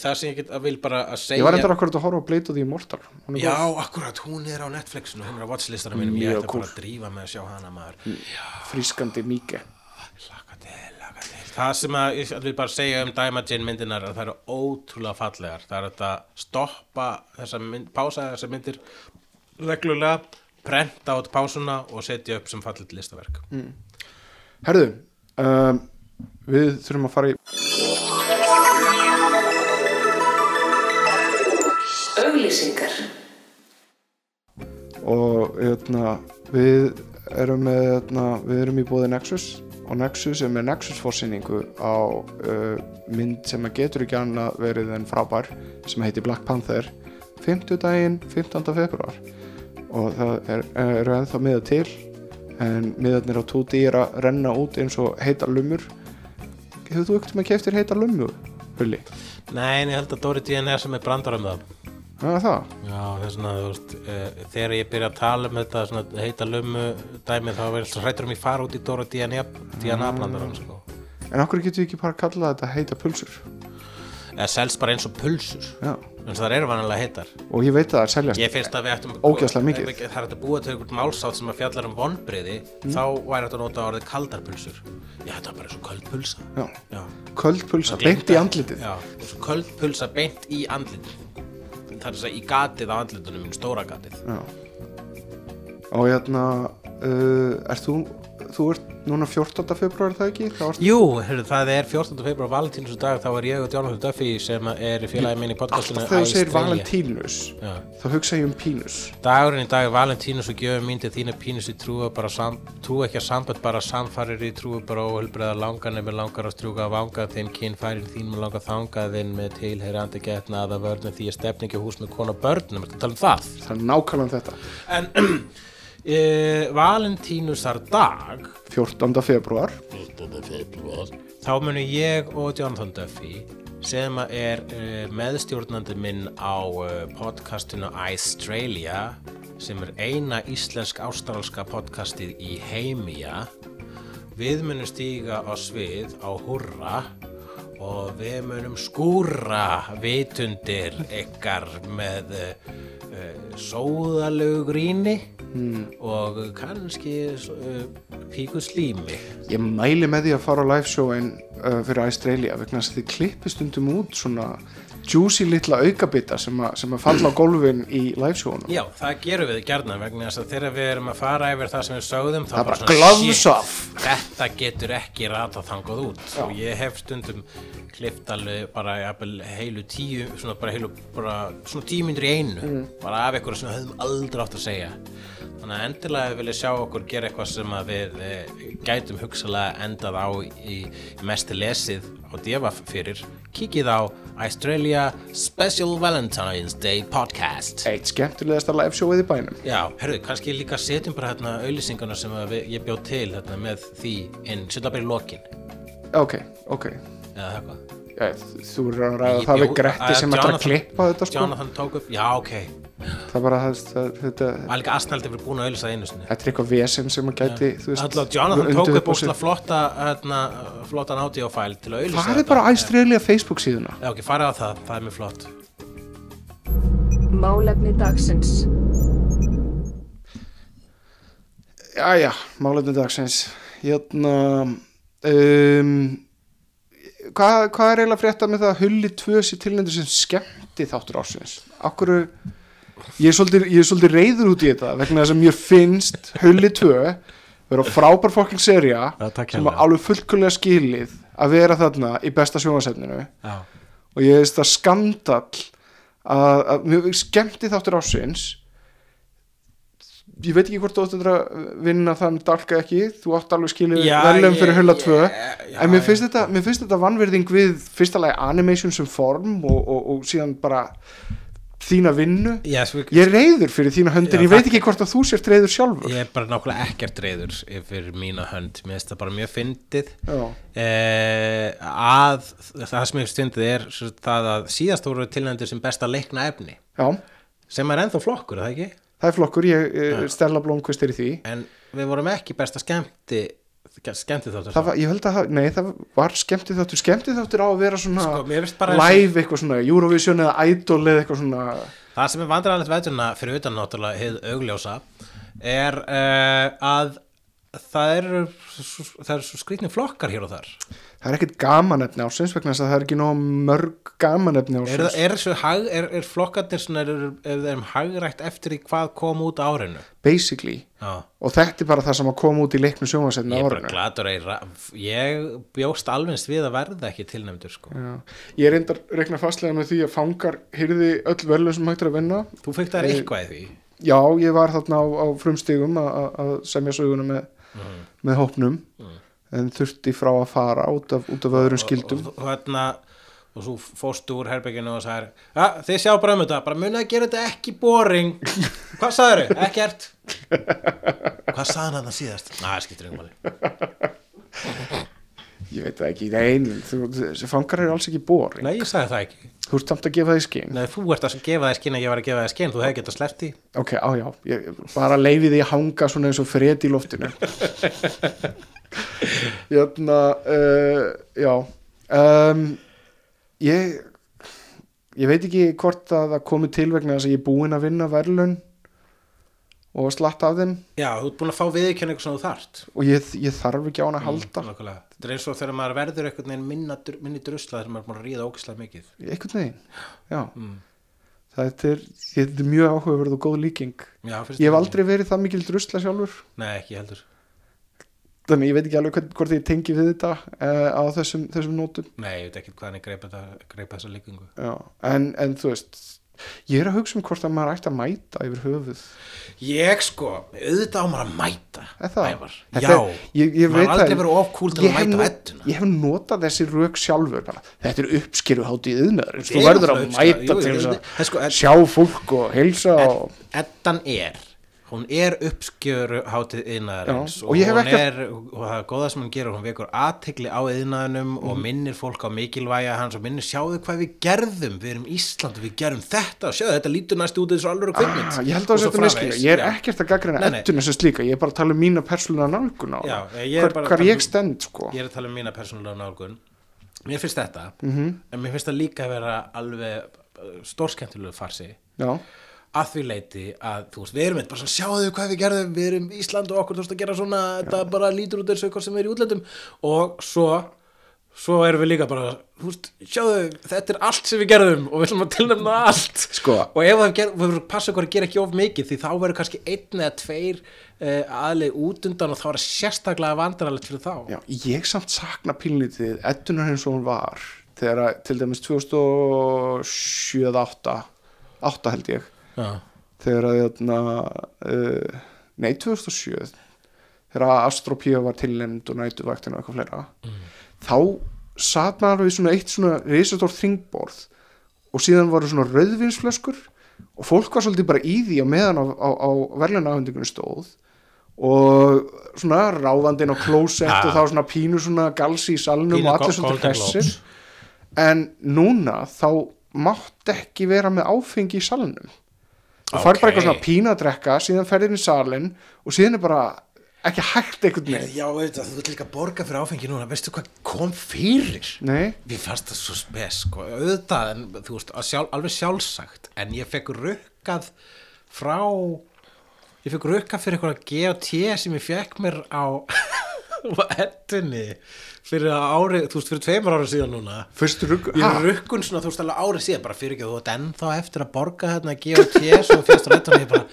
það sem ég get að vil bara að segja
Ég var reyndar akkurat að horfa á Blade of the Immortal. Hún er
Já,
góð.
akkurat, hún er á Netflixinu, hún er á watchlistanum mínum, ég
Mm, Mjög Mm.
ætla bara
kúl.
að drífa með að sjá hana maður
Frískandi mýke.
Laka til, laka til. Það sem að, ég vil bara segja um Dæmagin myndinar að það eru ótrúlega fallegar. Það er hægt að stoppa þessa mynd, pása þessa myndir reglulega, prenta át pásuna og setja upp sem fallit listaverk.
Herðu, um, við þurfum að fara í
Auglýsingar.
og hérna, við erum með hérna, við erum í bóði Nexus og Nexus er með Nexus fórsýningu á uh, mynd sem að getur ekki annað verið en frábær sem heitir Black Panther 50 daginn 15. februar og það er, eru ennþá miða til en miðarnir á 2D er að renna út eins og heitar lumur hefur þú ekkert með keftir heitar lumur, Hulli?
Nei, en ég held að Dóri Díðan er sem er brandar um það.
Já, það,
Já, þess vegna, þú veist, eh, þegar ég byrja að tala um þetta svona heita lumu dæmi þá verður svo hrættur um ég fara út í Dóri Díðan Díðan brandar um, sko.
en okkur getur við ekki bara að kalla þetta heita pulsur
Eða selst bara eins og pulsur.
Já.
En það eru vanalega heitar.
og ég veit að það er seljast
Ég finnst að við ættum
Ógeðslega mikið.
Ef ekki- Það er hægt að búa til einhvern málsátt sem að fjallar um vonbriði
Mm.
þá væri þetta að nota orðið kaldar pulsur Já, þetta er bara svo köld pulsa
Já.
Já.
köld pulsa, beint í andlitið
Já, svo köld pulsa beint í andlitið Það er þess að í gatið á andlitunum minn, stóra gatið
Já. og hérna uh, er þú þú ert núna 14. februar það ekki þá ert
Jú, heyrðu, það er 14. februar Valentínus dag, þá er ég og Jonathan Duffy sem er félagi minn í podcastinu
alltaf
á
þegar þú segir
Australia.
Valentínus
Já.
þá hugsa ég um Pínus
Dagurinn í dag er Valentínus og gjöfum mín til þína pínus í trúa bara sam, trú ekki að sambönd bara samfarir í trúa bara óhulbreða langan ef við langar að strjúka að vanga þinn kynfærin þín með langar þangað þinn með tilheyrandi getna aða vörnum því að stefni ekki á hús með konu og börnum, ertu að tala um það?
það er nákvæmlega um þetta
En [CLEARS THROAT] e, Valentínusar dag
14. februar
þá munu ég og Jonathan Duffy sem að er uh, meðstjórnandi minn á uh, podcastinu Australia sem er eina íslensk ástralska podcastið í heimia við munum stíga á svið á hurra og við munum skúra vitundir ykkar með uh, uh, sóðalegu gríni og kannski uh, píku slími
ég mæli með því að fara á live show ein, uh, fyrir Australia vegna þess að þið klippist undum út svona juicy litla aukabita sem, að- sem að falla á gólfin í live showunum
Já, það gerum við gjarnan vegna þess að þegar við erum að fara yfir það sem við sögðum þá
það er bara
svona,
gloves
shit,
off
Þetta getur ekki rata þangað út og ég hef stundum klift alveg bara jafnvel, heilu tíu svona bara heilu bara svona tíu myndir í einu
Mm.
bara af eitthvað sem við höfum aldrei átt að segja þannig að endilega vil ég sjá okkur gera eitthvað sem að við e, gætum hugsalega endað á í, í mest lesið á Devaf fyrir kikið á Australia Special Valentine's Day Podcast
eitt skemmtilegasta live showið í bænum
Já, herðu, kannski líka setjum bara hérna auðlýsinguna sem að við, ég bjóð til hérna, með því inn, setja bara í lokin
ok, ok,
eða eitthvað
Já, þú eru að ræða
Ég
það við
bjó-
Gretti sem ætlar að
eh, Jonathan-
klippa þetta sko
Jonathan tók upp, já ok
það er bara það, það, þetta,
Alga Asnaldi fyrir búin að auðlýsa það einu sinni
þetta er eitthvað vesen sem að gæti þú veist,
Alltaf Jonathan tók
undir
upp
sig.
ósla flotta hérna, flottan audiofæl til að auðlýsa
farið bara æstriðilega Facebook síðuna
Já ok, farið á það, það er mjög flott
Málefni dagsins.
Jæja, málefni dagsins Hérna um, hvað, hvað er eiginlega að frétta með það að Hulli 2 sér tilnendur sem skemmti þáttur ásins? Akkur ég er, svolítið, ég er svolítið reyður út í þetta vegna þess að mér finnst Hulli 2 vera frábær fokking serja
Já, takk
sem
hérlega.
er alveg fullkomlega skilið að vera þarna í besta sjónvarsefninu
Já.
og ég veist það skandall að, að mjög skemmti þáttur ásins ég veit ekki hvort þú áttur að vinna þann dalka ekki, þú átt alveg skilið
Já,
velum
ég-
fyrir hulla
ég-
2
já,
en mér
ég-
finnst, þetta, mér finnst þetta vannverðing við fyrsta lagi animation sem form og, og, og síðan bara þína vinnu
Já, sko,
ég er reyður fyrir þína höndir,
Já,
ég veit
takk.
ekki hvort að þú sért reyður sjálfur
ég er bara nákvæmlega ekkert reyður yfir mína hönd, mér finnst það bara mjög fyndið
Já.
eh, að það sem ég stundið er sem sagt, það að síðast voru tilnæmdur sem besta leikna efni
Já,
sem er ennþá flokkur, er það ekki?
það er flokkur, ég, ég Stella Blomqvist er í því
en við vorum ekki besta skemmti skemmti þáttur
það var, ég held að, það- nei, það var skemmtið þáttur skemmtið þáttur á að vera svona
Sko, mér finnst bara
live eitthvað svona, Eurovision eða Idol eða eitthvað svona
það sem er vandræðanlegt veðurna fyrir utan náttúrulega hið augljósa er uh, að það eru svo- það eru svo skrýtni flokkar hér og þar
það er ekkert gamanefni ásins vegna þess að það er ekki nóg mörg gamanefni
er,
ásins
er, svo hag, er, er flokkarnir svona, er, er þeim hagrætt eftir því hvað kom út á árinu
basically,
Já.
og þetta er bara það sem að koma út í leiknum
ég
sjónvarsætni á
er bara
árinu
gladur að ég ra- ég bjóst alveg við að verða ekki tilnæmdur sko.
Já. ég er reyndar reikna fastlega með því að fangar hyrði öll verðlun sem hægt er að vinna
þú fekk það eitthvað í því
já, ég var þarna á, á frumstigum að- að að semja söguna með,
Mhm.
með hópnum en þurfti frá að fara út af, út af öðrum skildum
og hérna og svo fórstu úr herbygginu og sagði ja, þið sjá bara um þetta, bara munið að gera þetta ekki boring hvað sagður þau? Ekkert hvað sagði hann það síðast? Næ, skiptir um máli
Ég veit það ekki, nein, þú, þessi fangar eru alls ekki bóri.
Nei, ég sagði það ekki
Þú ert samt að gefa það í skinn.
Nei, þú ert að gefa það skinn að ég var að gefa það skinn þú hefði getað sleppt því
Ok, á já, ég bara leifi því að hanga svona eins og fred í
[LAUGHS]
loftinu. Jörna, uh, já, um, ég, ég veit ekki hvort að það komi til vegna þess að ég er búinn að vinna verðlun og slatt af þeim
Já, þú ert búin að fá viðurkenningu sem þú þart
og ég, ég þarf ekki á
Mm.
hann að halda.
Nákvæmlega. Þetta er eins og þegar maður verður einhvern veginn minna, dr- minni drusla þegar maður er búin að ríða ógislega mikið
Einhvern veginn, já.
Mm.
Þetta er, þetta er mjög áhugaverð og góð líking.
Já, finnst
Ég hef
þér-
aldrei verið það mikil drusla sjálfur
Nei, ekki heldur
þannig ég veit ekki alveg hvern, hvort ég tengi við þetta uh, á þessum, þessum nótum
Nei, ég veit ekki hvað hann er greipa, þetta- greipa þessa líkingu
Já. en, en þú veist ég er að hugsa um hvort að maður ætti að mæta yfir höfuð
Ég sko, auðvitað á maður að mæta
Er það?
Ævar,
Þetta
já
er- ég, ég
Maður
veit
aldrei
það-
verið of cool til
Ég
að
hef
mæta
nú-
vettuna
ég hef notað þessi rök sjálfur bara. þetta er uppskeruhátíð yðnaður
Þetta
þú
er
verður að
náttúrulega uppskera-
mæta
jú,
til
jú,
þess
jú, þetta-
að
sko, en-
sjá fólk og heilsa og
Eddan er Hún er uppskjöru hátið yðnaðarins
Já, og ég hef
hún
ekki-
er, og það er góða sem hún gerur, hún vekur aðtegli á yðnaðinum
Mhm.
og minnir fólk á mikilvæja hans og minnir sjáðu hvað við gerðum, við erum Ísland og við gerðum þetta og sjáðu þetta lítur næst út þessu alveg kvikmynd.
Ah, ég held að
Og svo
þetta miskilja,
framvegis.
ég er
Já.
ekkert að gaggrina
Nei, nei.
ettuna sem slíka, ég er bara að tala um mína persónulega nálgun á
Já,
það.
ég er
hvar,
bara að
hvar
tala um-
ég stend sko
ég er að tala um mína persónulega nálgun mér finnst þetta
Mhm.
en mér finnst það líka að vera alveg stórskemmtilegu farsi
Já,
að því leiti að þú veist, við erum eitt bara svona, sjáðu hvað við gerðum, við erum Ísland og okkur þú veist að gera svona, þetta bara lítur út eins og eitthvað sem er í útlöndum og svo svo erum við líka bara, þú veist sjáðu, þetta er allt sem við gerðum og við ætlum að tilnæmna allt
Sko.
og ef það ger, við verðum að passa okkur að gera ekki of mikið því þá verður kannski einn eða tveir uh, aðlið út undan og þá er það sérstaklega vandrarlegt fyrir þá
Já, ég samt sakna pínlítið eddunar eins og hún var þegar að, til dæmis 2007 eða 8 8 held ég
Já.
þegar að jötna, uh, nei 2007 þegar að Astropía var tilnefnd og nætuvæktin og eitthvað fleira
Mm.
þá satt maður við svona eitt svona risastór þringborð og síðan voru svona rauðvinsflöskur og fólk var svolítið bara í því á meðan á, á, á verðlunahöndingunni stóð og svona ráðandinn á klósett og þá svona pínu svona galsi í salnum
Pínu
og allir
go-
svolítið
Golden
hressir en núna þá mátt ekki vera með áfengi í salnum þú fær bara
Ókei.
eitthvað svona pína að drekka síðan ferðin í salin og síðan er bara ekki hægt einhvern veginn
Já, auðvitað, þú ert líka að borga fyrir áfengi núna, veistu hvað kom fyrir?
Nei.
Mér fannst það svo spes, sko, auðvitað, en þú veist, að sjálf, alveg sjálfsagt, en ég fekk rukkað frá, ég fekk rukkað fyrir eitthvað GOT sem ég fekk mér á, [LAUGHS] á ettunni fyrir árið, þú veist, fyrir tveimur árið síðan núna.
Fyrstu rugg
Ég er rukkun svona, þú veist, alveg árið síðan, bara fyrir ekki þú ert ennþá eftir að borga hérna GOT svo fyrst á nettunni, ég bara,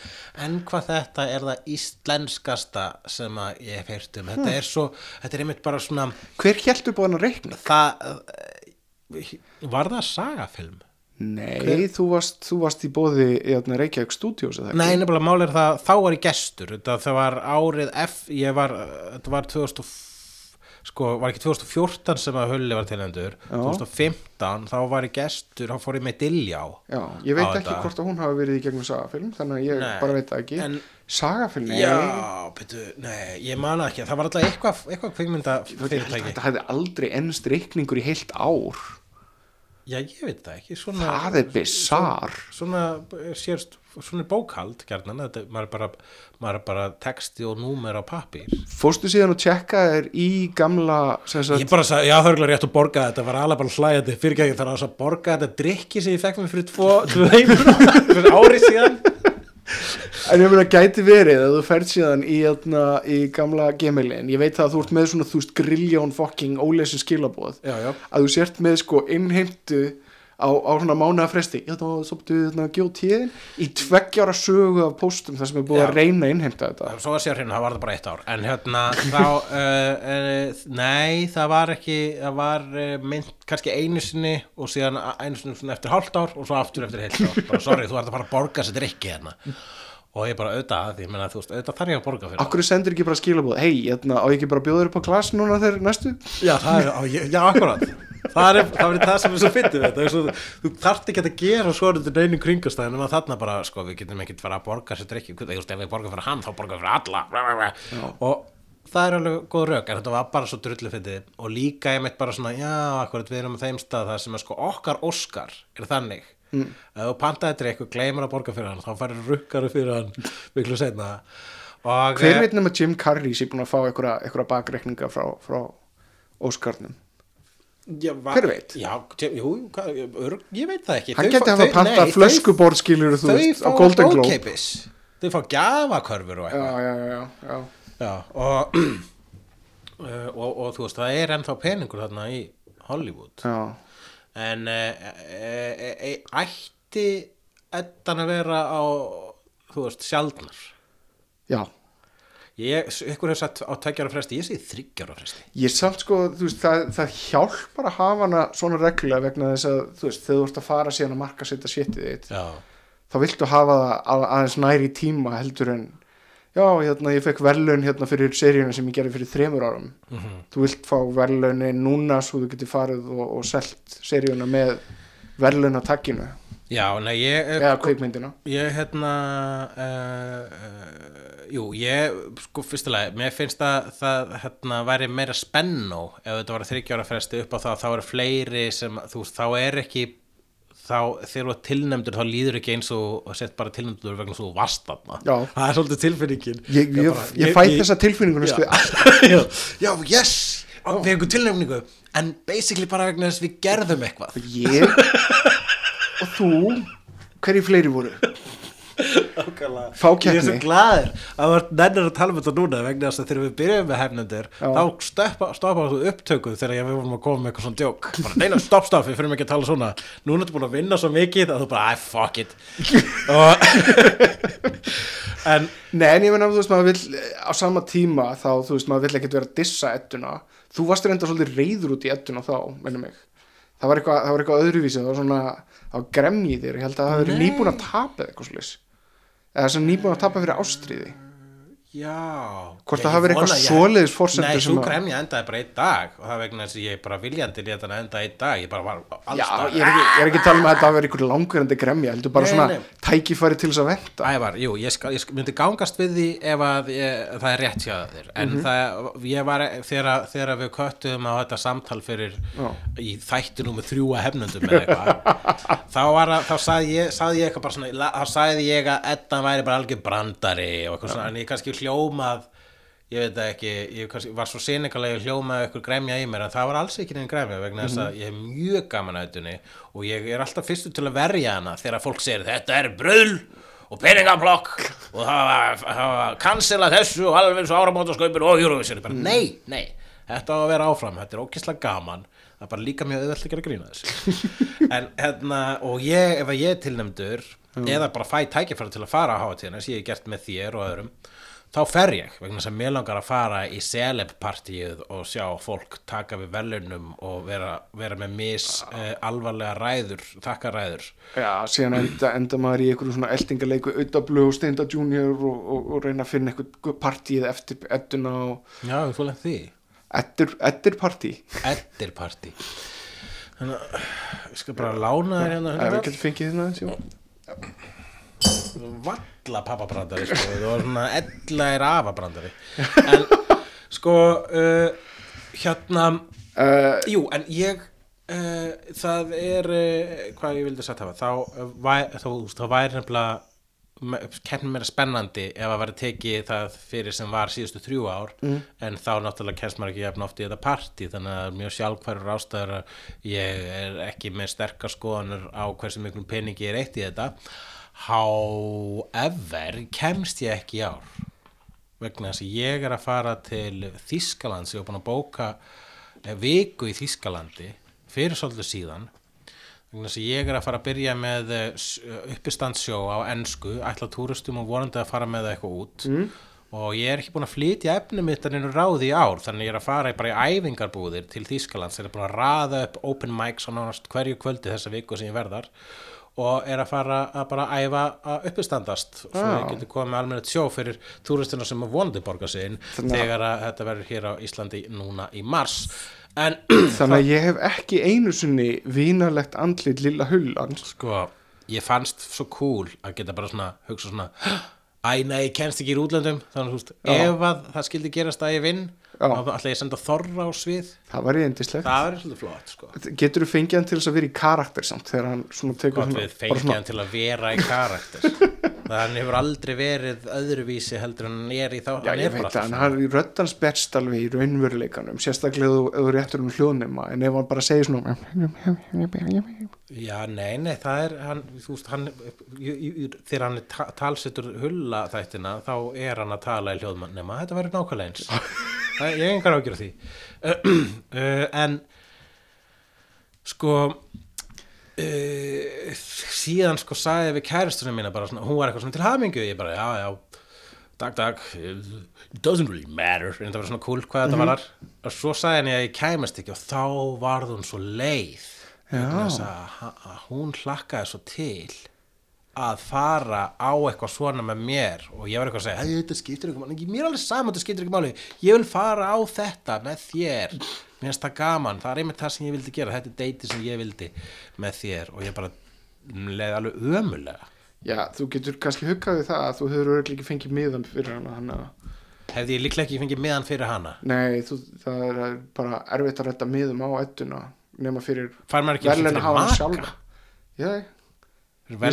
en hvað þetta er það íslenskasta sem að ég hef heyrt um, þetta er svo, þetta er einmitt bara svona,
Hver held upp á hennar reikna?
það, eh, var það sagafilm?
Nei, þú varst, þú varst í bóði í þarna Reykjavík Studios eða ekki?
Nei, nefnilega mál er það, þá var ég gestur, þetta það var árið F, ég var, þetta var 2000, og- sko, var ekki 2014 sem að Hulli var tilhendur, 2015, þá var ég gestur, þá fór ég með Diljá.
Já, ég veit
á
ekki
þetta.
hvort að hún hafi verið í gegnum sagafilm þannig að ég
Nei,
bara veit það ekki
en-
Sagafilm, nei
Já, betur, nei, ég man það ekki, það var alltaf eitthvað, eitthvað kvikmynda
Þú veit, ég held að
fyrirtæki.
Þetta hefði aldrei ennst reikningur í heilt ár
Já, ég veit það ekki, svona...
Það er bizarr
svona eh, sérst svona er bókhald gerðan þetta, maður er bara, maður er bara texti og númer á pappír
Fórstu síðan og tjekka þér í gamla sem
ég
sagt,
bara sagði, já það er örugglega rétt að borga þetta var alveg bara hlæðandi fyrir ekki þar að borga þetta drikki sem ég fekk mér fyrir tvo, tveimur [LAUGHS] fyrir ári síðan
En ég meina gæti verið að þú ferð síðan í, atna, í gamla gemilin Ég veit það að þú ert með svona þú veist grilljón fucking ólesin skilabóð
já, já,
að þú sért með sko innheimtu á, á svona mánuða fresti já þá soptu þarna gjótiðin í tveggjara sögu af póstum þar sem er búið
Já.
að reyna að innheimta þetta
svo að sér hérna, það var það bara eitt ár en hérna, þá uh, uh, nei, það var ekki það var uh, mynd kannski einu sinni og síðan a- einu sinni svona eftir hálft ár og svo aftur eftir heilt ár bara, sorry, þú ert að fara að borga þessi drikki hérna og ég bara auðvitað að því, ég meina, þú veist, auðvitað þarf ég að borga fyrir
Akkur sendur ekki bara skilabóð hei, hérna, á ég ekki bara að bjóða þér upp á glas núna þegar næstu?
Já, það er, á, ég- já, akkurat Það er, það er það sem er svo fyndið við þetta er svo, Þú þarft ekki að gera svo undir neinum kringastæðin en þarna bara, sko, við getum ekkert fara að borga sér drikki, þú veist, ef við borgum fyrir hann þá borgum við fyrir alla bla, bla, bla. og það er alveg góð rauk, en þetta var bara svo drullu fyndið og líka ég meitt bara svona já, akkurat, við erum á þeim stað það sem er sko okkar Óskar er þannig mm. ef þú pantaði drikku, gleymur að borga fyrir hann þá færir rukkaru fyrir hann miklu seinna og eh,
Hver veit nema Jim Carrey sé búin að fá einhverja, einhverja bakreikninga frá, frá Óskarnum?
Já, va-
Hver veit?
Já, t- jú, hva, örg, ég veit það ekki
Hann
Þau
geti
fá-
hafa
þau- nei,
pantað
þau-
flöskuborð skilur þú
Þau
veist á
fá
Golden Globe
ókeipis Þau fá gjafakörfur og
Já,
eitthvað
já, já, já,
Já, og, [CLEARS THROAT] uh, og, og þú veist, það er ennþá peningur þarna í Hollywood
já.
En uh, uh, uh, ætti ettan að vera á, þú veist, sjaldnar
já.
Ég, ykkur hefur sagt á tveggjara fresti, ég segi þryggjara fresti
Ég samt sko, þú veist, það, það hjálpar að hafa hana svona reglulega vegna þess að þú veist, þegar þú ert að fara síðan að marka setja sétið þitt
Já
þá viltu hafa það að, aðeins næri tíma heldur en já, hérna, ég fekk verðlaun hérna fyrir seríuna sem ég gerði fyrir þremur árum þú vilt fá verðlaunin núna svo þú getur farið og, og selt seríuna með verðlaunatakinu
Já, nei, ég eh,
eða kveikmyndina
Ég, hérna, uh, uh, jú, ég, sko, fyrstilega, mér finnst að það, hérna, væri meira spennó ef þetta var þryggjára fresti upp á það, þá eru fleiri sem, þú veist, þá er ekki, þá, þegar þú er tilnæmdur, þá líður ekki eins og og sett bara tilnæmdur vegna svo vastatna.
Já.
Það er svolítið tilfinningin.
ég, ég, ég, fæ þessa sko, tilfinningu næstu við allt.
já, [LAUGHS] já, yes, við einhver tilnæmningu, en basically bara vegna þess við gerðum eitthvað.
ég og þú hverju fleiri voru
Nákvæmlega.
Fá
Ég er svo
keppni.
glaður að það nennir að tala um þetta núna vegna þess að þegar við byrjum með hefnendur
Já.
þá stoppa, stoppa þú upptökuð þegar ég við vorum að koma með eitthvað svona djók bara neina stopp stopp, við fyrir ekki að tala svona núna ertu búin að vinna svo mikið að þú bara I fuck
[LAUGHS]
it og en
Nei, en ég meina, þú veist, maður vill eh, á sama tíma þá, þú veist, maður vill ekkert vera að dissa ettuna. Þú varst reynda svolítið reyður út í ettuna þá, minnum mig. Það var eitthvað, það var eitthvað öðruvísið, það var svona, það var gremji í þér, ég held að það hefur nýbúin að tapa eða eitthvað slis. Eða sem nýbúin að tapa fyrir ástriði.
Já
Hvort
Ég-
það hafi verið
ég vona
eitthvað
ég-
svoleiðis forsendur
Nei,
sem
svo
að-
gremja endaði bara einn dag og það vegna þess að ég bara viljandi lét hann enda einn dag ég bara var alls
Já,
staðar.
ég er ekki, ég er ekki að tala um að þetta hafi verið eitthvað langverandi gremji, heldur bara
Nei,
svona
nei.
tækifæri til þess að venda.
Ævar, jú, ég, skal, ég skal- myndi gangast við því ef að ég, það er rétt hjá þér en það, ég var, þegar, þegar við köttum á þetta samtal fyrir í þætti númer þrjú að hefnundum eða eitthvað, þá var að þá sagði ég, sagði ég eitthvað bara svona la- þá sagði ég að Edda væri bara algjör brandari og eitthvað svona, en ég kannski hljómað ég veit það ekki, ég kannski, var svo sinikalega hljómaði ykkur gremja í mér en það var alls ekki neinn gremja vegna þess að ég hef mjög gaman að þetta og ég er alltaf fyrstu til að verja hana þegar fólk segir þetta er bröðl og peningablokk og það var, það var cancela þessu og alveg svo áramótasköpun og Eurovision bara nei, nei, þetta á að vera áfram þetta er ókislega gaman það er bara líka mjög auðvelt að gera grína þessu en hérna, og ég, ef að ég er tilnefndur eða bara fæ tækifæra til að fara á hátíðina sem ég hef gert með þér og öðrum þá fer ég, vegna sem mér langar að fara í celebpartíið og sjá fólk taka við velunum og vera, vera með mis eh, alvarlega ræður, þakkaræður
Já, síðan enda, enda maður í einhverjum svona eldingarleiku auðablu og steinda junior og, og, og reyna að finna eitthvað partíð eftir edduna og
Já, við fóðum því
eddir, eddir partí
Eddir partí Þannig að ég skal bara lána þér hérna
ef við
hérna
getum fengið hérna aðeins,
Eh,
jú.
Valla pappabrandari sko Þú var svona ella er afabrandari En sko uh, Hérna
Uh,
Jú, en ég uh, Það er uh, Hvað ég vildi sagt hafa Þá, uh, væ- þá, þá væri nefnilega Kennir mér spennandi ef að vera tekið það fyrir sem var síðustu þrjú ár en þá náttúrulega kennst maður ekki jafn oft í þetta partí þannig að það er mjög sjálfhverjur ástæður að ég er ekki með sterkar skoðanur á hversu miklum peningi ég er eitt í þetta however kemst ég ekki í ár vegna þess að ég er að fara til Þískaland sem ég er búin að bóka eh, viku í Þískalandi fyrir svolítið síðan vegna þess að ég er að fara að byrja með eh, s- uppistandsjó á ensku ætla túristum og vonandi að fara með það eitthvað út og ég er ekki búin að flytja efni mitt en einu ráði í ár þannig ég er að fara í bara í æfingarbúðir til Þískaland sem er búin að raða upp open mics á nánast hverju kvöldi þessa viku sem ég verðar og er að fara að bara æfa að uppistandast svo ég geti komið með almennið sjó fyrir túristina sem að vonandi borga sig inn þegar að þetta verður hér á Íslandi núna í mars en [CLEARS THROAT]
þannig að ég hef ekki einu sinni vínalegt andlit lilla hullans
sko, ég fannst svo cool að geta bara svona, hugsa svona Æ, nei, ég kennst ekki í útlöndum þannig, þú veist, ef að það skildi gerast að ég vinn
Já.
þá ætla ég að senda þorra á svið
það var reyndislegt
það er svolítið flott, sko
getur þú fengið hann til þess að vera í karakter samt þegar hann svona tekur
gott
svona,
við fengið hann til að vera í
[LAUGHS]
karakter þannig hann hefur aldrei verið öðruvísi heldur en hann er í þá
já,
hann
ég
er
veit
bara
það,
alltaf
en
svona.
hann er röddans best alveg í raunveruleikanum sérstaklega ef þú- ef þú réttur um hljóðnema en ef hann bara segir svona
Já, nei, nei, það er hann, þú veist, hann, ég- ég- ég- þegar hann er ta- talsettur hulla þættina þá er hann að tala í hljóðmann nema þetta verður nákvæmlega eins það, ég hef engar ágjur á því [CLEARS THROAT] uh, en sko uh, síðan sko sagði ég við kæristunum mína bara svona, hún var eitthvað svona til hamingu ég bara, já, já, dag, dag it doesn't really matter en það var svona cool hvað þetta var og svo sagði henni að ég kæmast ekki og þá varð hún svo leið vegna þess að ha- að hún hlakkaði svo til að fara á eitthvað svona með mér og ég var eitthvað að segja, "Hey, þetta skiptir ekki máli mér er alveg saman, þetta skiptir ekki máli ég vil fara á þetta með þér mér finnst það gaman, það er einmitt það sem ég vildi gera þetta er deiti sem ég vildi með þér og ég bara leið alveg ömulega
já, þú getur kannski huggaði það að þú hefur örugglega ekki fengið miðan fyrir hann þannig að
hefði ég líklega ekki fengið meðan fyrir hana
Nei, þú, það er bara erfitt að redda miðum á ettuna nema fyrir
Fær maður ekki einu sinni fyrir
verðlaunahafann
maka?
Ég, ég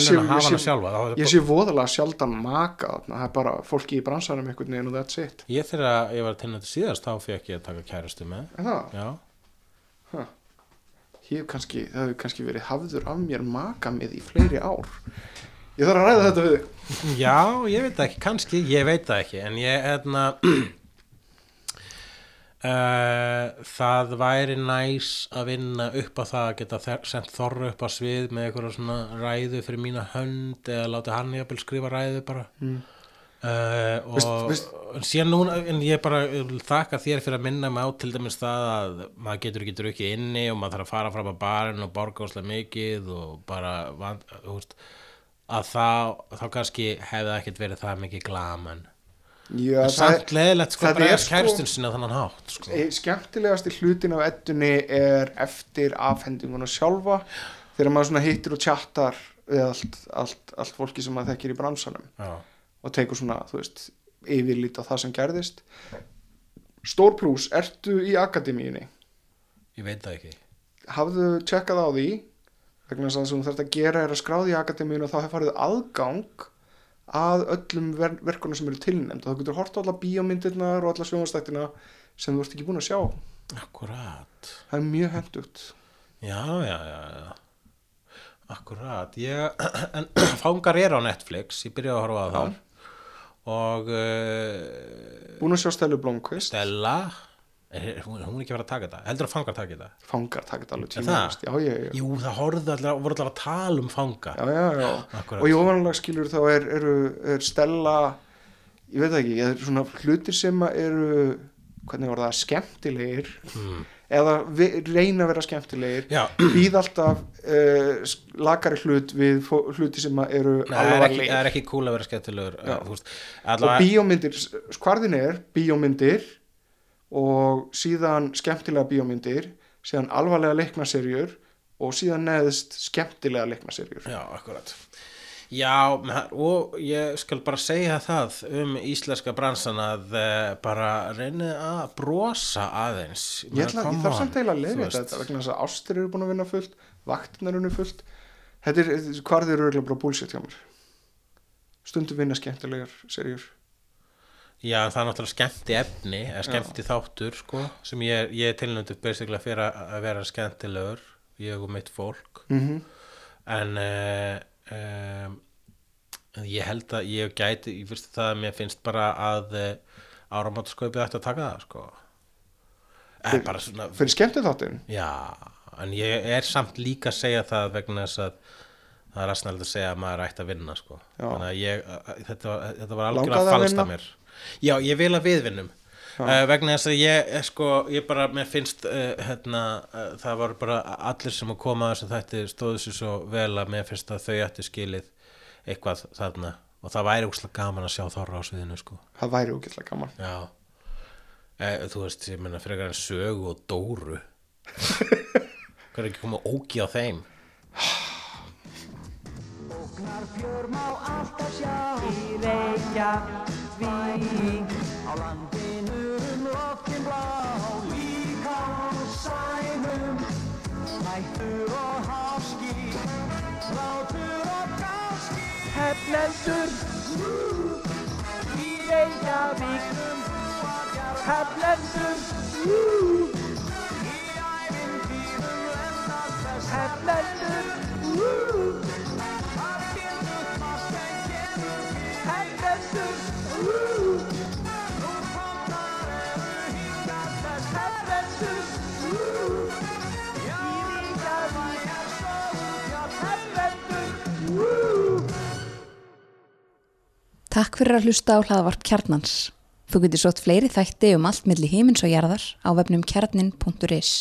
sé-
velun að hafa
ég
hana
sé-
sjálfa þá-
Ég sé voðalega sjaldan maka þarna, það er bara fólki í bransanum einhvern veginn og that's it
Ég þegar að ég var til þetta síðast þá fekk ég að taka kærastu með
En það,
Já,
ég hef kannski, það hefur kannski verið hafður af mér maka mið í fleiri ár Ég þarf að ræða þetta við þig
Já ég veit það ekki, kannski, ég veit það ekki en ég, hérna uh, það væri næs að vinna upp á það að geta þer- sent þorra upp á svið með eitthvað svona ræðu fyrir mína hönd eða láta hann jafnvel skrifa ræðu bara mm. og
Veist- veist-
en síðan núna, en ég bara þakka þér fyrir að minna mig á til dæmis það að maður getur ekki drukkið inni og maður þarf að fara fram að barinn og borga úslega mikið og bara vand, úst, að þá, þá kannski hefði það ekkert verið það mikið glaman
Já,
en samt leðilegt sko
það
bara
er
er
sko-
kærstun sinna þannan hátt sko.
Eh, skemmtilegasti hlutin af ettunni er eftir afhendinguna sjálfa þegar maður svona hittir og tjattar við allt, allt, allt fólki sem maður þekkir í bransanum
Já.
og tekur svona, þú veist, yfirlít á það sem gerðist Stór plús, ertu í akademíunni
ég veit það ekki
hafðu tjekkað á því vegna þess að það sem þú þarft að gera er að skráði í akademíun og þá hefur farið aðgang að öllum ver verkunum sem eru tilnæmd og þá getur hort á alla bíómyndirnar og alla sjónvastættina sem þú ert ekki búin að sjá
Akkurat
það er mjög hendugt
Já, já, já, já Akkurat ég, En [CLEARS THROAT] fangar er á Netflix Ég byrjaði að horfa á þar Og uh,
búin að sjá Stellu Blomqvist
Stella er, hún, hún er ekki að vera að taka þetta Heldur að fangar taka þetta?
fangar taka þetta alveg
Er
tíma
það?
já, já, já,
Jú, það horfðu allir, voru allir að tala um fanga
já, já, já.
Akkurat.
og í ofanlega skilur þá er, er, er Stella ég veit það ekki, er svona hlutir sem að eru hvernig var það, skemmtilegir eða vi- reyna að vera skemmtilegir
Hmm. Já.
býð alltaf uh, lakari hlut við fó- hluti sem að eru
Nei, það er, ekki,
alvarlegir.
það er ekki cool að vera skemmtilegur eh,
Já.
þú veist,
og
allavega-
bíómyndir, skvarðin er bíómyndir og síðan skemmtilega bíómyndir síðan alvarlega leiknaserjur og síðan neðst skemmtilega leiknaserjur
Já, akkurat Já, með það- og ég skal bara segja það um íslenska bransan að eh, bara reynið að brosa aðeins
ég, ætla, ég þarf samt eiginlega að leiða
þetta
þetta vegna þess að ástir eru búin að vinna fullt vaktinar eru fullt þetta er, hvarðir eru örugglega bara búlsitt hjá mér stundum vinna skemmtilegar serjur
Já, það er náttúrulega skemmti efni eða skemmti þáttur, sko sem ég, er- ég er tilnöndið basically fyrir að að vera skemmtilegur ég og mitt fólk
Mhm.
en uh, um, ég held að ég gæti, ég fyrst það að mér finnst bara að uh, áramátskaupið ætti að taka það, sko Eh, bara svona,
fyrir skemmtið þáttin
Já, en ég er samt líka að segja það vegna þess að það er aðsnæld að segja að maður ætti að vinna sko.
Já.
þannig að ég, að- að- þetta, var- þetta var
Langaði að
algjörlega falst
vinna?
að mér Já, ég vil að við vinnum Uh, vegna þess að ég, eh, sko, ég bara mér finnst, uh, hérna uh, það var bara allir sem að koma að þessu þætti stóðu sér svo vel að mér finnst að þau ættu skilið eitthvað þarna og það væri úkslega gaman að sjá þorra á sviðinu sko.
það væri ógætlega gaman
Já e, Þú veist, ég meina frekar en sögu og dóru Hvað er ekki komið ógi á þeim?
Ógnar fjör má alltaf sjá Í Reykjavík Á landinu um loftin blá Líka á sænum Hættur og háski Látur og gáski Heflendur Í Reykjavík Heflendur Í ævintýrum lennast þess Heflendur Heflendur Woo!
Takk fyrir að hlusta á hlaðvarp kjarnans. Þú getur sótt fleiri þætti um allt milli himins og jarðar á vefnum kjarnin.is.